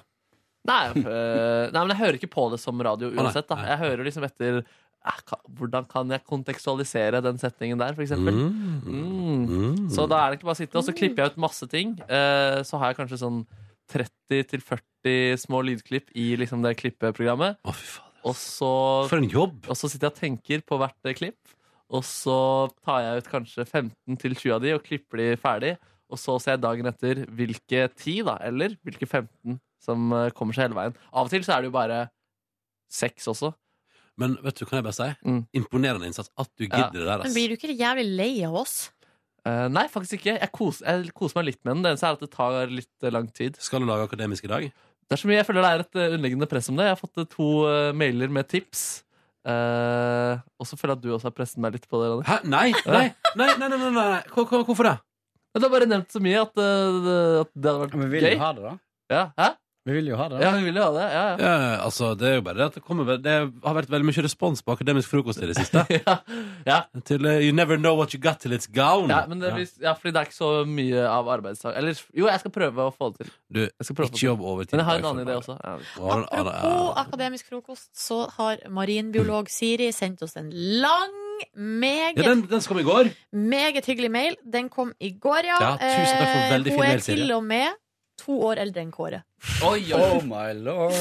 Speaker 3: Nei, jeg- øh, nei, men jeg hører ikke på det som radio
Speaker 1: nei.
Speaker 3: uansett. Da. Jeg hører liksom etter eh, ka- hvordan kan jeg kontekstualisere den setningen der, for eksempel.
Speaker 1: Mm.
Speaker 3: Mm. Så da er det ikke bare å sitte, og så klipper jeg ut masse ting. Eh, så har jeg kanskje sånn 30-40 små lydklipp i liksom det klippeprogrammet. Og så,
Speaker 1: For en jobb!
Speaker 3: Og så sitter jeg og tenker på hvert eh, klipp, og så tar jeg ut kanskje 15-20 av de og klipper de ferdig. Og så ser jeg dagen etter hvilke 10, da, eller hvilke 15 som eh, kommer seg hele veien. Av og til så er det jo bare seks også.
Speaker 1: Men vet du, kan jeg bare si?
Speaker 3: Mm.
Speaker 1: Imponerende innsats at du gidder det der.
Speaker 2: Men
Speaker 1: Ass.
Speaker 2: blir du ikke jævlig lei av oss?
Speaker 3: Eh, nei, faktisk ikke. Jeg koser, jeg koser meg litt med den. Det eneste er at det tar litt eh, lang tid.
Speaker 1: Skal du lage akademisk i dag?
Speaker 3: Det er så mye jeg føler det er et eh, underliggende press om det. Jeg har fått eh, to eh, mailer med tips. Eh, og så føler jeg at du også har presset meg litt på det. Ronny.
Speaker 1: Hæ? Nei, nei, nei, nei, nei, nei, nei. Hvor- hvor- Hvorfor det?
Speaker 3: Men Det er bare nevnt så mye at, eh, det- at det hadde vært
Speaker 12: Men vil
Speaker 3: gøy.
Speaker 12: du ha det, da?
Speaker 3: Ja, hæ?
Speaker 12: Vi vil jo ha det.
Speaker 3: Ja, vi vil jo ha det. Ja, [laughs] ja.
Speaker 1: Ja, altså, det er jo bare det at det kommer Det har vært veldig mye respons på akademisk frokost i det siste. [laughs] Til eh, You never know what you got till it's gone.
Speaker 3: Ja, men det, blir- ja, fordi det er ikke så mye av arbeidsdag Eller jo, jeg skal prøve å få det til.
Speaker 1: Du, ikke jobb overtid.
Speaker 3: Men jeg har en
Speaker 1: bare
Speaker 3: annen
Speaker 1: for
Speaker 3: idé
Speaker 1: meg.
Speaker 3: også. Ja, vi-
Speaker 1: Og han- han-
Speaker 2: På akademisk frokost så har marinbiolog Siri sendt oss en lang,
Speaker 1: ja,
Speaker 2: meget
Speaker 1: den, den som kom i går.
Speaker 2: Meget hyggelig mail. Den kom i går, ja.
Speaker 1: Ja, tusen takk for
Speaker 2: Eh,
Speaker 1: veldig fin
Speaker 2: Hun
Speaker 1: mail,
Speaker 2: er
Speaker 1: Silje.
Speaker 2: til og med to år eldre enn Kåre.
Speaker 3: Oi,
Speaker 12: oi. Oh my lord.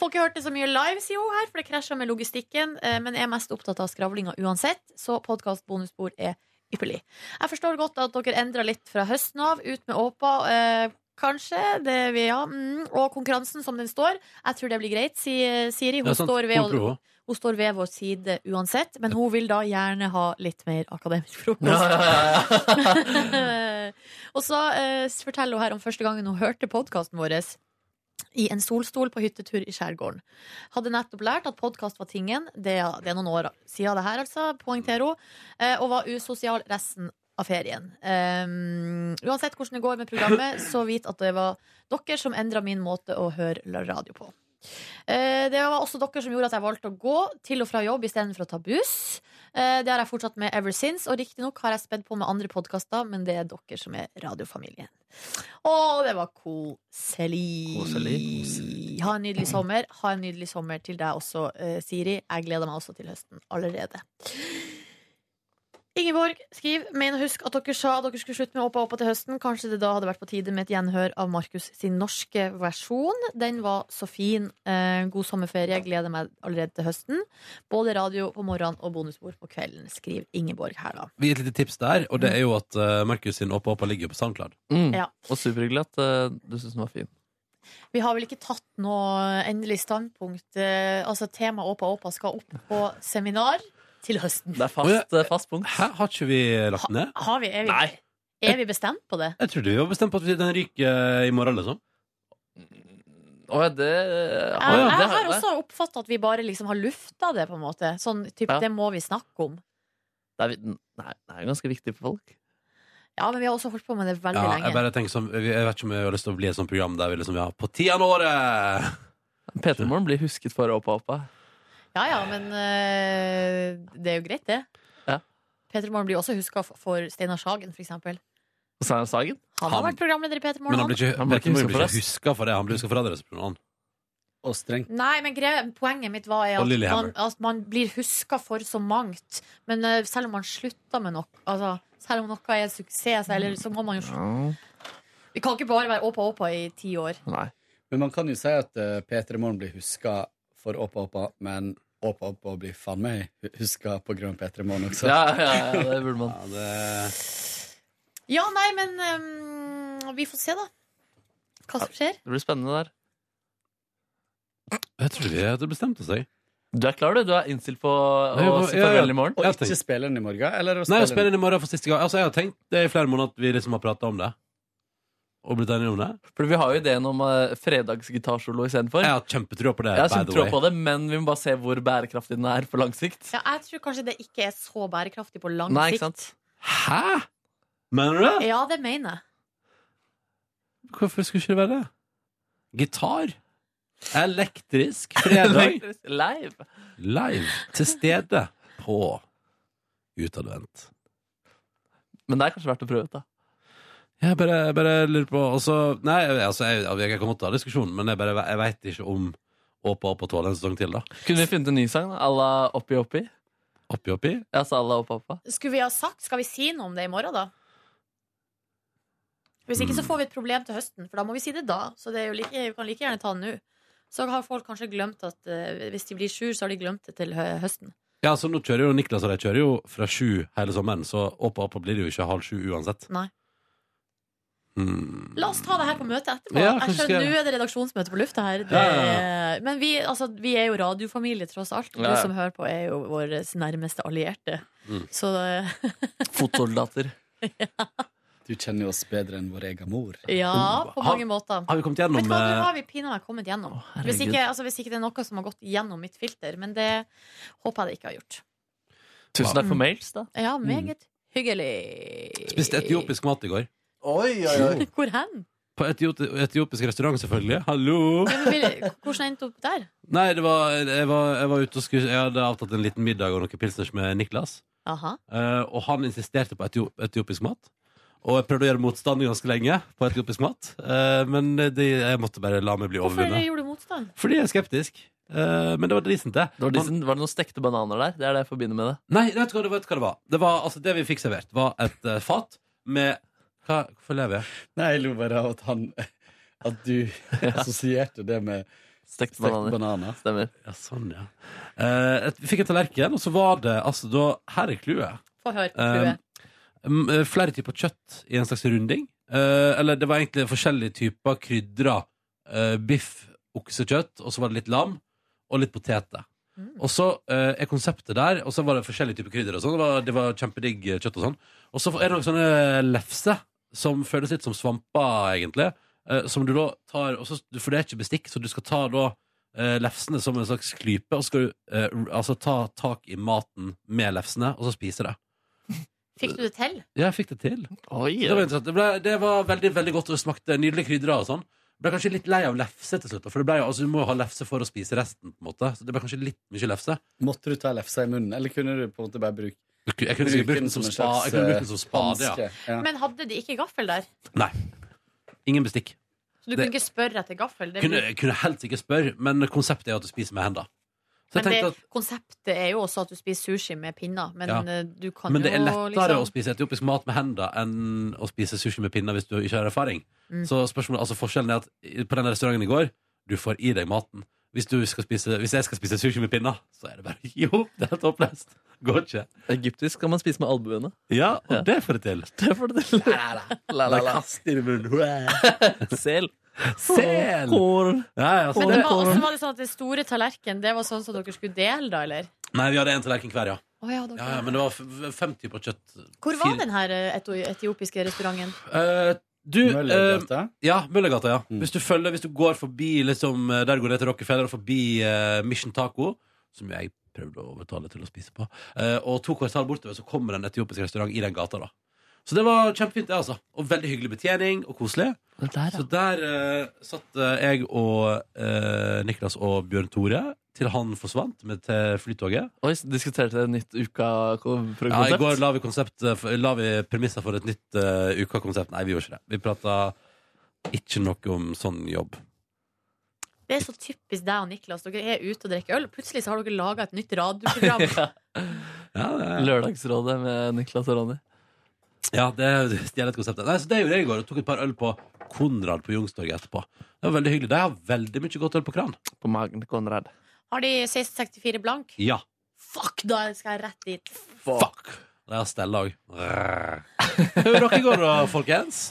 Speaker 2: Får ikke hørt det så mye live, sier hun her, for det krasjer med logistikken. eh, Men er mest opptatt av skravlinga uansett, så podkast bonusbord er ypperlig. Jeg forstår godt at dere endrer litt fra høsten av, ut med Åpa. eh, Kanskje. Det vi, ja. mm, og konkurransen som den står. Jeg tror det blir greit, sier Siri. Hun,
Speaker 1: Ja, sant.
Speaker 2: står ved,
Speaker 1: Hun prøver.
Speaker 2: hun, står ved vår side uansett, men hun vil da gjerne ha litt mer akademisk frokost. [laughs] og så eh, forteller hun her om første gangen hun hørte podkasten vår. I en solstol på hyttetur i skjærgården. Hadde nettopp lært at podkast var tingen. Det, er- det er noen år siden det her, altså, poengterer hun. eh, Og var usosial resten av ferien. Um, uansett hvordan det går med programmet, så vit at det var dere som endra min måte å høre radio på. Eh, Det var også dere som gjorde at jeg valgte å gå til og fra jobb istedenfor å ta buss. Eh, Det har jeg fortsatt med ever since, og riktignok har jeg spedd på med andre podkaster, men det er dere som er radiofamilien. Å, det var koselig. Ha en nydelig sommer. Ha en nydelig sommer til deg også, eh, Siri. Jeg gleder meg også til høsten allerede. Ingeborg skriver Men husk at dere sa at dere skulle slutte med Åpa Åpa til høsten. Kanskje det da hadde vært på tide med et gjenhør av Markus sin norske versjon. Den var så fin. Eh, god sommerferie. Gleder meg allerede til høsten. Både radio på morgenen og bonusbord på kvelden, skriver Ingeborg her, da.
Speaker 1: [laughs] Vi gir et lite tips der, og det er jo at eh, Markus sin Åpa Åpa ligger jo på SoundCloud.
Speaker 3: Mm.
Speaker 2: Ja.
Speaker 3: Og superhyggelig at eh, du syns den var fin.
Speaker 2: Vi har vel ikke tatt noe endelig standpunkt. Eh, altså temaet Åpa Åpa skal opp på seminar til høsten.
Speaker 3: Det er fast, eh, fast punkt.
Speaker 1: Hæ, har ikke vi lagt den ned?
Speaker 2: Har vi, er, vi,
Speaker 3: Nei.
Speaker 2: er vi bestemt på det?
Speaker 1: Jeg trodde vi var bestemt på at vi- den ryker eh, i morgen, liksom.
Speaker 3: Å ja, det
Speaker 2: Jeg,
Speaker 3: Å, ja,
Speaker 2: jeg
Speaker 3: det
Speaker 2: har
Speaker 3: jeg.
Speaker 2: også oppfatta at vi bare liksom har lufta det, på en måte. Sånn typ,
Speaker 3: Ja.
Speaker 2: det må vi snakke om.
Speaker 3: det er, vi- nei, det er jo ganske viktig for folk.
Speaker 2: Ja, men vi har også holdt på med det veldig
Speaker 1: Ja,
Speaker 2: lenge.
Speaker 1: jeg bare tenker sånn, jeg vet ikke om jeg har lyst til å bli et sånt program der vi liksom, ja, på tiende året!
Speaker 3: P3morgen blir husket for Åpa Åpa.
Speaker 2: Ja ja, men eh, det er jo greit, det.
Speaker 3: Ja.
Speaker 2: Peter Morgen blir også huska for Steinar Sagen, for eksempel.
Speaker 3: Og Steinar Sagen?
Speaker 2: Han har vært programleder i Peter
Speaker 1: Men han
Speaker 2: Morgen.
Speaker 1: blir ikke,
Speaker 3: Han blir ikke
Speaker 1: Petter Morgen
Speaker 3: husket for
Speaker 1: blir
Speaker 3: oss.
Speaker 1: ikke huska for det. Han blir huska for andre resolusjoner.
Speaker 12: Og strengt.
Speaker 2: Nei, men greia, poenget mitt var er
Speaker 1: Og
Speaker 2: at man,
Speaker 1: Lillehammer.
Speaker 2: at man blir huska for så mangt. Men eh, selv om man slutter med noe, altså, selv om noe er suksess, eller, så må man jo Vi kan ikke bare være åpa åpa i ti år.
Speaker 3: Nei.
Speaker 12: Men man kan jo si at uh, P3 Morgen blir huska for Åpa Åpa, men Åpa Åpa blir faen meg huska på grunn av P3 Morgen også.
Speaker 3: Ja, ja, ja, det burde man.
Speaker 2: Ja, nei, men ehm, vi får se, da. Hva som skjer.
Speaker 3: Det blir spennende der.
Speaker 1: Jeg tror vi hadde bestemt oss, jeg.
Speaker 3: Du er klar, du? Du er innstilt på
Speaker 1: Nei,
Speaker 3: å
Speaker 1: jeg-
Speaker 3: si
Speaker 1: jeg-
Speaker 3: farvel i morgen?
Speaker 1: jeg-
Speaker 12: Og
Speaker 1: jeg
Speaker 12: ikke
Speaker 1: tenker-
Speaker 12: spille den i morgen? Eller å
Speaker 1: Nei,
Speaker 12: spille
Speaker 1: jeg spiller den i morgen for siste gang. Altså, jeg har tenkt det i flere måneder at vi liksom har prata om det. Og blitt enige om det.
Speaker 3: For vi har jo ideen om uh, fredagsgitarsolo istedenfor.
Speaker 1: Jeg har kjempetrua på det,
Speaker 3: Jeg
Speaker 1: by
Speaker 3: har
Speaker 1: the
Speaker 3: kjempetro
Speaker 1: way.
Speaker 3: på det, men vi må bare se hvor bærekraftig den er på lang sikt.
Speaker 2: Ja, jeg tror kanskje det ikke er så bærekraftig på lang
Speaker 3: Nei,
Speaker 2: sikt.
Speaker 3: ikke sant?
Speaker 1: Hæ?! Mener du det?
Speaker 2: Ja, det mener jeg.
Speaker 1: Hvorfor skulle ikke det være det? Gitar. Elektrisk
Speaker 3: [laughs]
Speaker 1: fredag.
Speaker 3: Live.
Speaker 1: Live. Til stede. På utadvendt.
Speaker 3: Men det er kanskje verdt å prøve ut, da.
Speaker 1: Jeg bare, bare lurer på altså, Nei, altså, jeg, jeg kan godt ta diskusjonen, men jeg, bare, jeg veit ikke om Åpa Åpa tåler en sesong til, da.
Speaker 3: Kunne vi funnet en ny sang? da? À la Oppi Oppi?
Speaker 1: Oppi oppi.
Speaker 3: Ja, sa à la Oppa Oppa.
Speaker 2: Skulle vi ha sagt, Skal vi si noe om det i morgen, da? Hvis ikke så
Speaker 1: Mm.
Speaker 2: får vi et problem til høsten, for da må vi si det da. Så det er jo like, vi kan like gjerne ta det nå. Så har folk kanskje glemt at eh, hvis de blir sur, så har de glemt det til hø høsten.
Speaker 1: Ja, altså, nå kjører jo Niklas og de kjører jo fra sju hele sommeren, så Åpa Åpa blir det jo ikke halv sju uansett.
Speaker 2: Nei.
Speaker 1: Hmm.
Speaker 2: La oss ta det her på møtet etterpå.
Speaker 1: Ja,
Speaker 2: jeg
Speaker 1: kanskje
Speaker 2: skjønner,
Speaker 1: skal jeg-
Speaker 2: Nå er det redaksjonsmøte på lufta her. Det,
Speaker 1: Ja, ja,
Speaker 2: er- Men vi, altså, vi er jo radiofamilie, tross alt.
Speaker 3: Ja, ja.
Speaker 2: Du som hører på, er jo vår nærmeste allierte.
Speaker 1: Mm.
Speaker 2: Så eh,
Speaker 1: [laughs]
Speaker 3: Fotsoldater.
Speaker 12: Du kjenner jo oss bedre enn vår egen mor.
Speaker 2: ja,
Speaker 1: Mm.
Speaker 2: på mange måter.
Speaker 1: Har vi kommet
Speaker 2: Vet
Speaker 1: gjennom
Speaker 2: du hva, nå
Speaker 1: eh,
Speaker 2: har vi pinadø meg kommet gjennom. Hvis ikke, altså, hvis ikke det er noe som har gått gjennom mitt filter. Men det håper jeg det ikke har gjort.
Speaker 3: Tusen takk for mails, da.
Speaker 2: Ja, meget hyggelig.
Speaker 1: Spiste Mm. eh, etiopisk mat i går.
Speaker 3: Oi, oi, oi.
Speaker 2: Hvor hen?
Speaker 1: På etiopi etiopisk restaurant, selvfølgelig. Hallo!
Speaker 2: Ja, men vil- Hvordan endte du opp der?
Speaker 1: Nei, det var, jeg, var, jeg var ute og skulle Jeg hadde avtalt en liten middag og noen pilsners med Niklas.
Speaker 2: Aha.
Speaker 1: Eh, og han insisterte på etio etiopisk mat. Og jeg prøvde å gjøre motstand ganske lenge på etiopisk mat. Eh, men det, jeg måtte bare la meg bli
Speaker 2: Hvorfor
Speaker 1: overvunnet.
Speaker 2: gjorde du motstand?
Speaker 1: Fordi jeg er skeptisk. Eh, men det var decent, det.
Speaker 3: Var, det noen stekte bananer der? Det er det jeg forbinder med det.
Speaker 1: Nei, vet du hva, vet du hva det var? Det, var altså, det vi fikk servert, var et eh, fat med hva, Hvorfor lever jeg?
Speaker 12: Nei, jeg lo bare av at han At du [laughs] assosierte det med
Speaker 3: Stekt
Speaker 1: bananer.
Speaker 3: Stemmer.
Speaker 1: Ja, sånn, ja. Eh, et- vi fikk en tallerken, og så var det altså da Her er clouet.
Speaker 2: Få høre.
Speaker 1: Eh, m- eh, flere typer kjøtt i en slags runding. Eh, eller det var egentlig forskjellige typer krydra eh, biff, oksekjøtt, og så var det litt lam, og litt poteter. Og så eh, er konseptet der, og så var det forskjellige typer krydder og sånn. Det var, det var kjempedigg eh, kjøtt og sånn. Og så er det noen sånne lefser som føles litt som svamper, egentlig. eh, som du da tar og så, For det er ikke bestikk, så du skal ta da eh, lefsene som en slags klype, og så skal du eh, r- altså ta tak i maten med lefsene, og så spise det.
Speaker 2: Fikk du det til?
Speaker 1: Ja, jeg fikk det til. det, var interessant. det, ble, det var veldig veldig godt og det smakte nydelige krydder og sånn. Ble kanskje litt lei av lefse til slutt, da, for det ble, jo- altså, du må jo ha lefse for å spise resten. på en måte Så det ble kanskje litt mye lefse.
Speaker 12: Måtte du ta lefsa i munnen, eller kunne du på en måte bare bruke
Speaker 1: Jeg kunne sikkert brukt den som spa- jeg kunne brukt den som spade, ja.
Speaker 12: eh,
Speaker 2: Men hadde de ikke gaffel der?
Speaker 1: Nei. Ingen bestikk.
Speaker 2: Så du
Speaker 1: Det-
Speaker 2: kunne ikke spørre etter gaffel? Det
Speaker 1: Kunne,
Speaker 2: blir-
Speaker 1: kunne helt sikkert spørre, men konseptet er at du spiser med hendene. Så jeg
Speaker 2: men det,
Speaker 1: tenkte at
Speaker 2: konseptet er jo også at du spiser sushi med pinner. Men
Speaker 1: Ja.
Speaker 2: eh, du kan
Speaker 1: men det er
Speaker 2: jo
Speaker 1: lettere å
Speaker 2: liksom
Speaker 1: spise etiopisk mat med hendene enn å spise sushi med pinner hvis du ikke har erfaring.
Speaker 2: Mm.
Speaker 1: Så spørsmålet, altså forskjellen er at i- på den restauranten i går, du får i deg maten. Hvis, du skal spise, hvis jeg skal spise sushi med pinner, så er det bare [laughs] jo, det er topplest. Går ikke.
Speaker 3: Egyptisk kan man spise med albuene. [laughs]
Speaker 1: Ja, og det får det til.
Speaker 3: Det får det til. La, la, la.
Speaker 12: i munnen.
Speaker 3: [laughs] Sel.
Speaker 1: Sel! Ja, ja, så
Speaker 2: Men det
Speaker 1: det-
Speaker 2: var, også var det sånn at det store tallerken Det var sånn som dere skulle dele, da, eller?
Speaker 1: Nei, vi hadde en tallerken hver, ja.
Speaker 2: Å ja, dere-
Speaker 1: ja, ja men det var f- f- fem typer kjøtt.
Speaker 2: Hvor
Speaker 1: Fire-
Speaker 2: var den her eh, eto- etiopiske restauranten?
Speaker 1: Eh, du,
Speaker 12: Møllergata?
Speaker 1: eh, ja, Møllergata, ja. Hvis, du følger, hvis du går forbi liksom, eh, Der går det til Rockefeller og forbi eh, Mission Taco, som jeg prøvde å overtale til å spise på, eh, og to kvartal bortover, så kommer det en etiopisk restaurant i den gata. da Så det var kjempefint, det, altså. Og veldig hyggelig betjening, og koselig. så der eh, satt eh, jeg og eh, Niklas og Bjørn Tore til han forsvant med til flytoget.
Speaker 3: Oi, så diskuterte dere nytt uka-konsept?
Speaker 1: Ja, I går la vi, konsept, eh, la vi premisser for et nytt eh, ukakonsept. Nei, vi gjorde ikke det. Vi prata ikke noe om sånn jobb.
Speaker 2: Det er så typisk deg og Niklas. Dere er ute og drikker øl, og plutselig så har dere laga et nytt
Speaker 3: [laughs]
Speaker 2: radioprogram.
Speaker 3: Lørdagsrådet med Niklas og Ronny.
Speaker 1: Ja, det stjeler et konsept. Nei, så det gjorde jeg i går. Og tok et par øl på Konrad på Youngstorget etterpå. Det var veldig hyggelig. De har veldig mye godt øl på kran.
Speaker 3: På magen til Konrad.
Speaker 2: Har de 1664 blank?
Speaker 1: Ja.
Speaker 2: Fuck, da skal jeg rett dit.
Speaker 1: Fuck! De har stella òg. Hvordan dere går da, folkens?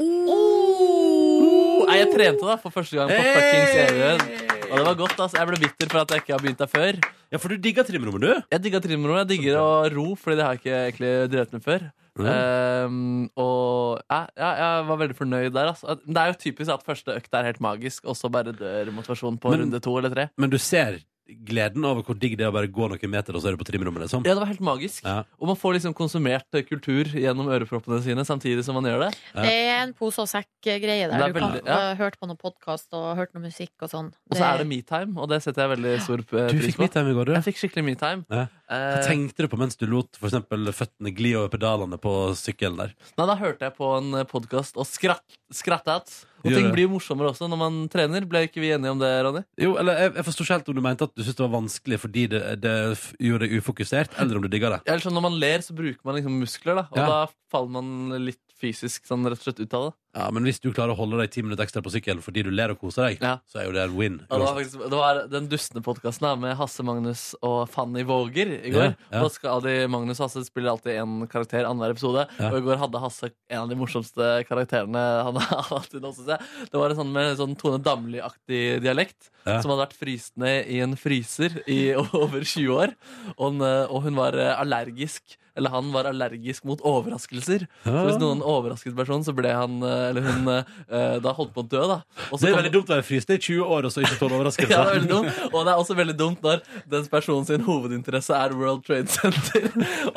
Speaker 3: Oh.
Speaker 1: Oh.
Speaker 3: Nei, jeg trente da for første gang på
Speaker 1: Hey!
Speaker 3: fuckings Even. Og det var godt, altså. Jeg ble bitter for at jeg ikke har begynt der før.
Speaker 1: Ja, for du digger trimrommet, du?
Speaker 3: Jeg digger trimrommet. Jeg digger å ro, fordi det har jeg ikke egentlig drevet med før. Ehm, og ja, ja, jeg var veldig fornøyd der. Altså. At- Det er jo typisk at første økt er helt magisk, og så bare dør motivasjonen på
Speaker 1: Men-
Speaker 3: runde to eller tre.
Speaker 1: Men du ser gleden over hvor digg det er å bare gå noen meter, og så er du på trimrommet, liksom?
Speaker 3: Ja, det var helt magisk.
Speaker 1: Ja.
Speaker 3: Og man får liksom konsumert eh, kultur gjennom øreproppene sine samtidig som man gjør det.
Speaker 2: Det er en pose og sekk-greie
Speaker 3: Det
Speaker 2: der.
Speaker 3: er
Speaker 2: Du kan
Speaker 3: veldig-
Speaker 2: ha
Speaker 3: ja.
Speaker 2: hørt på noen podkast og hørt noe musikk og sånn.
Speaker 3: Og så er det metime, og det setter jeg veldig stor eh, pris
Speaker 1: Du
Speaker 3: på.
Speaker 1: fikk mitt time i går, du.
Speaker 3: Jeg fikk skikkelig metime.
Speaker 1: Ja. Hva
Speaker 3: Eh,
Speaker 1: tenkte du på mens du lot for eksempel føttene gli over pedalene på sykkelen der?
Speaker 3: Nei, da hørte jeg på en podkast og skratt, skrattet. Og
Speaker 1: Gjør
Speaker 3: ting
Speaker 1: det.
Speaker 3: blir morsommere også når man trener. Ble ikke vi enige om det, Ronny?
Speaker 1: Jo, eller Jeg, jeg forsto ikke helt om du mente at du syntes det var vanskelig fordi det, det f- gjorde deg ufokusert, eller om du digga det.
Speaker 3: Eller sånn, Når man ler, så bruker man liksom muskler, da. Og
Speaker 1: Ja.
Speaker 3: da faller man litt fysisk sånn rett og slett ut av det.
Speaker 1: Ja, Men hvis du klarer å holde deg ti minutter ekstra på sykkelen fordi du ler og koser deg, så er jo det en win.
Speaker 3: Og det, var
Speaker 1: uansett.
Speaker 3: faktisk, det var den dustne podkasten med Hasse Magnus og Fanny Våger i går.
Speaker 1: Ja, ja.
Speaker 3: Og da skal de, Magnus og Hasse spiller alltid én karakter annenhver episode.
Speaker 1: Ja.
Speaker 3: Og i går hadde Hasse en av de morsomste karakterene han [laughs] har hatt. i Nå synes jeg. Det var en sånn med en sånn Tone Damli-aktig dialekt.
Speaker 1: Ja.
Speaker 3: Som hadde vært frysende i en fryser i [laughs] over 20 år. Og, hun, eh, og hun var eh, allergisk. Eller han var allergisk mot overraskelser. Så
Speaker 1: Ah.
Speaker 3: hvis noen overrasket personen, så ble han eh, Eller hun eh, da holdt på å dø, da. Og så
Speaker 1: Det er
Speaker 3: kom-
Speaker 1: veldig dumt å være fryst i 20 år og så ikke tåle overraskelser.
Speaker 3: Ja, det er veldig dumt. Og det er også veldig dumt når den personen sin hovedinteresse er World Trade Center.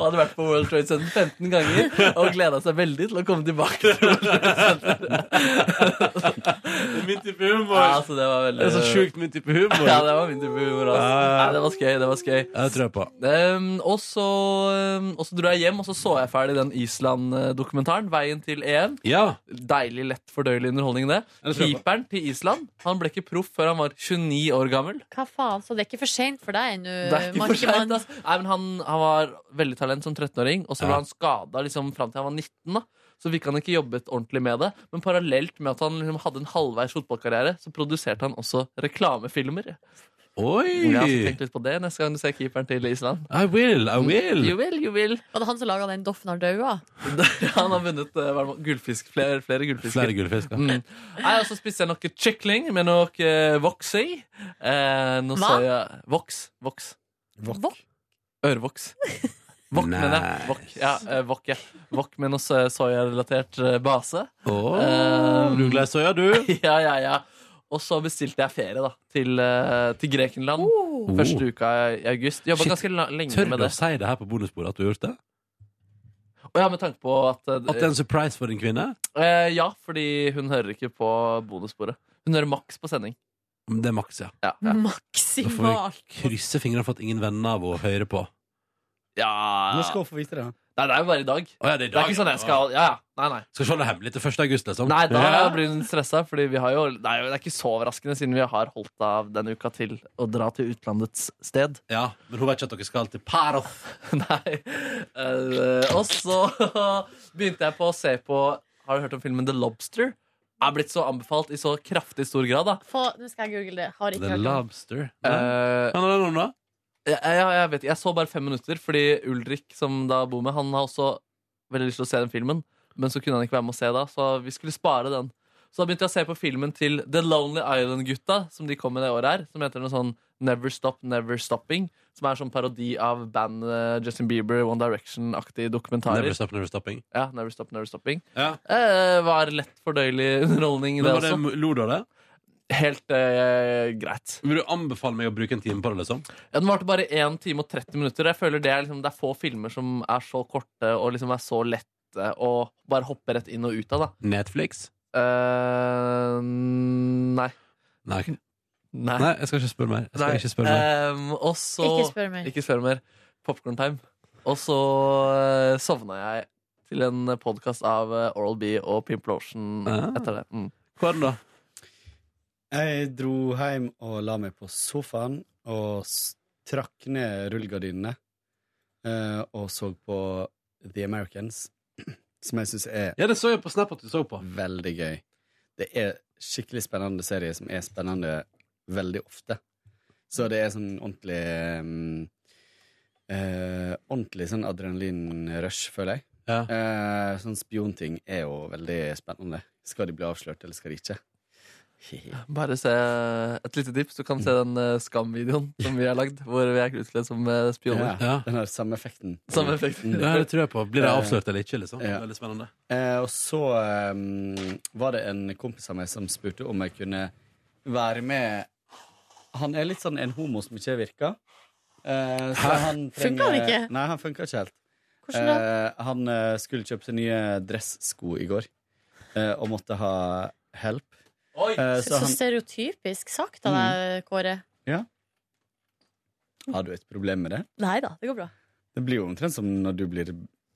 Speaker 3: Og hadde vært på World Trade Center 15 ganger og gleda seg veldig til å komme tilbake til World Trade Center.
Speaker 1: [laughs] Min type humor.
Speaker 3: Ja, altså, det, var veldig...
Speaker 1: Det er så sjukt min type humor.
Speaker 3: Ja, det var min type humor. Altså.
Speaker 1: Ja.
Speaker 3: Nei, det var skøy. Det var skøy.
Speaker 1: Jeg tror jeg på.
Speaker 3: Ehm, og, så, ehm, og så dro jeg hjem, og så så jeg ferdig den Island-dokumentaren, Veien til EM.
Speaker 1: Ja.
Speaker 3: Deilig lett fordøyelig underholdning, det.
Speaker 1: Jeg tror jeg på.
Speaker 3: Keeperen til Island han ble ikke proff før han var 29 år gammel.
Speaker 2: Hva faen, så det er ikke for seint for deg ennå,
Speaker 3: Det er ikke for
Speaker 2: Markemann?
Speaker 3: sent, ass. Nei, men han, han var veldig talent som 13-åring, og så ble
Speaker 1: Ja.
Speaker 3: han skada liksom, fram til han var 19. da. Så fikk han ikke jobbet ordentlig med det. Men parallelt med at han liksom, hadde en halvveis fotballkarriere, så produserte han også reklamefilmer.
Speaker 1: Oi!
Speaker 3: Ja, så tenk litt på det neste gang du ser keeperen til Island.
Speaker 1: I will, I will.
Speaker 3: You will, you will.
Speaker 2: Var det han som laga den Doffen har daua?
Speaker 3: [laughs] Han har vunnet eh, hva er det, gullfisk, flere, flere gullfisker.
Speaker 1: Flere gullfisk, ja.
Speaker 3: Mm. Nei, og så spiste jeg noe kykling med noe eh, voks i. Eh, nå
Speaker 2: Hva?
Speaker 3: sa jeg voks. Voks.
Speaker 2: Vokk?
Speaker 3: Ørevoks. Wok, mener jeg. Wok, ja, eh, wok, ja. wok med noe so- soyarelatert eh, base.
Speaker 1: Åh,
Speaker 3: Eh,
Speaker 1: du er glad i soya, du.
Speaker 3: [laughs] ja, ja, ja. Og så bestilte jeg ferie da, til, eh, til Grekenland. Første uka i august. Jobba
Speaker 1: Oh. Shit,
Speaker 3: ganske la- lenge
Speaker 1: Tør
Speaker 3: med
Speaker 1: du å
Speaker 3: det.
Speaker 1: si det her på bonusbordet at du har gjort det?
Speaker 3: Og ja, med tanke på at, eh,
Speaker 1: At det er en surprise for din kvinne?
Speaker 3: eh, Ja, fordi hun hører ikke på bonussporet. Hun hører maks på sending.
Speaker 1: Mm, Det er maks, ja.
Speaker 3: Ja, ja.
Speaker 1: Da får vi krysse fingrene for at ingen venner av henne hører på.
Speaker 3: Ja.
Speaker 12: Nå skal hun få vite det.
Speaker 3: Nei, det er jo bare i dag.
Speaker 1: ja, det er i dag,
Speaker 3: ikke sånn
Speaker 1: ja.
Speaker 3: jeg skal Ja, ja. Nei, nei.
Speaker 1: Skal ikke holde det hemmelig til 1. august, liksom.
Speaker 3: Nei, da
Speaker 1: Ja.
Speaker 3: blir hun stressa, Fordi vi har jo Det er jo det er ikke så overraskende, siden vi har holdt av denne uka til å dra til utlandets sted.
Speaker 1: Ja, men hun vet ikke at dere skal til Paroth.
Speaker 3: [laughs] Nei. Eh, og så [laughs] begynte jeg på å se på Har du hørt om filmen The Lobster? Er blitt så anbefalt i så kraftig stor grad, da.
Speaker 2: Få, nå skal jeg google det. Har ikke
Speaker 1: The
Speaker 2: hørt om.
Speaker 1: Lobster.
Speaker 3: Eh,
Speaker 1: Hva handler det om, da?
Speaker 3: jeg, jeg, jeg vet ikke. Jeg så bare fem minutter, fordi Ulrik, som da bor med, han har også veldig lyst til å se den filmen, men så kunne han ikke være med å se da, så vi skulle spare den. Så da begynte jeg å se på filmen til The Lonely Island-gutta, som de kom med det året her, som heter noe sånn Never Stop, Never Stopping, som er sånn parodi av band eh, Justin Bieber, One Direction-aktige dokumentarer.
Speaker 1: Never Stop, Never Stopping.
Speaker 3: Ja, Never Stop, Never Stopping.
Speaker 1: Ja.
Speaker 3: Eh, var lett fordøyelig [laughs] underholdning,
Speaker 1: Men
Speaker 3: det
Speaker 1: var det,
Speaker 3: også.
Speaker 1: Lo du av det?
Speaker 3: Helt eh, greit.
Speaker 1: Vil du anbefale meg å bruke en time på det, liksom?
Speaker 3: Ja, den varte bare 1 time og 30 minutter. og Jeg føler Det er, liksom, det er få filmer som er så korte og liksom er så lette å bare hoppe rett inn og ut av. da
Speaker 1: Netflix?
Speaker 3: Eh, Nei.
Speaker 1: Nei, ok.
Speaker 3: Nei.
Speaker 1: Nei, jeg skal ikke spørre mer. Jeg skal
Speaker 3: Nei.
Speaker 1: ikke spørre mer.
Speaker 3: Ehm, og så
Speaker 2: Ikke spør mer.
Speaker 3: Ikke spør mer. Popcorn time. Og så eh, sovna jeg til en podkast av eh, Oral B og Pimplotion
Speaker 1: Ah.
Speaker 3: etter det. Mm.
Speaker 1: Hva er den, da?
Speaker 12: Jeg dro hjem og la meg på sofaen og s- trakk ned rullegardinene eh, og så på The Americans, [clears throat] som jeg syns er
Speaker 1: Ja, det så jeg på Snap at du så på.
Speaker 12: Mm. veldig gøy. Det er skikkelig spennende serie som er spennende veldig ofte. Så det er sånn ordentlig mm, eh, Ordentlig sånn adrenalinrush, føler jeg.
Speaker 1: Ja.
Speaker 12: Eh, sånn spionting er jo veldig spennende. Skal de bli avslørt, eller skal de
Speaker 1: [laughs]
Speaker 12: ikke?
Speaker 3: Bare se et lite tips. Du kan se den eh, Skam-videoen som vi har lagd, hvor vi er utkledd som eh, spioner.
Speaker 1: Ja. Mm.
Speaker 12: Den har samme effekten.
Speaker 3: Samme effekt.
Speaker 1: Ja,
Speaker 3: [laughs]
Speaker 1: det tror jeg på. Blir det avslørt eller ikke, liksom?
Speaker 12: Eh. Ja.
Speaker 1: Veldig spennende.
Speaker 12: Eh, og så eh, var det en kompis av meg som spurte om jeg kunne være med Han er litt sånn en homo som ikke virker. Eh, så han
Speaker 2: Funker
Speaker 12: trenger-
Speaker 2: han ikke?
Speaker 12: Nei, han funka ikke helt.
Speaker 2: Hvordan da?
Speaker 12: Eh, han eh, skulle kjøpe seg nye dressko i går eh, og måtte ha help.
Speaker 3: Oi!
Speaker 12: Eh,
Speaker 2: Så,
Speaker 12: så han Mm.
Speaker 2: stereotypisk sagt av deg, Kåre.
Speaker 12: Har du et problem med det?
Speaker 2: Nei da, det går bra.
Speaker 12: Det blir jo omtrent som når du blir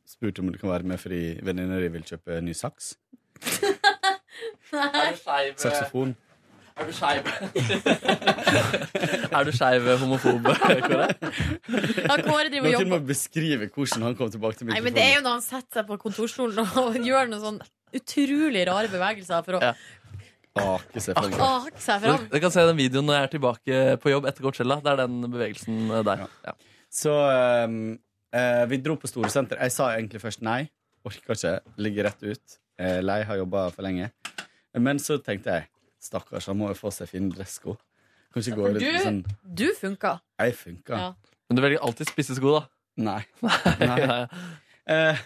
Speaker 12: spurt om du kan være med fordi venninna di vil kjøpe ny saks.
Speaker 3: Er du skeiv?
Speaker 12: Saksofon.
Speaker 3: Er du skeiv? [laughs] er du skeiv [laughs] homofob? Kåre?
Speaker 2: Ja, Kåre driver
Speaker 12: Nå
Speaker 2: og
Speaker 12: til og
Speaker 2: jobber
Speaker 12: med beskrive hvordan han kom tilbake til
Speaker 2: Nei, men det er
Speaker 12: mikrofonen.
Speaker 2: jo når han setter seg på kontorstolen og [laughs] gjør noen sånn utrolig rare bevegelser for å
Speaker 3: Ja.
Speaker 12: Ake seg fram.
Speaker 2: ake seg
Speaker 3: Du,
Speaker 2: fram.
Speaker 3: du kan se den videoen når jeg er tilbake på jobb etter Coachella. Det er den bevegelsen eh, der. Ja.
Speaker 12: Så ehm, eh, vi dro på Storesenter. Jeg sa egentlig først nei. Orka ikke. Ligger rett ut. Eh, lei, har jobba for lenge. Men så tenkte jeg stakkars, han må jo få seg fine dressko. Kan ikke gå
Speaker 2: For
Speaker 12: rundt med sånn
Speaker 2: du, du funka.
Speaker 12: Jeg funka.
Speaker 2: Ja.
Speaker 3: Men du velger alltid spisse sko, da.
Speaker 12: Nei. Nei.
Speaker 3: [laughs] Ja, ja.
Speaker 12: Eh,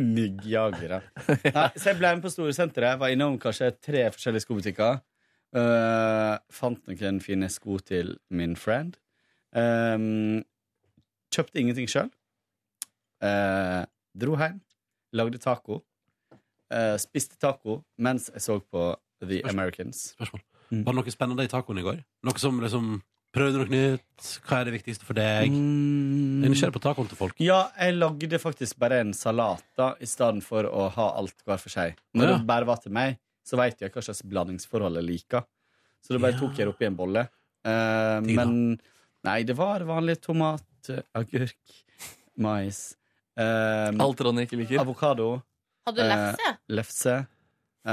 Speaker 12: Myggjagere. Nei, så jeg ble med på Storsenteret. Jeg var innom kanskje tre forskjellige skobutikker. Eh, fant noen fine sko til min friend. Eh, kjøpte ingenting sjøl. dro hjem. Lagde taco. Eh, spiste taco mens jeg så på The Americans.
Speaker 1: Spørsmål.
Speaker 12: Mm.
Speaker 1: Var det noe spennende i tacoen i går? Noe som liksom Prøvde noe nytt? Hva er det viktigste for deg?
Speaker 12: Mm.
Speaker 1: Jeg er nysgjerrig på tacoen til folk.
Speaker 12: Ja, jeg lagde faktisk bare en salat da, i stedet for å ha alt hver for seg. Når
Speaker 1: Ja.
Speaker 12: det bare var til meg, så vet jeg hva slags blandingsforhold jeg liker. Så det bare tok jeg opp i en bolle. Eh, men nei, det var vanlig tomat, eh, agurk, mais Alt
Speaker 3: Ronny ikke liker.
Speaker 12: Avokado.
Speaker 2: Hadde du lefse?
Speaker 12: Eh, lefse.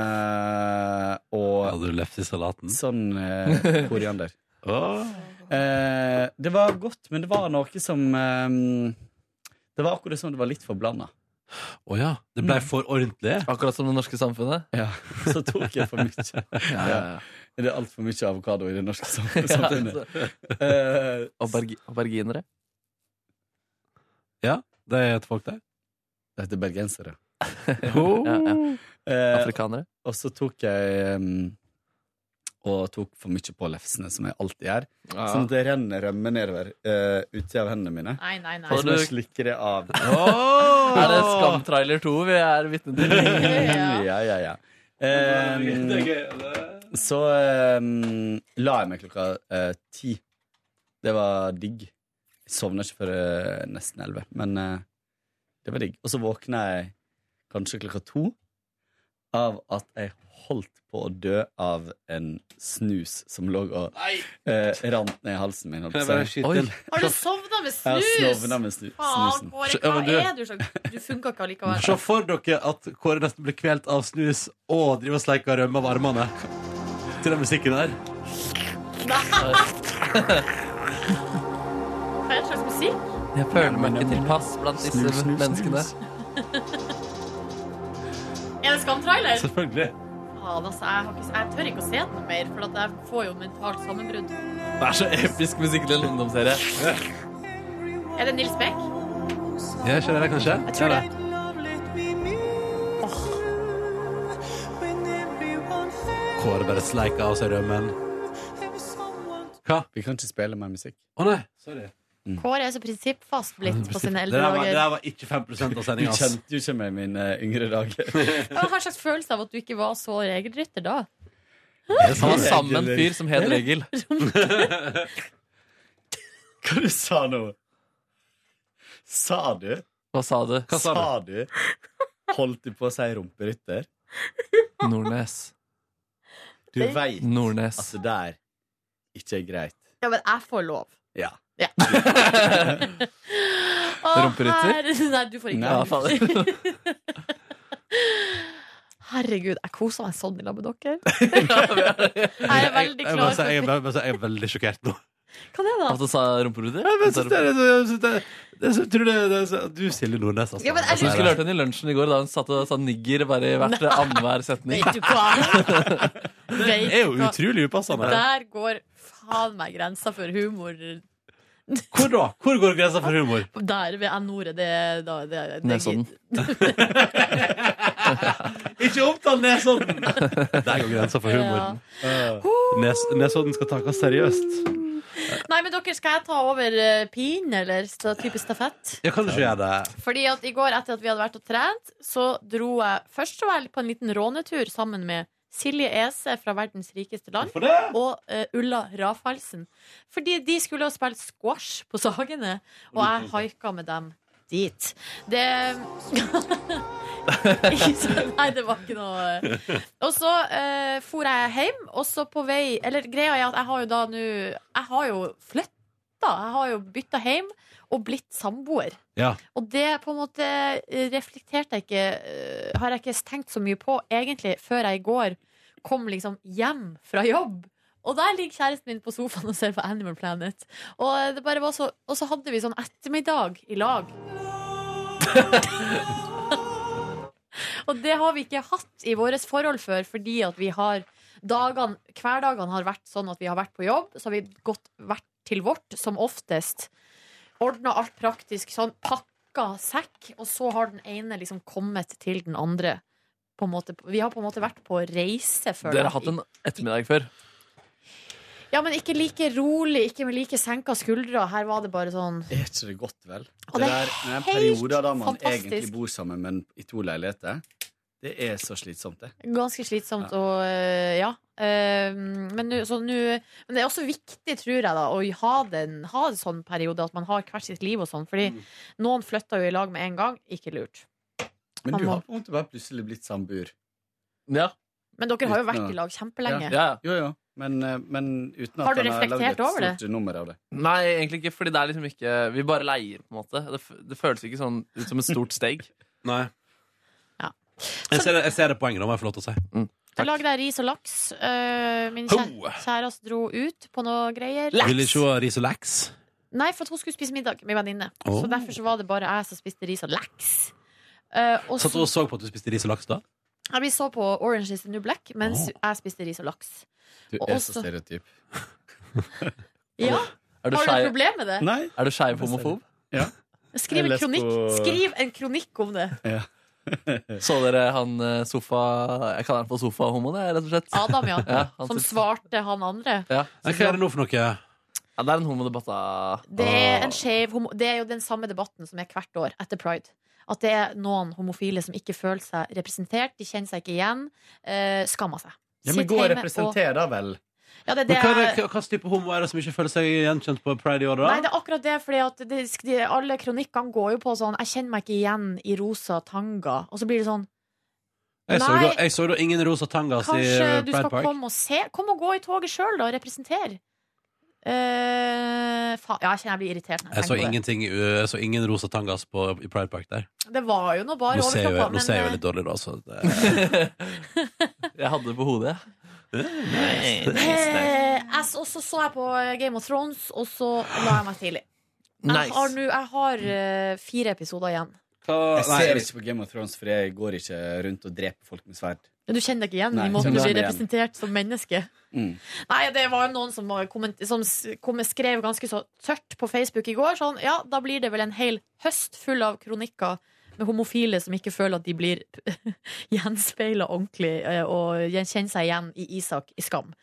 Speaker 12: Eh, og
Speaker 1: Hadde du lefse i salaten?
Speaker 12: Sånn eh, koriander. Eh, det var godt, men det var noe som eh, Det var akkurat som det var litt Mm. forblanda.
Speaker 1: Å ja. Det ble for ordentlig?
Speaker 3: Akkurat som det norske samfunnet?
Speaker 12: Ja. [laughs] Så tok jeg for mye.
Speaker 3: [laughs] ja, ja, ja.
Speaker 12: Ja. Det er altfor mye avokado i det norske sam-
Speaker 3: [laughs] Ja, altså.
Speaker 12: samfunnet. Eh,
Speaker 3: Aubergi- Auberginere?
Speaker 1: Ja, det heter folk der.
Speaker 12: Det heter bergensere. Oh.
Speaker 3: Ja, ja.
Speaker 12: Eh,
Speaker 3: Afrikanere.
Speaker 12: Og så tok jeg um, Og tok for mye på lefsene, som jeg alltid gjør.
Speaker 3: Ja.
Speaker 12: Sånn at det renner rømme nedover uh, uti av hendene mine.
Speaker 2: Nei, nei, nei.
Speaker 12: Og så må jeg slikke det av. Oh.
Speaker 3: Er det Skam-trailer 2 vi er vitne
Speaker 12: [laughs]
Speaker 3: til?
Speaker 12: ja, ja, ja. Um, så um, la jeg meg klokka eh, ti. Det var digg. Jeg sovna ikke før eh, nesten elleve, men eh, det var digg. Og så våkna jeg kanskje klokka to av at jeg holdt på å dø av en snus som lå og eh, rant ned i halsen min. holdt
Speaker 1: Kan jeg
Speaker 12: på å
Speaker 1: bare
Speaker 12: si.
Speaker 1: skyte inn?
Speaker 2: Har du sovna med
Speaker 12: Jeg har
Speaker 2: snus?
Speaker 12: sovnet med snu-
Speaker 2: Faen,
Speaker 12: snusen.
Speaker 2: Kåre,
Speaker 1: Ja, men du-
Speaker 2: hva er du så Du funka ikke allikevel.
Speaker 1: Se for dere at Kåre nesten blir kvelt av snus og driver og sleiker rømme av armene til den musikken der.
Speaker 2: Hva er det slags musikk?
Speaker 3: Jeg føler meg ikke tilpass blant disse
Speaker 1: Snus, snus,
Speaker 3: menneskene.
Speaker 2: Er det Skam-trailer?
Speaker 1: Selvfølgelig.
Speaker 2: Faen, altså, jeg, har ikke, jeg tør ikke å se den mer, for at jeg får jo mentalt sammenbrudd.
Speaker 3: Det er så episk musikk til en ungdomsserie.
Speaker 2: Er det Nils Beck?
Speaker 1: Ja, ikke det, kanskje?
Speaker 2: Jeg tror
Speaker 1: Ja,
Speaker 2: det.
Speaker 1: da. Kåre bare sleiker av seg rømmen. Hva?
Speaker 12: Vi kan ikke spille mer musikk.
Speaker 1: Å nei, sorry.
Speaker 2: Kåre er så prinsippfast blitt på sine
Speaker 1: Det
Speaker 2: eldre
Speaker 1: der var, det
Speaker 2: dager.
Speaker 1: der var ikke 5 av
Speaker 12: Du
Speaker 1: sendinga.
Speaker 12: kjente jo ikke meg i mine yngre dager.
Speaker 2: Jeg har en slags følelse av at du ikke var så regelrytter da.
Speaker 3: Han var sammen med en fyr som het Regel.
Speaker 12: Hva du sa nå? Sa du?
Speaker 3: Hva sa du?
Speaker 12: Hva sa du? Holdt du på å si rumperytter?
Speaker 3: Nordnes.
Speaker 12: Du veit
Speaker 3: Nordnes.
Speaker 12: at det der ikke er greit.
Speaker 2: Ja, men jeg får lov.
Speaker 12: Ja.
Speaker 1: [laughs]
Speaker 2: Ja. Å,
Speaker 12: Rumperytter?
Speaker 2: herre- Nei, du får ikke
Speaker 12: Nei,
Speaker 2: [laughs] lov. Herregud, jeg koser meg sånn i lag
Speaker 1: [laughs]
Speaker 2: med dere. Jeg er veldig
Speaker 1: Jeg,
Speaker 2: klar
Speaker 1: bare, Altså-
Speaker 2: for
Speaker 1: jeg, bare- bare- jeg er veldig sjokkert nå.
Speaker 2: Hva er det, da?
Speaker 3: At du sa rumperuder?
Speaker 1: Jeg bare synes det, er- jeg synes det, er- jeg synes- tror det, er- det, er så- du, Silje Nordnes, altså.
Speaker 2: Ja, men jeg
Speaker 1: Altså, det
Speaker 2: synes-
Speaker 3: Skulle hørt henne i lunsjen i går da hun satt og sa nigger bare i hvert annenhver setning.
Speaker 2: Vet du hva?
Speaker 1: [laughs]
Speaker 2: Vet
Speaker 1: er jo
Speaker 2: du hva?
Speaker 1: utrolig upassende.
Speaker 2: Der går faen meg grensa for humor.
Speaker 1: Hvor da? Hvor går grensa for humor?
Speaker 2: Der ved N-ordet. Det, da- det, det,
Speaker 1: Nesodden. Ikke omtal Nesodden! Der går grensa for humoren. Eh, Nes, Nesodden skal takes seriøst.
Speaker 2: Nei, men dere, skal jeg ta over eh, pin, eller sta- type stafett?
Speaker 1: Jeg kan ikke gjøre det.
Speaker 2: Fordi at i går, etter at vi hadde vært og trent, så dro jeg først og vel på en liten rånetur sammen med Silje Ese fra Verdens rikeste land og eh, Ulla Rafhalsen. Fordi de skulle jo spille squash på Sagene, og jeg haika med dem dit. Det [laughs] Ikke så- Nei, det var ikke noe eh. Og så eh, for jeg hjem, og så på vei Eller greia er at jeg har jo da nå Jeg har jo flytta. Jeg har jo bytta hjem og blitt samboer.
Speaker 1: Ja.
Speaker 2: Og det på en måte eh, reflekterte jeg ikke eh, Har jeg ikke tenkt så mye på egentlig før jeg i går kom liksom hjem fra jobb. Og der ligger kjæresten min på sofaen og ser på Animal Planet. Og, det bare var så, og så hadde vi sånn ettermiddag i
Speaker 3: [laughs]
Speaker 2: lag. og det har vi ikke hatt i vårt forhold før, fordi at vi har dagene, hverdagene har vært sånn at vi har vært på jobb, så har vi gått hvert til vårt som oftest ordna alt praktisk. Sånn pakka pakka sekk, og så har den ene liksom kommet til den andre. På en måte, vi har på en måte vært på reise, føler
Speaker 3: Dere har hatt en ettermiddag før.
Speaker 2: Ja, men ikke like rolig, ikke med like senka skuldre. Her var det bare sånn
Speaker 12: Er ikke det godt, vel?
Speaker 2: Og det er
Speaker 12: der- den
Speaker 2: helt
Speaker 12: perioden da man
Speaker 2: fantastisk.
Speaker 12: egentlig bor sammen, men i to leiligheter, det er så slitsomt, det.
Speaker 2: Ganske slitsomt og øh, ja. Eh, Men, nu, så nu, men det er også viktig, tror jeg, da, å ha, den, ha en sånn periode at man har hvert sitt liv og sånn. Fordi
Speaker 12: Mm.
Speaker 2: noen flytter jo i lag med en gang. Ikke lurt.
Speaker 12: Men
Speaker 2: Man
Speaker 12: du
Speaker 2: må-
Speaker 12: har på en måte bare plutselig blitt samboer.
Speaker 3: Ja.
Speaker 2: Men dere har jo vært i lag kjempelenge.
Speaker 12: Jo, jo. Men, eh, men uten
Speaker 2: Har
Speaker 12: at
Speaker 2: du
Speaker 12: han har lagd
Speaker 2: reflektert
Speaker 12: et
Speaker 2: over det?
Speaker 12: stort nummer av det.
Speaker 3: Nei, egentlig ikke, fordi det er liksom ikke Vi bare leier, på en måte. Det, f- det føles ikke sånn ut som et stort
Speaker 2: [laughs]
Speaker 3: steg.
Speaker 1: Nei. Jeg ser, jeg ser det poenget, da må jeg få lov til å si.
Speaker 2: Jeg lagde deg ris og laks. Eh, Min kjæ- kjæreste dro ut på noe greier.
Speaker 1: Vil ikke hun ha ris og laks?
Speaker 2: Nei, for at hun skulle spise middag med venninne.
Speaker 1: Åh.
Speaker 2: Så derfor så var det bare jeg som spiste ris og laks. Eh, og
Speaker 1: Satt hun og så på at du spiste ris og laks da?
Speaker 2: Ja, vi så på Orange is the New Black mens jeg spiste ris og laks.
Speaker 12: Du
Speaker 2: Og
Speaker 12: er så
Speaker 2: også-
Speaker 12: stereotyp.
Speaker 2: Ja.
Speaker 3: Er
Speaker 2: Har du
Speaker 3: skeiv-
Speaker 2: et problem med det?
Speaker 12: Nei.
Speaker 3: Er du skeiv homofob?
Speaker 12: Ja.
Speaker 2: Skriv en,
Speaker 3: Jeg leste
Speaker 2: kronikk.
Speaker 3: på-
Speaker 2: Skriv en kronikk om det.
Speaker 3: Så dere han eh, sofa Jeg kaller han for sofahomoen, jeg, rett og slett.
Speaker 2: Adam, ja.
Speaker 3: han
Speaker 2: Som
Speaker 3: sitter-
Speaker 2: svarte han andre.
Speaker 3: ja.
Speaker 1: Nei, hva er det nå for noe?
Speaker 3: Ja, det er en homodebatt, da.
Speaker 2: Det er, en skjev homo det er jo den samme debatten som er hvert år etter pride. At det er noen homofile som ikke føler seg representert, de kjenner seg ikke igjen, eh, skammer seg.
Speaker 12: Ja,
Speaker 2: Sitt
Speaker 12: men gå og
Speaker 2: hjemme
Speaker 12: representer, da vel.
Speaker 2: Ja, det,
Speaker 1: Men
Speaker 2: er det
Speaker 1: hva, er det,
Speaker 2: jeg-
Speaker 1: hva- hva slags type homo er det som ikke føler seg gjenkjent på Pride i år, da?
Speaker 2: Nei, det er akkurat det, fordi at det, de, alle kronikkene går jo på sånn Jeg kjenner meg ikke igjen i rosa tanga. Og så blir det sånn
Speaker 1: jeg, så
Speaker 2: nei.
Speaker 1: da, jeg så da ingen rosa tangas i
Speaker 2: Kanskje
Speaker 1: eh,
Speaker 2: du
Speaker 1: Pride
Speaker 2: skal
Speaker 1: Park.
Speaker 2: komme og se? Kom og gå i toget sjøl, da, og representer. Eh, faen, ja, jeg kjenner jeg blir irritert. når
Speaker 1: Jeg så
Speaker 2: tenker på det.
Speaker 1: ingenting eh, Jeg så ingen rosa tangas på, i Pride Park der.
Speaker 2: Det var jo nå bare
Speaker 1: Nå ser jeg jo,
Speaker 2: overkropper.
Speaker 1: nå ser jeg jo
Speaker 2: Men, eh,
Speaker 1: litt dårlig, da. Så det,
Speaker 3: jeg hadde det på hodet.
Speaker 2: eh, jeg s- også så jeg på eh, Game of Thrones, og så la jeg meg tidlig. Jeg
Speaker 12: Nice.
Speaker 2: har, nå- jeg har eh, fire episoder igjen.
Speaker 12: Jeg
Speaker 1: nei,
Speaker 12: ser
Speaker 1: jeg-
Speaker 12: ikke på Game of Thrones, for jeg går ikke rundt og dreper folk med sverd.
Speaker 2: Men Du kjenner deg ikke igjen
Speaker 12: Nei,
Speaker 2: i måten du blir
Speaker 12: kjenner meg igjen.
Speaker 2: representert som menneske?
Speaker 12: Mm.
Speaker 2: Nei, det var jo noen som, var komment- som s- kom, skrev ganske så tørt på Facebook i går. Sånn, ja, da blir det vel en hel høst full av kronikker med homofile som ikke føler at de blir [laughs] gjenspeila ordentlig eh, og gjen- kjenner seg igjen i Isak i Skam.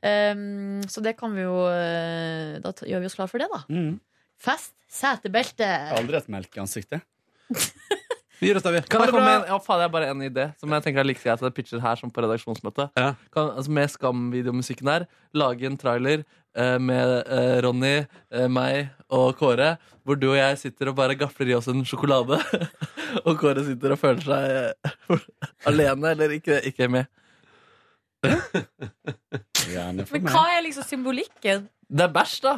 Speaker 2: Um, så det kan vi jo eh, Da t- gjør vi oss klar for det, da.
Speaker 12: Mm.
Speaker 2: Fest setebelte.
Speaker 12: Jeg har aldri hatt melk i ansiktet.
Speaker 1: Vi gir oss der, vi.
Speaker 3: Kan jeg komme med en, ja, faen, jeg har bare en idé som jeg tenker er like greit at jeg pitcher her som på redaksjonsmøtet. Kan, altså, med Skam-videomusikken her, lage en trailer eh, med eh, Ronny, eh, meg og Kåre, hvor du og jeg sitter og bare gafler i oss en sjokolade. [laughs] og Kåre sitter og føler seg eh, [laughs] alene eller ikke, ikke med.
Speaker 12: Gjerne
Speaker 2: Men hva er liksom symbolikken?
Speaker 3: Det er bæsj, da!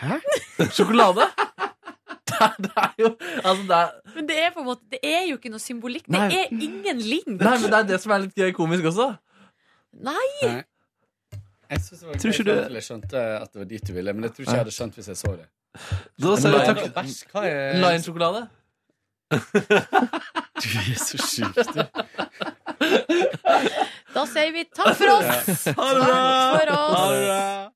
Speaker 3: Hæ? Sjokolade? [laughs] Det, er- det er jo Altså, det er
Speaker 2: Men det er på en måte Det er jo ikke noe symbolikk. Det
Speaker 3: Nei.
Speaker 2: er ingen link.
Speaker 3: Nei, men det er det som er litt gøy komisk også.
Speaker 2: Nei.
Speaker 12: Jeg synes det var
Speaker 3: Tror ikke
Speaker 12: greit
Speaker 3: du-
Speaker 12: at jeg skjønte at det var dit du ville, men jeg tror ikke jeg hadde skjønt hvis jeg så det.
Speaker 1: Da sier
Speaker 12: Men
Speaker 1: jeg
Speaker 12: nei,
Speaker 1: takk-
Speaker 12: bæsj, hva er-
Speaker 3: Lion-sjokolade.
Speaker 12: Du er så sjuk, du.
Speaker 2: Da sier vi takk for oss.
Speaker 12: Ja. Ha det
Speaker 2: Takk
Speaker 12: bra.
Speaker 2: for oss.
Speaker 12: Ha det bra.